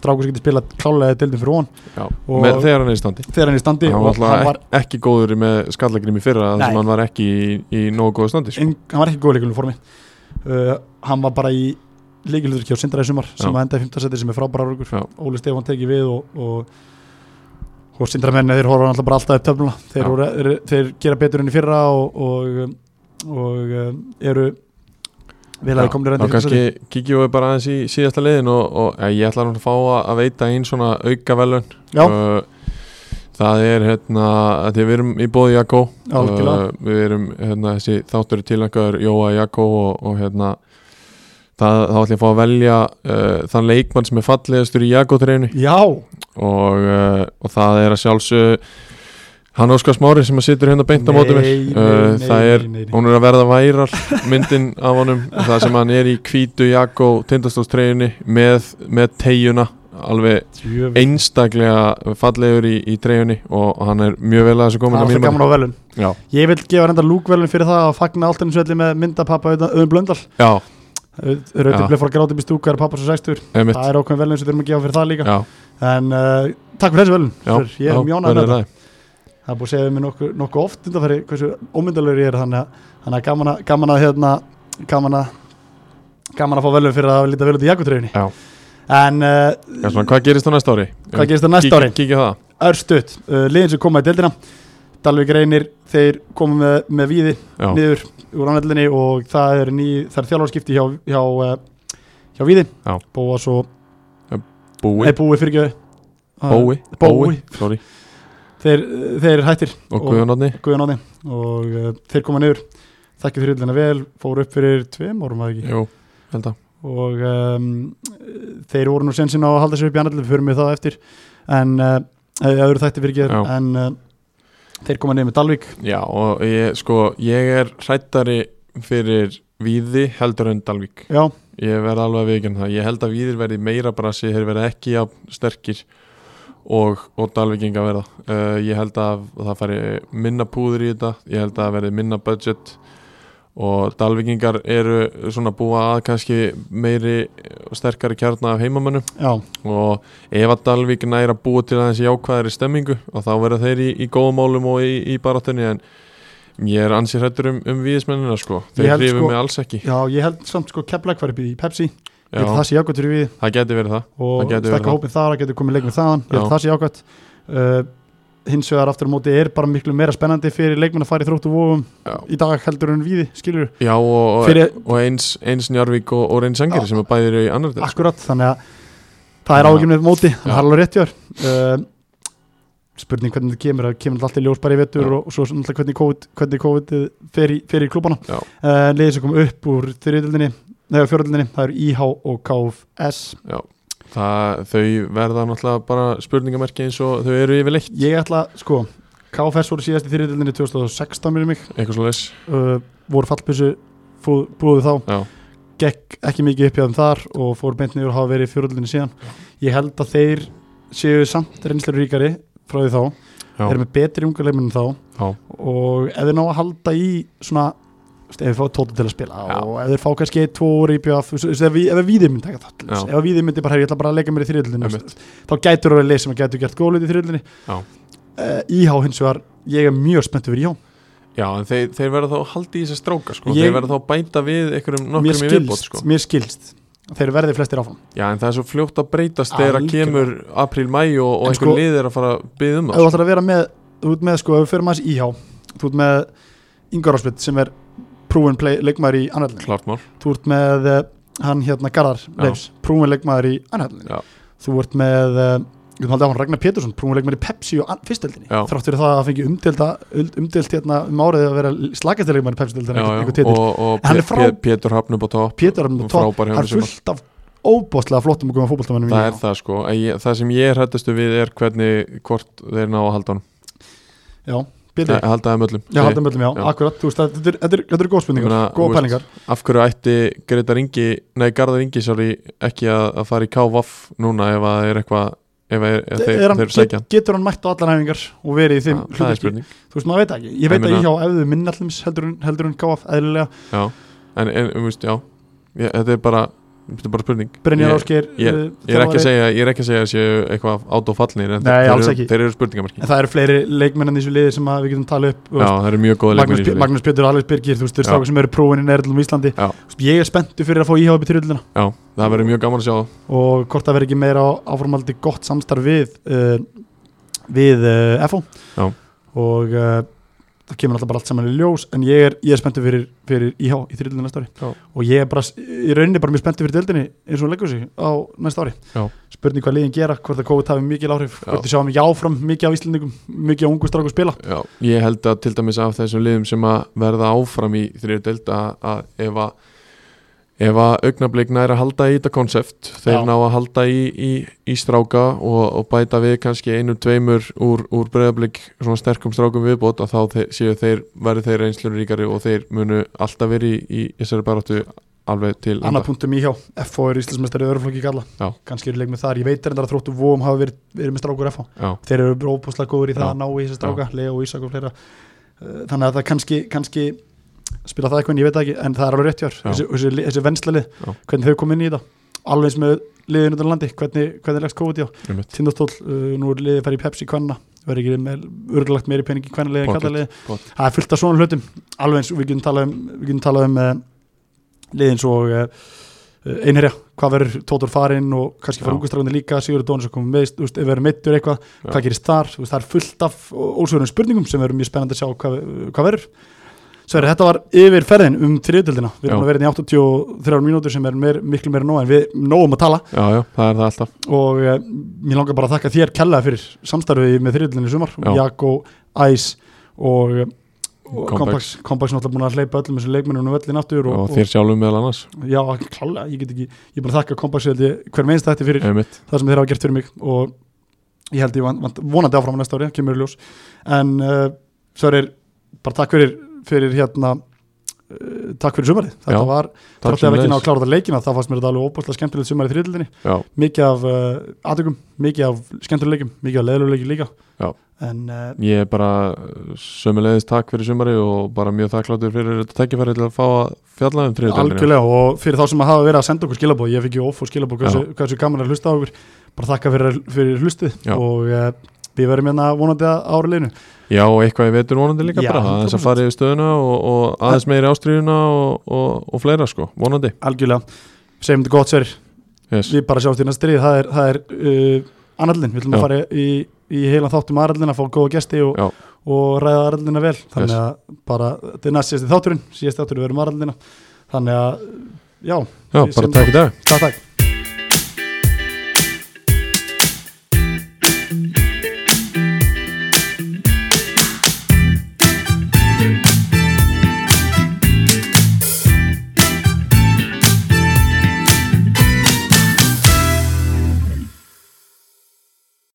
Speaker 1: strákur sem getur spilað klálega í deildum fyrir hon
Speaker 2: Já.
Speaker 1: Og-
Speaker 2: Með, þegar hann er í standi
Speaker 1: þegar hann er í standi
Speaker 2: hann
Speaker 1: og
Speaker 2: var alltaf ekki góður með skallagrim í fyrra þar
Speaker 1: Nei.
Speaker 2: sem hann var ekki í, í nógu góðu standi sko.
Speaker 1: en, hann var ekki góð leikulum formi uh, hann var bara í leikilhudurki á Sindra í sumar sem
Speaker 2: Já.
Speaker 1: að enda í 15 seti sem er frábæra rúkur
Speaker 2: Já.
Speaker 1: Óli Stefán tekið við og, og, og Sindra menni þeir horfa alltaf bara alltaf upp töfluna þeir,
Speaker 2: Já.
Speaker 1: voru, er, þeir gera betur enn í fyrra og, og, um, og um, eru vel að
Speaker 2: Já,
Speaker 1: þeir komnir
Speaker 2: þá
Speaker 1: enn í 15
Speaker 2: kannski
Speaker 1: seti
Speaker 2: kíkjum við bara aðeins í síðasta liðin og, og ja, ég ætla hann að fá að að veita einn svona auka velun
Speaker 1: Já.
Speaker 2: það er hérna að því við erum í bóði Jakko
Speaker 1: algjörlega
Speaker 2: Uh, við erum hérna, þessi þáttur tilhengar Jóa Jakko og, og hérna það, þá ætlum ég að fá að velja uh, þann leikmann sem er fallegastur í Jakko treyfni
Speaker 1: já,
Speaker 2: og, uh, og það er að sjálfsög hann Óskar Smári sem að situr hérna beint á móti mér
Speaker 1: Nei, nei,
Speaker 2: Uh,
Speaker 1: nei,
Speaker 2: það er,
Speaker 1: nei, nei, nei.
Speaker 2: hún er að verða værar myndin af honum, það sem hann er í hvítu Jakko tindastóðstreyjunni með, með teyjuna alveg
Speaker 1: Djöfull.
Speaker 2: Mm. einstaklega fallegur í, í treyjunni og hann er mjög vel að þessu
Speaker 1: það er
Speaker 2: komin að
Speaker 1: alltaf
Speaker 2: mínum
Speaker 1: gaman á velun
Speaker 2: mati. Já.
Speaker 1: ég vil gefa reynda lúkvelun fyrir það að fagna alltaf eins og allir með myndapappa auðvitað blöndal
Speaker 2: Já, Já.
Speaker 1: auðvitað bleið fór að gráta upp í stúka er pappa svo 60
Speaker 2: einmitt
Speaker 1: það er okkur velun sem þurfum að gefa fyrir það líka
Speaker 2: Já,
Speaker 1: en uh, takk fyrir þessu velun
Speaker 2: já,
Speaker 1: Sverrir. ég
Speaker 2: já,
Speaker 1: er mjónað með
Speaker 2: verður
Speaker 1: þetta
Speaker 2: það.
Speaker 1: það er búið að segja við mér nokkuð nokku oft undanfæri hversu ómyndalur ég er þannig að, þannig að gaman, að, gaman að hérna gaman að gaman að fá velun fyrir að líta vel út í jakutreyjunni
Speaker 2: Já.
Speaker 1: en uh,
Speaker 2: Já, svona, hvað gerist á næsta ári?
Speaker 1: hvað gerist það næsta ári?
Speaker 2: Kíkja á það
Speaker 1: Örstuðt, uh, liðin sem koma í deildina Dalvik reynir, þeir komu með, með víði
Speaker 2: Já,
Speaker 1: niður úr anveldinni og það er, ný, það er þjálfarskipti hjá, hjá, uh, hjá Víði
Speaker 2: Já.
Speaker 1: Bóa svo,
Speaker 2: búi,
Speaker 1: eða Bói fyrir
Speaker 2: bói, bói,
Speaker 1: Bói.
Speaker 2: sorry
Speaker 1: þeir, þeir hættir
Speaker 2: Og Guðjón Átni,
Speaker 1: Guðjón Átni og uh, þeir koma niður þakkið fyrir yllina vel, fóru upp fyrir tveim árum að ekki
Speaker 2: jú, held að
Speaker 1: og um, þeir voru nú sensin á að halda sér upp í annaðlega, við förum við það eftir en uh, eða öðru þætti fyrir
Speaker 2: Já.
Speaker 1: ekki en uh, þeir koma niður með Dalvik
Speaker 2: Já, og ég, sko, ég er hrættari fyrir Víði heldur en Dalvík
Speaker 1: já,
Speaker 2: Ég verð alveg að viðkjörn það Ég held að Víðir verði meira brasi, þeir verði ekki jafn sterkir og, og Dalvíkinga verða Eh, uh, Ég held að það fari minna púður í þetta Ég held að það verði minna budget og Dalvíkingar eru svona búa að kannski meiri og sterkari kjarna af heimamönnum
Speaker 1: já,
Speaker 2: og ef að Dalvík næra búa til aðeins jákvæðari stemmingu og þá verða þeir í, í góðum málum og í, í baráttunni en ég er ansið hrættur um, um viðismennina sko,
Speaker 1: Ég
Speaker 2: þeir
Speaker 1: held,
Speaker 2: hrifum
Speaker 1: sko-
Speaker 2: mig alls ekki
Speaker 1: já, ég held samt sko keflæk var upp í Pepsi, ég
Speaker 2: Já,
Speaker 1: held það sé jákvæmt fyrir við
Speaker 2: það geti verið það
Speaker 1: og
Speaker 2: Það gæti verið
Speaker 1: stekka
Speaker 2: það.
Speaker 1: hópin þar, það getur komið leikmenn þaðan ég held
Speaker 2: Já.
Speaker 1: það sé jákvæmt uh, hins vegar aftur á móti er bara miklu meira spennandi fyrir leikmenn að fara í þróttu vofum
Speaker 2: Já.
Speaker 1: í dag heldur en við, skilur
Speaker 2: Já og, og,
Speaker 1: Fyrir-
Speaker 2: og eins, eins Njarvík og, og Reyns Angeri
Speaker 1: Já.
Speaker 2: sem er bæðir í annar del
Speaker 1: akkurat, þannig að það er
Speaker 2: Já.
Speaker 1: ágjum með móti, þannig að
Speaker 2: Já.
Speaker 1: það er alveg rétt hjá þér. uh, spurning hvernig þetta kemur það kemur alltaf í ljós bara í vettur
Speaker 2: Já.
Speaker 1: og, og svo náttúrulega hvernig COVID, hvernig COVID fer, í, fer í klúbana
Speaker 2: Já.
Speaker 1: uh, liðið sem kom upp úr þriðildinni neða fjóruldinni, það eru IH og KFS
Speaker 2: Það, þau verða náttúrulega bara spurningamerki eins og þau eru yfirleitt
Speaker 1: ég ætla, sko KFS voru síðast í þriðildinni 2016 mér mig,
Speaker 2: eitthvað svo leis
Speaker 1: uh, voru fallbissu búðu þá
Speaker 2: Já,
Speaker 1: gekk ekki mikið upp hjá þeim þar og fór beint niður og hafa verið í fjóruldinni síðan ég held að þeir séu samt reynslur ríkari frá því þá
Speaker 2: já,
Speaker 1: eru með betri ungarleiminn en þá
Speaker 2: já,
Speaker 1: og ef þeir ná að halda í svona, þú veist, ef þeir fá tóta til að spila
Speaker 2: Já.
Speaker 1: og ef þeir fá kannski 1-2 úr í bjöf ef við- ef viðið myndi taka það til dæmis,
Speaker 2: Já.
Speaker 1: ef viðið myndi bara, "Herri, ég ætla bara að leika mér í þriðlunni
Speaker 2: einmitt.
Speaker 1: þá gætur það að leysa, maður gætur gert góðlut í þriðlunni
Speaker 2: Já.
Speaker 1: uh, Íhá hins vegar, ég er mjög spennt yfir Íhá
Speaker 2: já en þeir, þeir verða þá að halda í þessi stróka sko.
Speaker 1: Ég-
Speaker 2: Þeir verða þá að bæta við einhverjum
Speaker 1: mér
Speaker 2: nokkrum í viðbót
Speaker 1: skilst,
Speaker 2: sko.
Speaker 1: mér skilst þeir verði flestir áfram
Speaker 2: Já, en það er svo fljótt að breytast þegar að
Speaker 1: Algjörlega.
Speaker 2: kemur apríl, mæ og, og
Speaker 1: En
Speaker 2: einhver
Speaker 1: sko-
Speaker 2: lið er að fara að byggja
Speaker 1: ef þú
Speaker 2: um það sko.
Speaker 1: ætlar að vera með, þú ert með sko, ef við fyrir maður Íhá þú ert með Ingar Ásbjörn sem er proven play, leikmaður í annaðlun
Speaker 2: Klart mál,
Speaker 1: þú ert með uh, hann hérna Garðar Leifs, prúinleikmaður í annaðlunni
Speaker 2: Já.
Speaker 1: þú ert með uh, við höfum haldið á hann Ragnar Pétursson, prúinleikmaður í Pepsi og fyrstöldinni,
Speaker 2: Já.
Speaker 1: þrátt fyrir það að fengi umdelda, umdelt hérna um árið að vera slakastileikmaður í Pepsi-deldinni,
Speaker 2: já, já,
Speaker 1: einhver titill
Speaker 2: og, og
Speaker 1: Hann er
Speaker 2: Pé-
Speaker 1: frá-
Speaker 2: Pé- Pétur Hafn upp á topp
Speaker 1: Pétur er með topp,
Speaker 2: frábær
Speaker 1: hann
Speaker 2: hjá
Speaker 1: er
Speaker 2: mér sem
Speaker 1: fullt af óbóðslega flottum og góðum fótboltamennum
Speaker 2: Það er það sko, En ég, það sem ég er hættastu við er hvernig hvort þeir ná að halda honum
Speaker 1: Já, Pétur,
Speaker 2: Nei, Halda þeim öllum
Speaker 1: já, haldum öllum, já,
Speaker 2: Já.
Speaker 1: akkurat þú veist, það- þetta er- þetta er- þetta eru góð spurningar,
Speaker 2: Ég meina, þú
Speaker 1: góða
Speaker 2: veist,
Speaker 1: pælingar
Speaker 2: Af hverju ætti Gretar Ingi, nei Garðar Ingi sorry, ekki að, að fara í KVF núna ef að það er eitthvað ef, að- ef þeir,
Speaker 1: Er hann-
Speaker 2: þeir sækja hann
Speaker 1: Getur hann mætt á allar hæfingar og verið í þeim
Speaker 2: Já, Það er
Speaker 1: hlutverki?
Speaker 2: spurning
Speaker 1: Þú veist, maður veit það ekki, ég veit
Speaker 2: Ég
Speaker 1: að
Speaker 2: meina-
Speaker 1: ég hjá ef þau minn allims heldur en, heldur en KF eðlilega
Speaker 2: já. En, en um, veist, já ég, Þetta er bara, þetta er bara spurning
Speaker 1: Brynjar
Speaker 2: Ég-
Speaker 1: Ásgeir
Speaker 2: ég,
Speaker 1: uh,
Speaker 2: ég er ekki að
Speaker 1: þjálfari.
Speaker 2: segja, ég er ekki að segja að séu eitthvað át og fallnir en
Speaker 1: Nei,
Speaker 2: þeir,
Speaker 1: alls
Speaker 2: þeir,
Speaker 1: ekki.
Speaker 2: eru, þeir eru spurningamarki
Speaker 1: En það eru fleiri leikmennan í þessu liði sem að við getum talið upp þú
Speaker 2: Já,
Speaker 1: veist,
Speaker 2: það eru mjög góða
Speaker 1: Magnús,
Speaker 2: leikmenn í
Speaker 1: Björ,
Speaker 2: þessu lið.
Speaker 1: Magnús Björn Alves Birgir, þú veist, þeir
Speaker 2: Já.
Speaker 1: strákar sem eru prófin í neðurlum í Íslandi
Speaker 2: Já.
Speaker 1: Þú veist, Ég er spenntu fyrir að fá íhá upp í trillina
Speaker 2: Já, það verður mjög gaman að sjá það.
Speaker 1: og hvort það verður ekki meira á- áformaldi gott samstarf við uh, við uh, FO
Speaker 2: Já.
Speaker 1: og uh, það kemur alltaf bara allt saman í ljós en ég er, ég er spenntu fyrir, fyrir IH í þrjöldinu næsta ári
Speaker 2: Já.
Speaker 1: og ég er bara, s- í rauninni bara mjög spenntu fyrir dildinni eins og hún leggur sig á næsta ári
Speaker 2: Já.
Speaker 1: spurning hvað liðin gera, hvort það COVID hafi mikil áhrif
Speaker 2: Já.
Speaker 1: hvort þið sjáum ekki áfram mikið á Íslandingum mikið á ungu stráku spila
Speaker 2: Já, ég held að til dæmis af þessum liðum sem að verða áfram í þriðu delta að ef að ef að augnablik næra halda í þetta konsept þeir
Speaker 1: Já.
Speaker 2: ná að halda í, í, í stráka og, og bæta við kannski einu tveimur úr, úr breyðablik svona sterkum strákum viðbót að þá þeir, séu þeir verði þeir einslur ríkari og þeir munu alltaf verið í, í þessari baráttu alveg til
Speaker 1: annar punktum í hjá, FO er Íslandsmeistari öruflokki kalla,
Speaker 2: Já.
Speaker 1: kannski eru leik með þar ég veit reyndar að þróttu vóum hafa verið, verið með strákur FO
Speaker 2: Já,
Speaker 1: þeir eru bara óbúslega góður í það
Speaker 2: Já.
Speaker 1: að ná í þessi stráka Leo og Ísak og fleira Uh, þannig að það kannski, kannski spila það eitthvað en ég veit það ekki, en það er alveg rétt hjár
Speaker 2: Já.
Speaker 1: þessi, þessi, li- þessi venslalið,
Speaker 2: Já.
Speaker 1: hvernig þau komið inn í þetta alveg eins með liðin undan landi hvernig, hvernig leggst COVID í á,
Speaker 2: einmitt,
Speaker 1: tindastól uh, nú er liðið færið í Pepsi kvenna verður ekki með örgulagt meiri pening í kvennaliði en
Speaker 2: Pocket,
Speaker 1: kallaliði,
Speaker 2: pocket.
Speaker 1: það er fullt af svona hlutum alveg eins, og við getum talað um, við getum talað um uh, liðin svo uh, einherja, hvað verður Tóttur farinn og kannski fara
Speaker 2: Já.
Speaker 1: ungustrákunni líka Sigurður Dónus að koma með, þú veist, ef verður meittur eitthvað
Speaker 2: Já.
Speaker 1: hvað gerist þar, þú veist, það er fullt af ósvörum spurningum sem verður mjög spennandi að sjá hvað, hvað verður Sveir, þetta var yfir ferðin um þriðutöldina, við erum
Speaker 2: Já.
Speaker 1: að vera hérna í 83 mínútur sem er meir, miklu meira en nóg en við nógum að tala
Speaker 2: já, já, það er það alltaf
Speaker 1: og uh, mér langar bara að þakka þér kella fyrir samstarfið með þriðlunni sumar
Speaker 2: Já.
Speaker 1: Jakko, Æs og Kompaks
Speaker 2: Kompaks.
Speaker 1: Kompaks náttúrulega búin að hleypa öllum þessum leikmennum og öllin aftur
Speaker 2: og,
Speaker 1: og,
Speaker 2: þér sjálfum meðal annars
Speaker 1: já, klálega, ég get ekki ég er bara að þakka Kompaks hver meins þetta fyrir
Speaker 2: einmitt,
Speaker 1: það sem þeir hafa gert fyrir mig og ég held ég van, van, vonandi áfram á næsta ári, eh, kemur í ljós en uh, svo er bara takk fyrir, fyrir hérna eh, takk fyrir sumarið, þetta
Speaker 2: Já,
Speaker 1: var
Speaker 2: Takk
Speaker 1: þátti að við ekki ná
Speaker 2: sömuleiðis.
Speaker 1: að klára þetta leikina, þá fannst mér þetta alveg óbúslega skemmtilegt sumar í þriðildinni,
Speaker 2: Já,
Speaker 1: mikið af uh, atökum, mikið af skemmtilegum mikið af leðluleikum líka
Speaker 2: Já.
Speaker 1: en uh,
Speaker 2: ég er bara sömulegðist takk fyrir sumari og bara mjög þakkláttur fyrir þetta tækifæri til að fá að fjalla um þriðutöldinu
Speaker 1: algjörlega og fyrir þá sem að hafa verið að senda okkur skilabóð, ég fikk ju ofur skilabóð hversu,
Speaker 2: Já.
Speaker 1: hversu gaman er að hlusta á okkur, bara þakka fyrir, fyrir hlustið
Speaker 2: Já.
Speaker 1: og uh, við verðum hérna vonandi að ára liðinu
Speaker 2: Já, og eitthvað ég veitur vonandi líka
Speaker 1: Já,
Speaker 2: bara aðeins að
Speaker 1: 100%.
Speaker 2: fara yfir stöðuna og, og aðeins meiri ástriðuna og, og, og fleira sko, vonandi
Speaker 1: algjörlega, segjum þetta gott sér
Speaker 2: yes.
Speaker 1: við bara sjáumst í næsta stríð, það er, það er uh, anallin, við viljum
Speaker 2: Já.
Speaker 1: að fara í, í heilan þáttum aðallina, fá góða gesti og,
Speaker 2: Já.
Speaker 1: og ræða aðallina vel þannig
Speaker 2: Yes.
Speaker 1: að bara, þetta er næst síðasti þátturinn síðasti þátturinn verðum aðallina um þannig að, já,
Speaker 2: Já,
Speaker 1: við
Speaker 2: bara
Speaker 1: sjáum-
Speaker 2: takk í dag
Speaker 1: takk takk